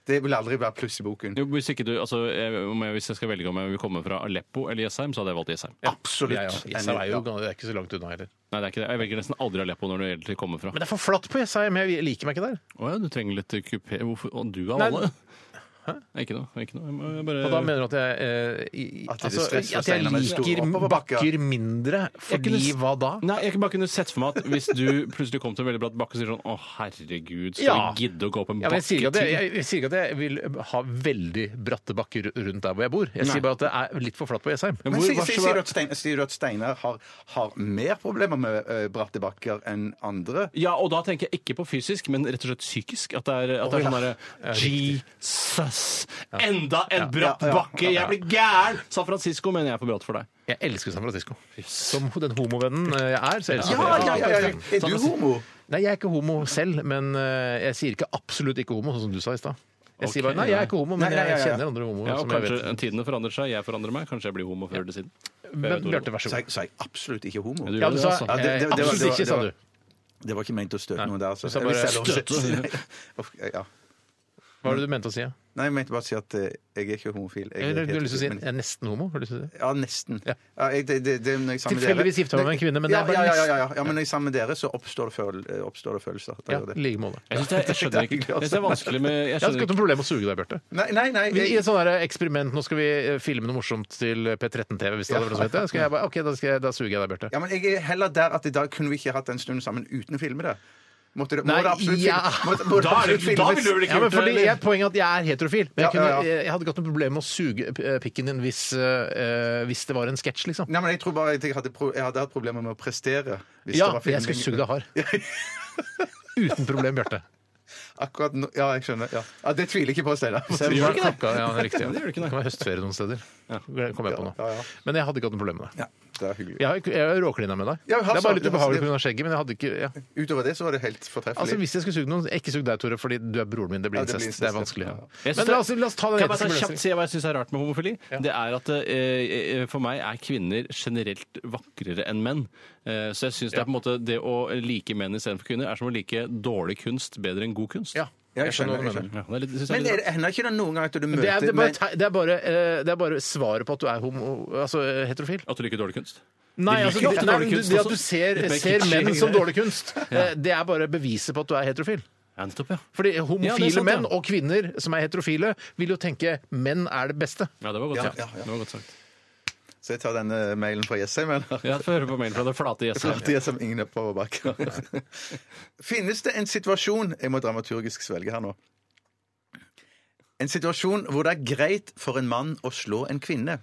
Det vil aldri være pluss i boken.
Jo, hvis, ikke du, altså, jeg, om jeg, hvis jeg skal velge om jeg vil komme fra Aleppo eller Jessheim, så hadde jeg valgt Jessheim.
Absolutt.
Jeg også. Jessheim er jo det er ikke så langt unna heller.
Nei, det er ikke det. Jeg velger nesten aldri Aleppo når det gjelder til å komme fra.
Men det er for flatt på Jessheim. Jeg liker meg ikke der.
Å ja, du trenger litt kupé Hvorfor? Og du av
Nei,
alle? Ikke noe. Ikke noe. Jeg må- Jeg bare
Og da mener du at jeg, eh, i-
Mm. At det er
altså,
stress å
at jeg
stegne med store
liker
oppoverbakker.
bakker mindre
Jeg kunne
fordi
s-
hva da?
Nei, jeg kunne bare kunne sett for meg at hvis du plutselig kom til en veldig bratt bakke og sier sånn Å, herregud, skal
Ja.
vi gidde å gå opp en
Ja,
bakke
men jeg, sier ikke at jeg, jeg,
til?
jeg sier ikke at jeg vil ha veldig bratte bakker rundt der hvor jeg bor. Jeg
Nei.
sier bare at det er litt for flatt på Jessheim.
Men sier, sier, sier, du at Stein- sier du at Steinar har, har mer problemer med ø, bratte bakker enn andre?
Ja, og da tenker jeg ikke på fysisk, men rett og slett psykisk. At det er, at det
Å,
er
ja.
sånn derre
Ja, riktig.
Jesus! Enda en
Ja.
bratt
Ja, ja, ja,
bakke!
ja.
Jeg blir gæren! San Francisco mener jeg er for bratt for deg.
Jeg elsker San Francisco. Som den homovennen eh, jeg er, så elsker jeg
Ja, ja, ja, ja.
San Francisco.
Er du homo?
Nei, jeg er ikke homo selv, men eh, jeg sier ikke absolutt ikke homo, sånn som du sa i stad. Jeg
Ok,
sier bare nei, jeg er ikke homo, men
Nei, nei, ja,
jeg
ja.
kjenner andre homoer
Ja, og
som jeg
kanskje
vet.
tidene forandrer seg, jeg forandrer meg. Kanskje jeg blir homo før eller siden.
Men Bjarte, vær så god.
Så jeg absolutt ikke homo.
Ja, du Ja, du gjør det, sa, altså.
Ja, det- det- det var-
absolutt
det var-
ikke, sa
det var-
du.
Det var ikke ment å støte noen der. Altså.
Du sa
Jeg vil
bare
selv også-
støte.
Uff, ja.
Hva var det du mente å si? ja?
Nei, jeg mente bare å si at eh, jeg er ikke homofil. Jeg er
Eller du har lyst
heterofil,
til å si
men-
jeg er nesten homo? Har du lyst til å si det?
Ja, nesten. Ja, jeg, det, det, det, når jeg er sammen med
Tilfeldigvis
dere-
gifta meg med en kvinne, men det
ja,
er bare
ja, ja, ja,
nesten.
ja, ja. ja, men når jeg er sammen med dere, så oppstår det, føl eh, oppstår det følelser. Det
Ja,
gjør det.
i like måte.
Jeg synes det, er- jeg skjønner ikke. Jeg synes det er vanskelig med
altså. Jeg har ikke
Jeg skjønner
hatt noe problem med å suge deg, Bjarte.
Nei, nei, nei.
Vi- I
Jeg,
et sånt der eksperiment, nå skal vi eh, filme noe morsomt til P13-TV, hvis det hadde vært noe som het det. Skal jeg bare, ok, da, skal jeg, da suger jeg deg, Bjarte.
ja, men jeg er heller der at i dag kunne vi ikke hatt en stund sammen uten å filme det. Måtte det, må
Nei,
det absolutt
ja.
film- må, må det
Da er det-
absolutt
da
filmes.
ville du vel ikke
Ja, men
gjort det,
fordi
eller?
jeg, Poenget er at jeg er heterofil. Men jeg,
Ja,
kunne,
ja, ja.
Jeg, jeg hadde ikke hatt noe problem med å suge eh, pikken din hvis, eh, eh, hvis det var en sketsj, liksom.
Nei, men jeg tror bare at jeg hadde, pro jeg hadde hatt problemer med å prestere. hvis det
Ja,
var filming.
jeg skulle suge deg hard. Uten problem, Bjarte.
Akkurat nå, ja, jeg skjønner. Ja. Ja, det tviler jeg ikke på, Steinar.
Så jeg
gjør ikke det.
plukka- Ja, det er riktig. Ja.
Det gjør
Det
du ikke, nei.
kan være høstferie noen steder. Kom jeg på nå.
Ja, ja.
Men jeg hadde ikke hatt noe problem med det.
Ja, det er hyggelig.
Jeg har ikke- jeg har råklina med deg. Det
Ja, vi har
er
sagt-
bare litt
det har-
ubehagelig pga. skjegget, men jeg hadde ikke ja.
Utover det så var det helt fortreffelig.
Altså Hvis jeg skulle suge noen Ikke sug deg, Tore, fordi du er broren min. Det blir
Ja, det blir
incest. Det er
incest,
vanskelig.
ja.
Ja.
Jeg synes
Men
det-
la oss, la oss ta den
Kan jeg bare
etiske
kjapt si hva jeg syns er rart med homofili? Det er at eh, eh, For meg er kvinner generelt vakrere enn menn. Eh, så jeg syns det er på en måte det å like menn istedenfor kvinner er som å like dårlig kunst bedre enn god kunst.
Ja,
Ja, jeg skjønner, jeg skjønner.
Ja, det er litt, synes jeg
Men
er
er
litt
det hender ikke det noen gang at du
Det
møter
er, det, er bare,
men-
te- det, er bare, eh, det er bare svaret på at du er homo, altså, eh, heterofil.
rart. At du liker dårlig kunst?
Nei,
De
altså,
liker
det,
ofte
nei,
dårlig
men du,
kunst
det
også.
at du ser,
Litt mer
ser
kitschy
menn som
greier.
dårlig kunst, eh, det er bare beviset på at du er heterofil.
Ja, nettopp, ja.
Fordi homofile
Ja, det er sant, ja.
menn og kvinner som er heterofile, vil jo tenke 'menn er det beste'.
ja, det var godt
Ja,
sagt.
ja, ja.
Det var godt sagt.
Så jeg tar denne mailen fra Jessheim, eller?
Ja, Få høre på mailen fra det flate
Fra
gjesset.
de som ingen oppoverbakker. Finnes det en situasjon Jeg må dramaturgisk svelge her nå. En situasjon hvor det er greit for en mann å slå en kvinne.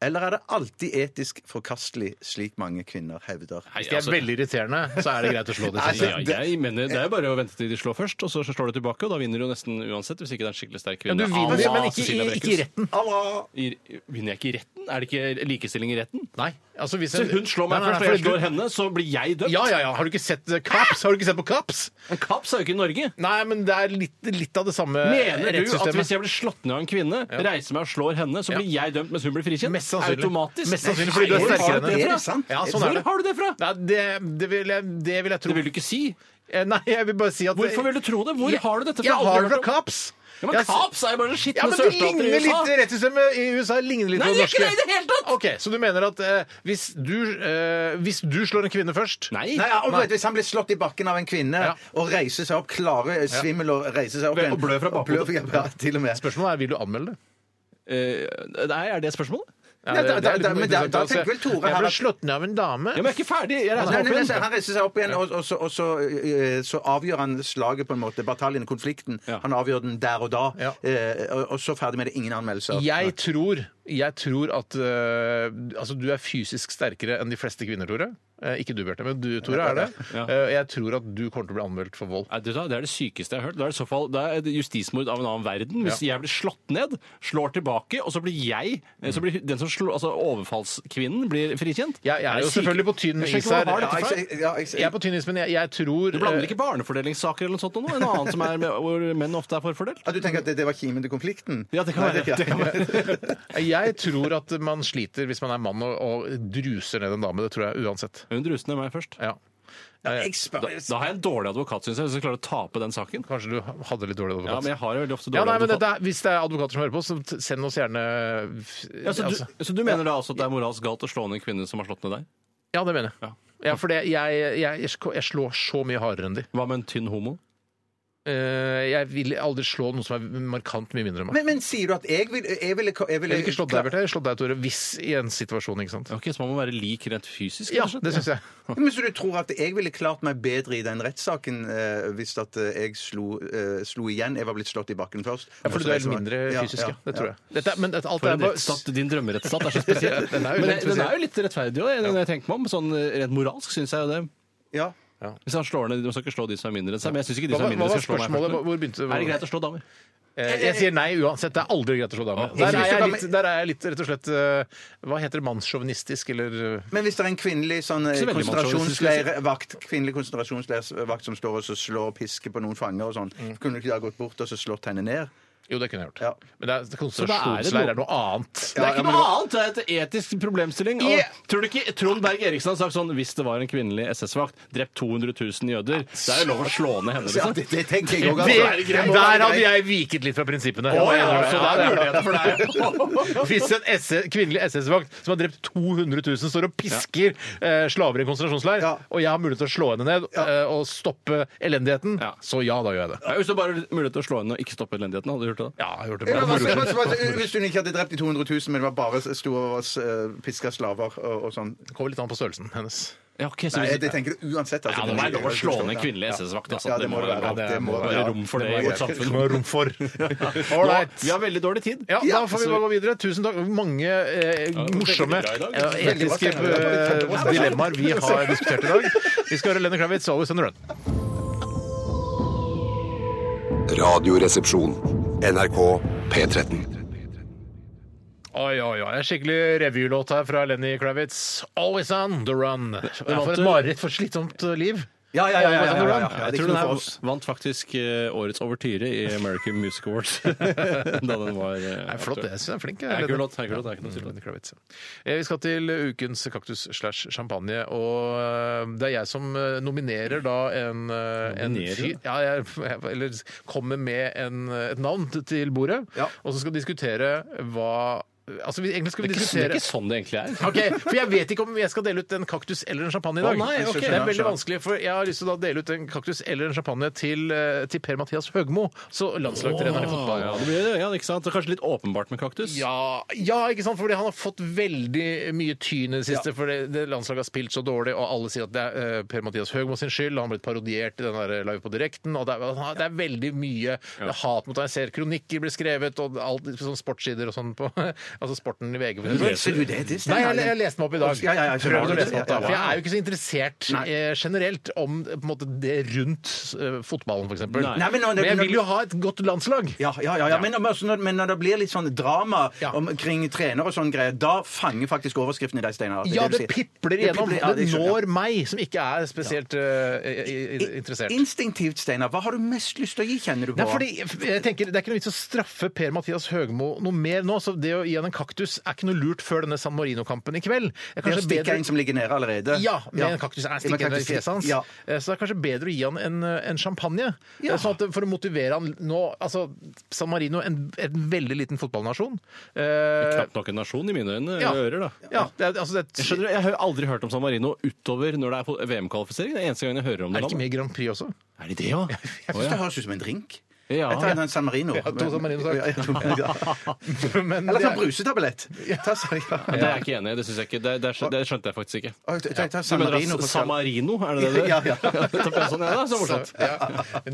Eller er det alltid etisk forkastelig, slik mange kvinner hevder?
Hvis de er veldig irriterende, så er det greit å slå det.
Ja,
siste.
jeg mener, Det er jo bare å vente til de slår først, og så slår de tilbake. Og da vinner du jo nesten uansett, hvis ikke det er en skikkelig sterk
Ja,
kvinne.
du vinner,
Ah,
men ikke,
Cecilia
i- ikke i
Brækhus.
retten.
Allah!
I- Vinner jeg ikke i retten? Er det ikke likestilling i retten?
Nei. Altså, hvis
Så
en-
hun slår meg
Nei, nei,
først, og jeg
fordi du-
slår henne, så blir jeg dømt?
Ja, ja, ja. Har du ikke sett eh, Caps? Har du ikke sett på Caps?
En kaps er jo ikke i Norge.
Nei, men det er litt, litt av det samme
Mener du at
Eh, rettssystemet.
hvis jeg blir slått ned av en kvinne, reiser meg og slår henne, så blir jeg dømt mens hun blir frikjent?
Mest sannsynlig.
Automatisk.
Mest sannsynlig fordi du er
Hvor har
sterkere
du
enn
det
henne.
fra?
Er det sant? Ja, sånn er
Hvor
det.
har du det fra?
Nei, det, det, vil jeg, det vil jeg tro.
Det vil du ikke si.
Eh, Nei, jeg vil bare si at
Hvorfor vil du tro det? Hvor har du dette fra?
Jeg har
Aldri
det fra
hørt om-
Caps.
Ja, men
Jeg-
Kaps er jo bare skitt
Ja,
med
men det
sørstater i
ligner
USA.
litt Rettssystemet i USA ligner litt
Nei,
på det
det gjør
norske.
ikke det i det hele tatt!
Ok, Så du mener at eh, hvis, du, eh, hvis du slår en kvinne først
Nei.
Nei, ja, og vet, du, Hvis han blir slått i bakken av en kvinne
Ja.
og reiser seg opp, klarer svimmel og reiser seg opp
Og
igjen
blør fra bakhodet.
blør fra- ja, til og med.
Spørsmålet er vil du anmelde det?
Eh, Nei, er det spørsmålet?
Ja,
Nei, da-
det- det
da-
er litt
da- men da-
interessant
da
å se.
tenker vel Tore
Jeg
her
ble
at-
slått ned av en dame.
Ja, men jeg er ikke ferdig. Jeg reiser
Altså, Nei,
meg
nei,
opp
nei,
igjen.
så han reiser seg opp igjen, og, og, så, og så, eh, så avgjør han slaget, på en måte. Bataljen, konflikten.
Ja.
Han avgjør den der og da.
Ja.
eh, Og, og så ferdig med det. Ingen anmeldelser.
Jeg tror jeg tror at eh, Altså, du er fysisk sterkere enn de fleste kvinner, Tore. Eh, ikke du, Bjarte, men du, Tore, er det.
Ja.
Eh, jeg tror at du kommer til å bli anmeldt for vold.
Nei, vet du hva, Det er det sykeste jeg har hørt. Det er, i så fall, det er et justismord av en annen verden. Hvis jeg blir slått ned, slår tilbake, og så blir jeg så blir den som slår, altså Overfallskvinnen blir frikjent.
Jeg, jeg er jo selvfølgelig på tynn is her. Jeg er på tynn is, men jeg, jeg tror eh,
Du blander ikke barnefordelingssaker eller noe sånt nå? En annen som er med, hvor menn ofte er forfordelt?
Ja, du tenker at det, det var kimen til konflikten?
Ja, det kan
Nei,
være. Det kan være.
Jeg tror at man sliter hvis man er mann og, og druser ned en dame. Det tror jeg uansett.
Hun druste ned meg først.
Ja. Eh,
jeg spør-
Da, da har jeg en dårlig advokat, syns jeg, hvis jeg klarer å tape den saken.
Kanskje du hadde litt dårlig advokat.
Ja, men jeg har jo veldig ofte
Ja,
dårlig
nei, men
advokat.
dette er, Hvis det er advokater som hører på, så t- send oss gjerne f-
Ja, så,
altså.
du, så du mener da altså at det er moralsk galt å slå ned en kvinne som har slått ned deg?
Ja, det mener jeg.
Ja.
Ja, for det, jeg, jeg, jeg slår så mye hardere enn de.
Hva med en tynn homo?
Eh, Jeg vil aldri slå noen som er markant mye mindre enn meg.
Men, men sier du at jeg vil Jeg ville jeg
Jeg vil ikke slå deg, Bjarte. Jeg slår deg, Tore, hvis i en situasjon, ikke sant.
Ok, Så man må være lik rent fysisk?
Ja,
kanskje?
det syns jeg.
Men Så du tror at jeg ville klart meg bedre i den rettssaken eh, hvis at eh, jeg slo, eh, slo igjen? Jeg var blitt slått i bakken først.
Ja, for du er mindre fysisk, ja. Det tror jeg. Dette, men dette, alt
For
er
en
bare-
rettsstat, Din drømmerettsstat er så spesiell.
Den er jo
Men
litt
den er
spesiell.
jo litt rettferdig òg, når jeg tenker meg om. Sånn eh, rent moralsk syns jeg jo det.
Ja.
Hvis han slår ned, Man skal ikke slå de som er mindre enn seg. Men jeg synes ikke de
Hva
som
var-
er mindre
hva var
skal slå meg.
spørsmålet?
først.
Hvor begynte- hvor-
Er det greit å slå damer?
Eh, Jeg sier nei uansett. Det er aldri greit å slå damer. Der er jeg litt, der er jeg litt rett og slett eh, Hva heter det? Mannssjåvinistisk, eller eh,
Men hvis det er en kvinnelig sånn eh,
Ikke så veldig
konsentrasjonsleirvakt kvinnelig konsentrasjonsleirvakt som står og så slår og pisker på noen fanger og sånn, kunne du ikke da gått bort og så slått henne ned?
Jo, det kunne jeg gjort.
Ja.
Men det er,
Så da er det
konsentrasjonsleir er noe annet.
Det er ikke noe annet! Det er et etisk problemstilling. Og
Yeah.
Tror du ikke Trond Berg Eriksen har sagt sånn Hvis det var en kvinnelig SS-vakt, drept 200 000 jøder Det er jo lov å slå ned henne,
Ja,
liksom.
det, det tenker jeg òg.
Det, der hadde jeg viket litt fra prinsippene.
Å, ja,
Jeg
så
innrømmer
der er
det.
muligheter for deg.
Hvis en SS, kvinnelig SS-vakt som har drept 200 000, står og pisker eh, slaver i en konsentrasjonsleir,
Ja.
og jeg har mulighet til å slå henne ned eh, og stoppe elendigheten,
Ja.
så ja, da gjør jeg det.
Ja, Hvis det bare var mulighet til å slå henne og ikke stoppe elendigheten, hadde du gjort det? da?
Ja, jeg har gjort det.
Ja,
bra.
men hva- hva- hva- hva- Hvis hun ikke hadde drept de 200 000, men det var bare sto og uh, piska slaver og, og sånn
Det kommer litt an på størrelsen hennes.
Ja, ok, så
Nei,
hvis-
det tenker du uansett.
Ja, det må være lov å slå ned kvinnelig SS-vakt. Altså.
Ja,
det, må være
lov.
lov.
Det må være
være
lov.
rom for det
Det
i
må
vårt
være-
Det må
samfunn.
være rom for. All
Nå,
right.
vi har veldig dårlig tid.
Ja, da får vi bare gå videre. Tusen takk. Mange eh,
var
morsomme
veldig bra i dag.
ja, etiske eh, dilemmaer vi har diskutert i dag. Vi skal høre Lenny Kravitz, 'Always on the Run'.
Radioresepsjon. NRK P13.
Oi, oi, oi. En skikkelig revylåt her fra Lenny Kravitz. 'Always on the run'. For et mareritt, for et slitsomt liv.
Ja, ja, ja. ja, ja,
Always on the
ja,
run.
ja.
Jeg
Det er
tror
ikke
den
noe
her
for oss.
vant faktisk eh, årets overtyre i American Music Awards. da den var eh,
Nei, flott. Jeg syns den er flink. jeg,
Det er
Lenny.
kul låt, det er kul låt, det er ikke noe tvil om
Lenny Kravitz. Eh, Vi skal til ukens kaktus slash champagne, og eh, det er jeg som eh, nominerer da en, eh, en
Nominerer?
fyr ja, jeg, jeg, Eller kommer med en, eh, et navn t- til bordet,
Ja.
og så skal vi diskutere hva Altså, vi, egentlig skal vi
Det er ikke- det er
diskutere
ikke sånn det egentlig er.
Ok, For jeg vet ikke om jeg skal dele ut en kaktus eller en champagne i dag.
Å, nei, ok.
Det er veldig vanskelig, for Jeg har lyst til å da dele ut en kaktus eller en champagne til, eh, til Per-Mathias Høgmo, så landslagstreneren i fotball.
Ja, det blir, ja, ikke sant? Det er kanskje litt åpenbart med kaktus.
Ja, ja, ikke sant? Fordi han har fått veldig mye tyn i det siste. For det, det landslaget har spilt så dårlig, og alle sier at det er eh, Per-Mathias Høgmo sin skyld. Han har blitt parodiert i den der Live på direkten. og Det er, han har- det er veldig mye hat mot ham. Jeg ser kronikker blir skrevet, og alt sånn sportssider og sånn på altså sporten i VG. For eksempel.
Leser du det? Det
Nei,
stemmer.
jeg, jeg leste meg opp i dag.
Ja, ja, ja, jeg skjønner.
Prøvde å lese meg opp da,
Ja, ja, ja.
For jeg er jo ikke så interessert
Nei.
eh, generelt om eh, på en måte, det rundt eh, fotballen, f.eks.
Nei.
Nei, men
Men
når-
jeg
når-
vil jo ha et godt landslag.
Ja, ja, ja, ja. Men, men også når, men når det blir litt sånn drama
Ja.
omkring trener og sånn greier, da fanger faktisk overskriftene deg, Steinar.
Ja,
du
det
sier.
pipler igjennom.
pipler,
Det,
ja, det skjønner jeg.
når meg, som ikke er spesielt eh, i- i- interessert.
Instinktivt, Steinar, hva har du mest lyst til å gi, kjenner du på?
Nei, fordi jeg tenker, Det er ikke noe vits å straffe Per-Mathias Høgmo noe mer nå. så Det å gi han en kaktus er ikke noe lurt før denne San Marino-kampen i
det
kveld. Det er
å
kanskje
stikke
bedre-
en som ligger nede allerede?
Ja, med en kaktus er
Med
stikkende i
kaktus-
fjeset hans.
Ja.
Eh, Så det er kanskje bedre å gi han en, en champagne.
Ja.
Eh, Sånn at det- for å motivere han nå altså, San Marino en, en veldig liten fotballnasjon. Eh,
Knapt nok en nasjon i mine øyne.
Ja.
eller Ører, da.
ja, det, er- altså, det,
Jeg,
er-
skjønner, jeg har aldri hørt om San Marino utover når det er VM-kvalifisering. Det er eneste gangen jeg hører om
er
det.
det ikke
landet.
med i Grand Prix også?
Er de det, ja?
Jeg syns det høres ut som en drink.
Ja.
Jeg tar en San Marino.
Ja, to San Marino, sagt.
Ja, jeg tror- ja.
Men
Eller ta
det er-
brusetablett. Ta,
Ja, Det er jeg ikke enig i. Det synes jeg ikke. Det, det, skjønte, det skjønte jeg faktisk ikke.
Oi, jeg tenkte
Ja.
San
Du mener
Marino
at
på
San
skall-
Marino, er det det?
Ja, ja.
Da ble jeg sånn, ja, da, så morsomt.
Ja.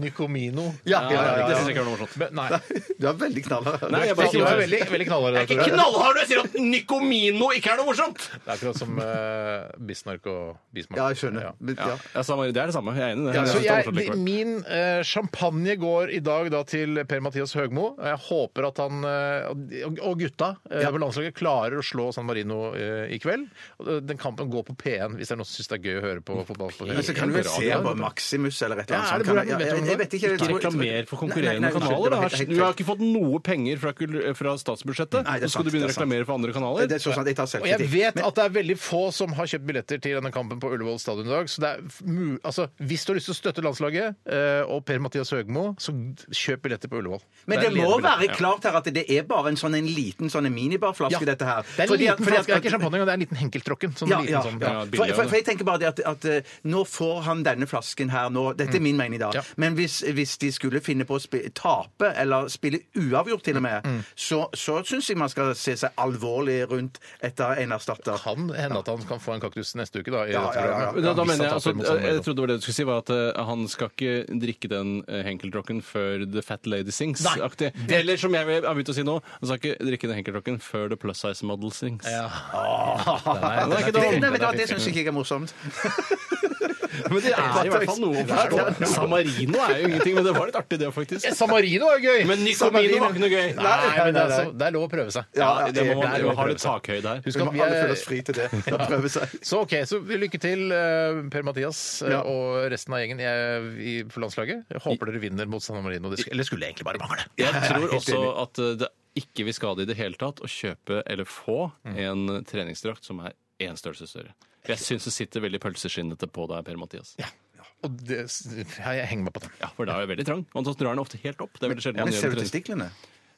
Nycomino.
Ja, ja, ja, ja.
Det synes jeg ikke var noe morsomt.
Men, nei.
Du er veldig knallhard.
Nei, jeg bare
Du
sier
er veldig, veldig knallhard.
Jeg er
Tore.
ikke knallhard når jeg sier at Nycomino ikke er noe morsomt!
Det er akkurat som eh, Bismarck og Bismarck.
Ja, jeg skjønner. sånn Men,
Ja.
Ja.
Ja, San Marino, det er det samme. Jeg er enig i det.
Ja,
Jeg
så
synes det er
jeg,
morsomt likevel.
min eh, champagne går i dag da til Per-Mathias Høgmo. og Jeg håper at han eh, og- og gutta eh, på landslaget klarer å slå San Marino eh, i kveld. Og, eh, Den kampen går på P1 hvis det er noen som syns det er gøy å høre på fotball. på
Men så kan du vel se
Radio.
på Maximus eller et eller annet
Ja, er
sånt.
det bra?
Kan- ja,
Vet du om
jeg- jeg vet ikke. jeg
Ikke
tror-
reklamer for
Nei,
konkurrerende
nei, nei,
kanaler.
det var
da.
helt- helt
Du har
feil.
ikke fått noe penger fra, kul- fra statsbudsjettet.
Nei, det er
så skal
sant,
du
det
begynne å
er sant.
reklamere for andre
Det- det
kanaler.
er sånn at jeg tar
Og jeg
selvkritikk.
vet at det er veldig få som har kjøpt billetter til denne kampen på Ullevål stadion i dag. Så det er f- mu altså, hvis du har lyst til å støtte landslaget eh, og Per-Mathias Høgmo, så kjøp billetter på Ullevål.
Men
er
det må
ledebilletter.
være klart her at det er bare en sånn en liten sånn en minibarflaske,
Ja.
dette her.
Det er en
Fordi at-
liten
fordi at-
flaske, det er ikke sånn champagne, det er en liten Henkeltråkken. Sånn
Ja,
liten
ja,
sånn-
ja. For,
billigere,
for, for jeg tenker bare det at, at eh, nå får han denne flasken her nå. Dette er
Mm.
min mening da.
Ja.
Men hvis, hvis de skulle finne på å spi- tape, eller spille uavgjort til og med,
Mm,
så, så syns jeg man skal se seg alvorlig rundt etter en erstatter.
Kan hende at han kan få en kaktus neste uke, da. I
Ja, ja, ja, ja.
dette programmet.
Men Da, da
Hvis han
mener jeg,
taper
altså,
mot
jeg,
San Marino.
trodde det var det du skulle si, var at eh, han skal ikke drikke den eh, Henkeltråkken før The Fat Lady Sings-aktig. Eller som jeg har begynt å si nå, han skal ikke drikke den Henkeltråkken før The Plus Size Model Sings.
Ja.
Den er ikke
Ah. Det,
dum.
nei, vet du hva,
Den er
det
fin.
syns jeg ikke er morsomt.
Men det er i hvert fall noe å forstå. San Marino er jo ingenting, men det var litt artig det, faktisk.
Ja, San Marino er gøy!
Men Nico
San Marino-
Mino var ikke noe gøy.
Nei, men det er,
nei, nei.
så- det er lov å prøve seg.
Ja, det må
det er
man
lov
jo
å
ha
prøve
litt
seg.
takhøyde her.
Husk
Vi
at
må
vi
alle føle oss
er
fri til det. Da prøver seg.
så ok, så Lykke til, eh, Per-Mathias eh,
Ja.
og resten av gjengen jeg- i- på landslaget. Jeg håper dere vinner mot San Marino. Det sk- Eller skulle egentlig bare mangle.
Jeg tror også at eh, det ikke vil skade i det hele tatt å kjøpe eller få
Mm.
en treningsdrakt som er én størrelse større. Jeg syns det sitter veldig pølseskinnete på deg, Per Mathias. Ja.
Og det, jeg henger meg på det.
For da er jeg veldig trang. Og så drar den ofte helt opp. Det er veldig sjelden
Men
man
ser
gjør
du
det.
testiklene?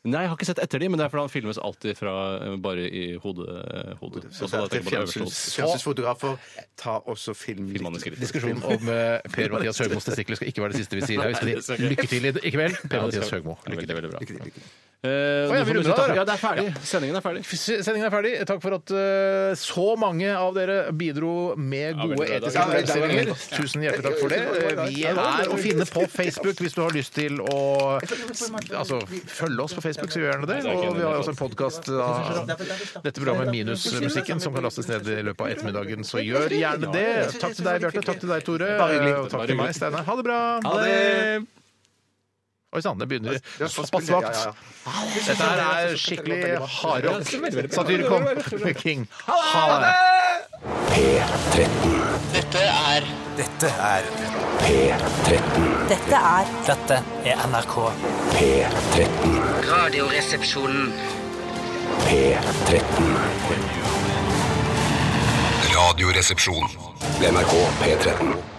Nei, jeg har ikke sett etter de, men det er fordi han filmes alltid fra eh, bare i hodet. eh, hodet. Så, så da
Til
tenker jeg på det sånn- øverste
fjernsyns-
hodet.
Fjernsynsfotografer, ta også film
Filmer han i
litt.
skritt.
Diskusjonen om eh, Per-Mathias Høgmos testikler skal ikke være det siste vi sier her.
Nei,
Vi
det skal
skal
ikke.
si lykke til i kveld, Per-Mathias Høgmo.
Veldig,
Lykke til.
veldig bra.
Å, ja,
Eh,
vi
nå får
runder av,
musikk-
da.
ja, det er ferdig. Sendingen er ferdig.
Sendingen er ferdig. Takk for at eh, så mange av dere bidro med
Ja, veldig
gode
bra,
etiske
da.
Ja, det er veldig
problemstillinger. Tusen hjertelig takk for det. Eh, Vi er å finne på Facebook hvis du har lyst til å altså, følge oss på Facebook, så gjør gjerne det. Og vi har også en podkast av dette programmet minus musikken som kan lastes ned i løpet av ettermiddagen, så gjør gjerne det. Takk til deg, Bjarte. Takk til deg, Tore.
Bare hyggelig.
Og takk til meg, Steinar. Ha det bra.
Ha det!
Oi sann, det begynner
Ja,
såpass
ja, ja,
svakt.
ja.
Dette her er skikkelig hardrock. Satyricon King. Ha det!
Dette er
Dette er
Dette er Dette er NRK.
Radioresepsjonen.
Radioresepsjon. NRK P13.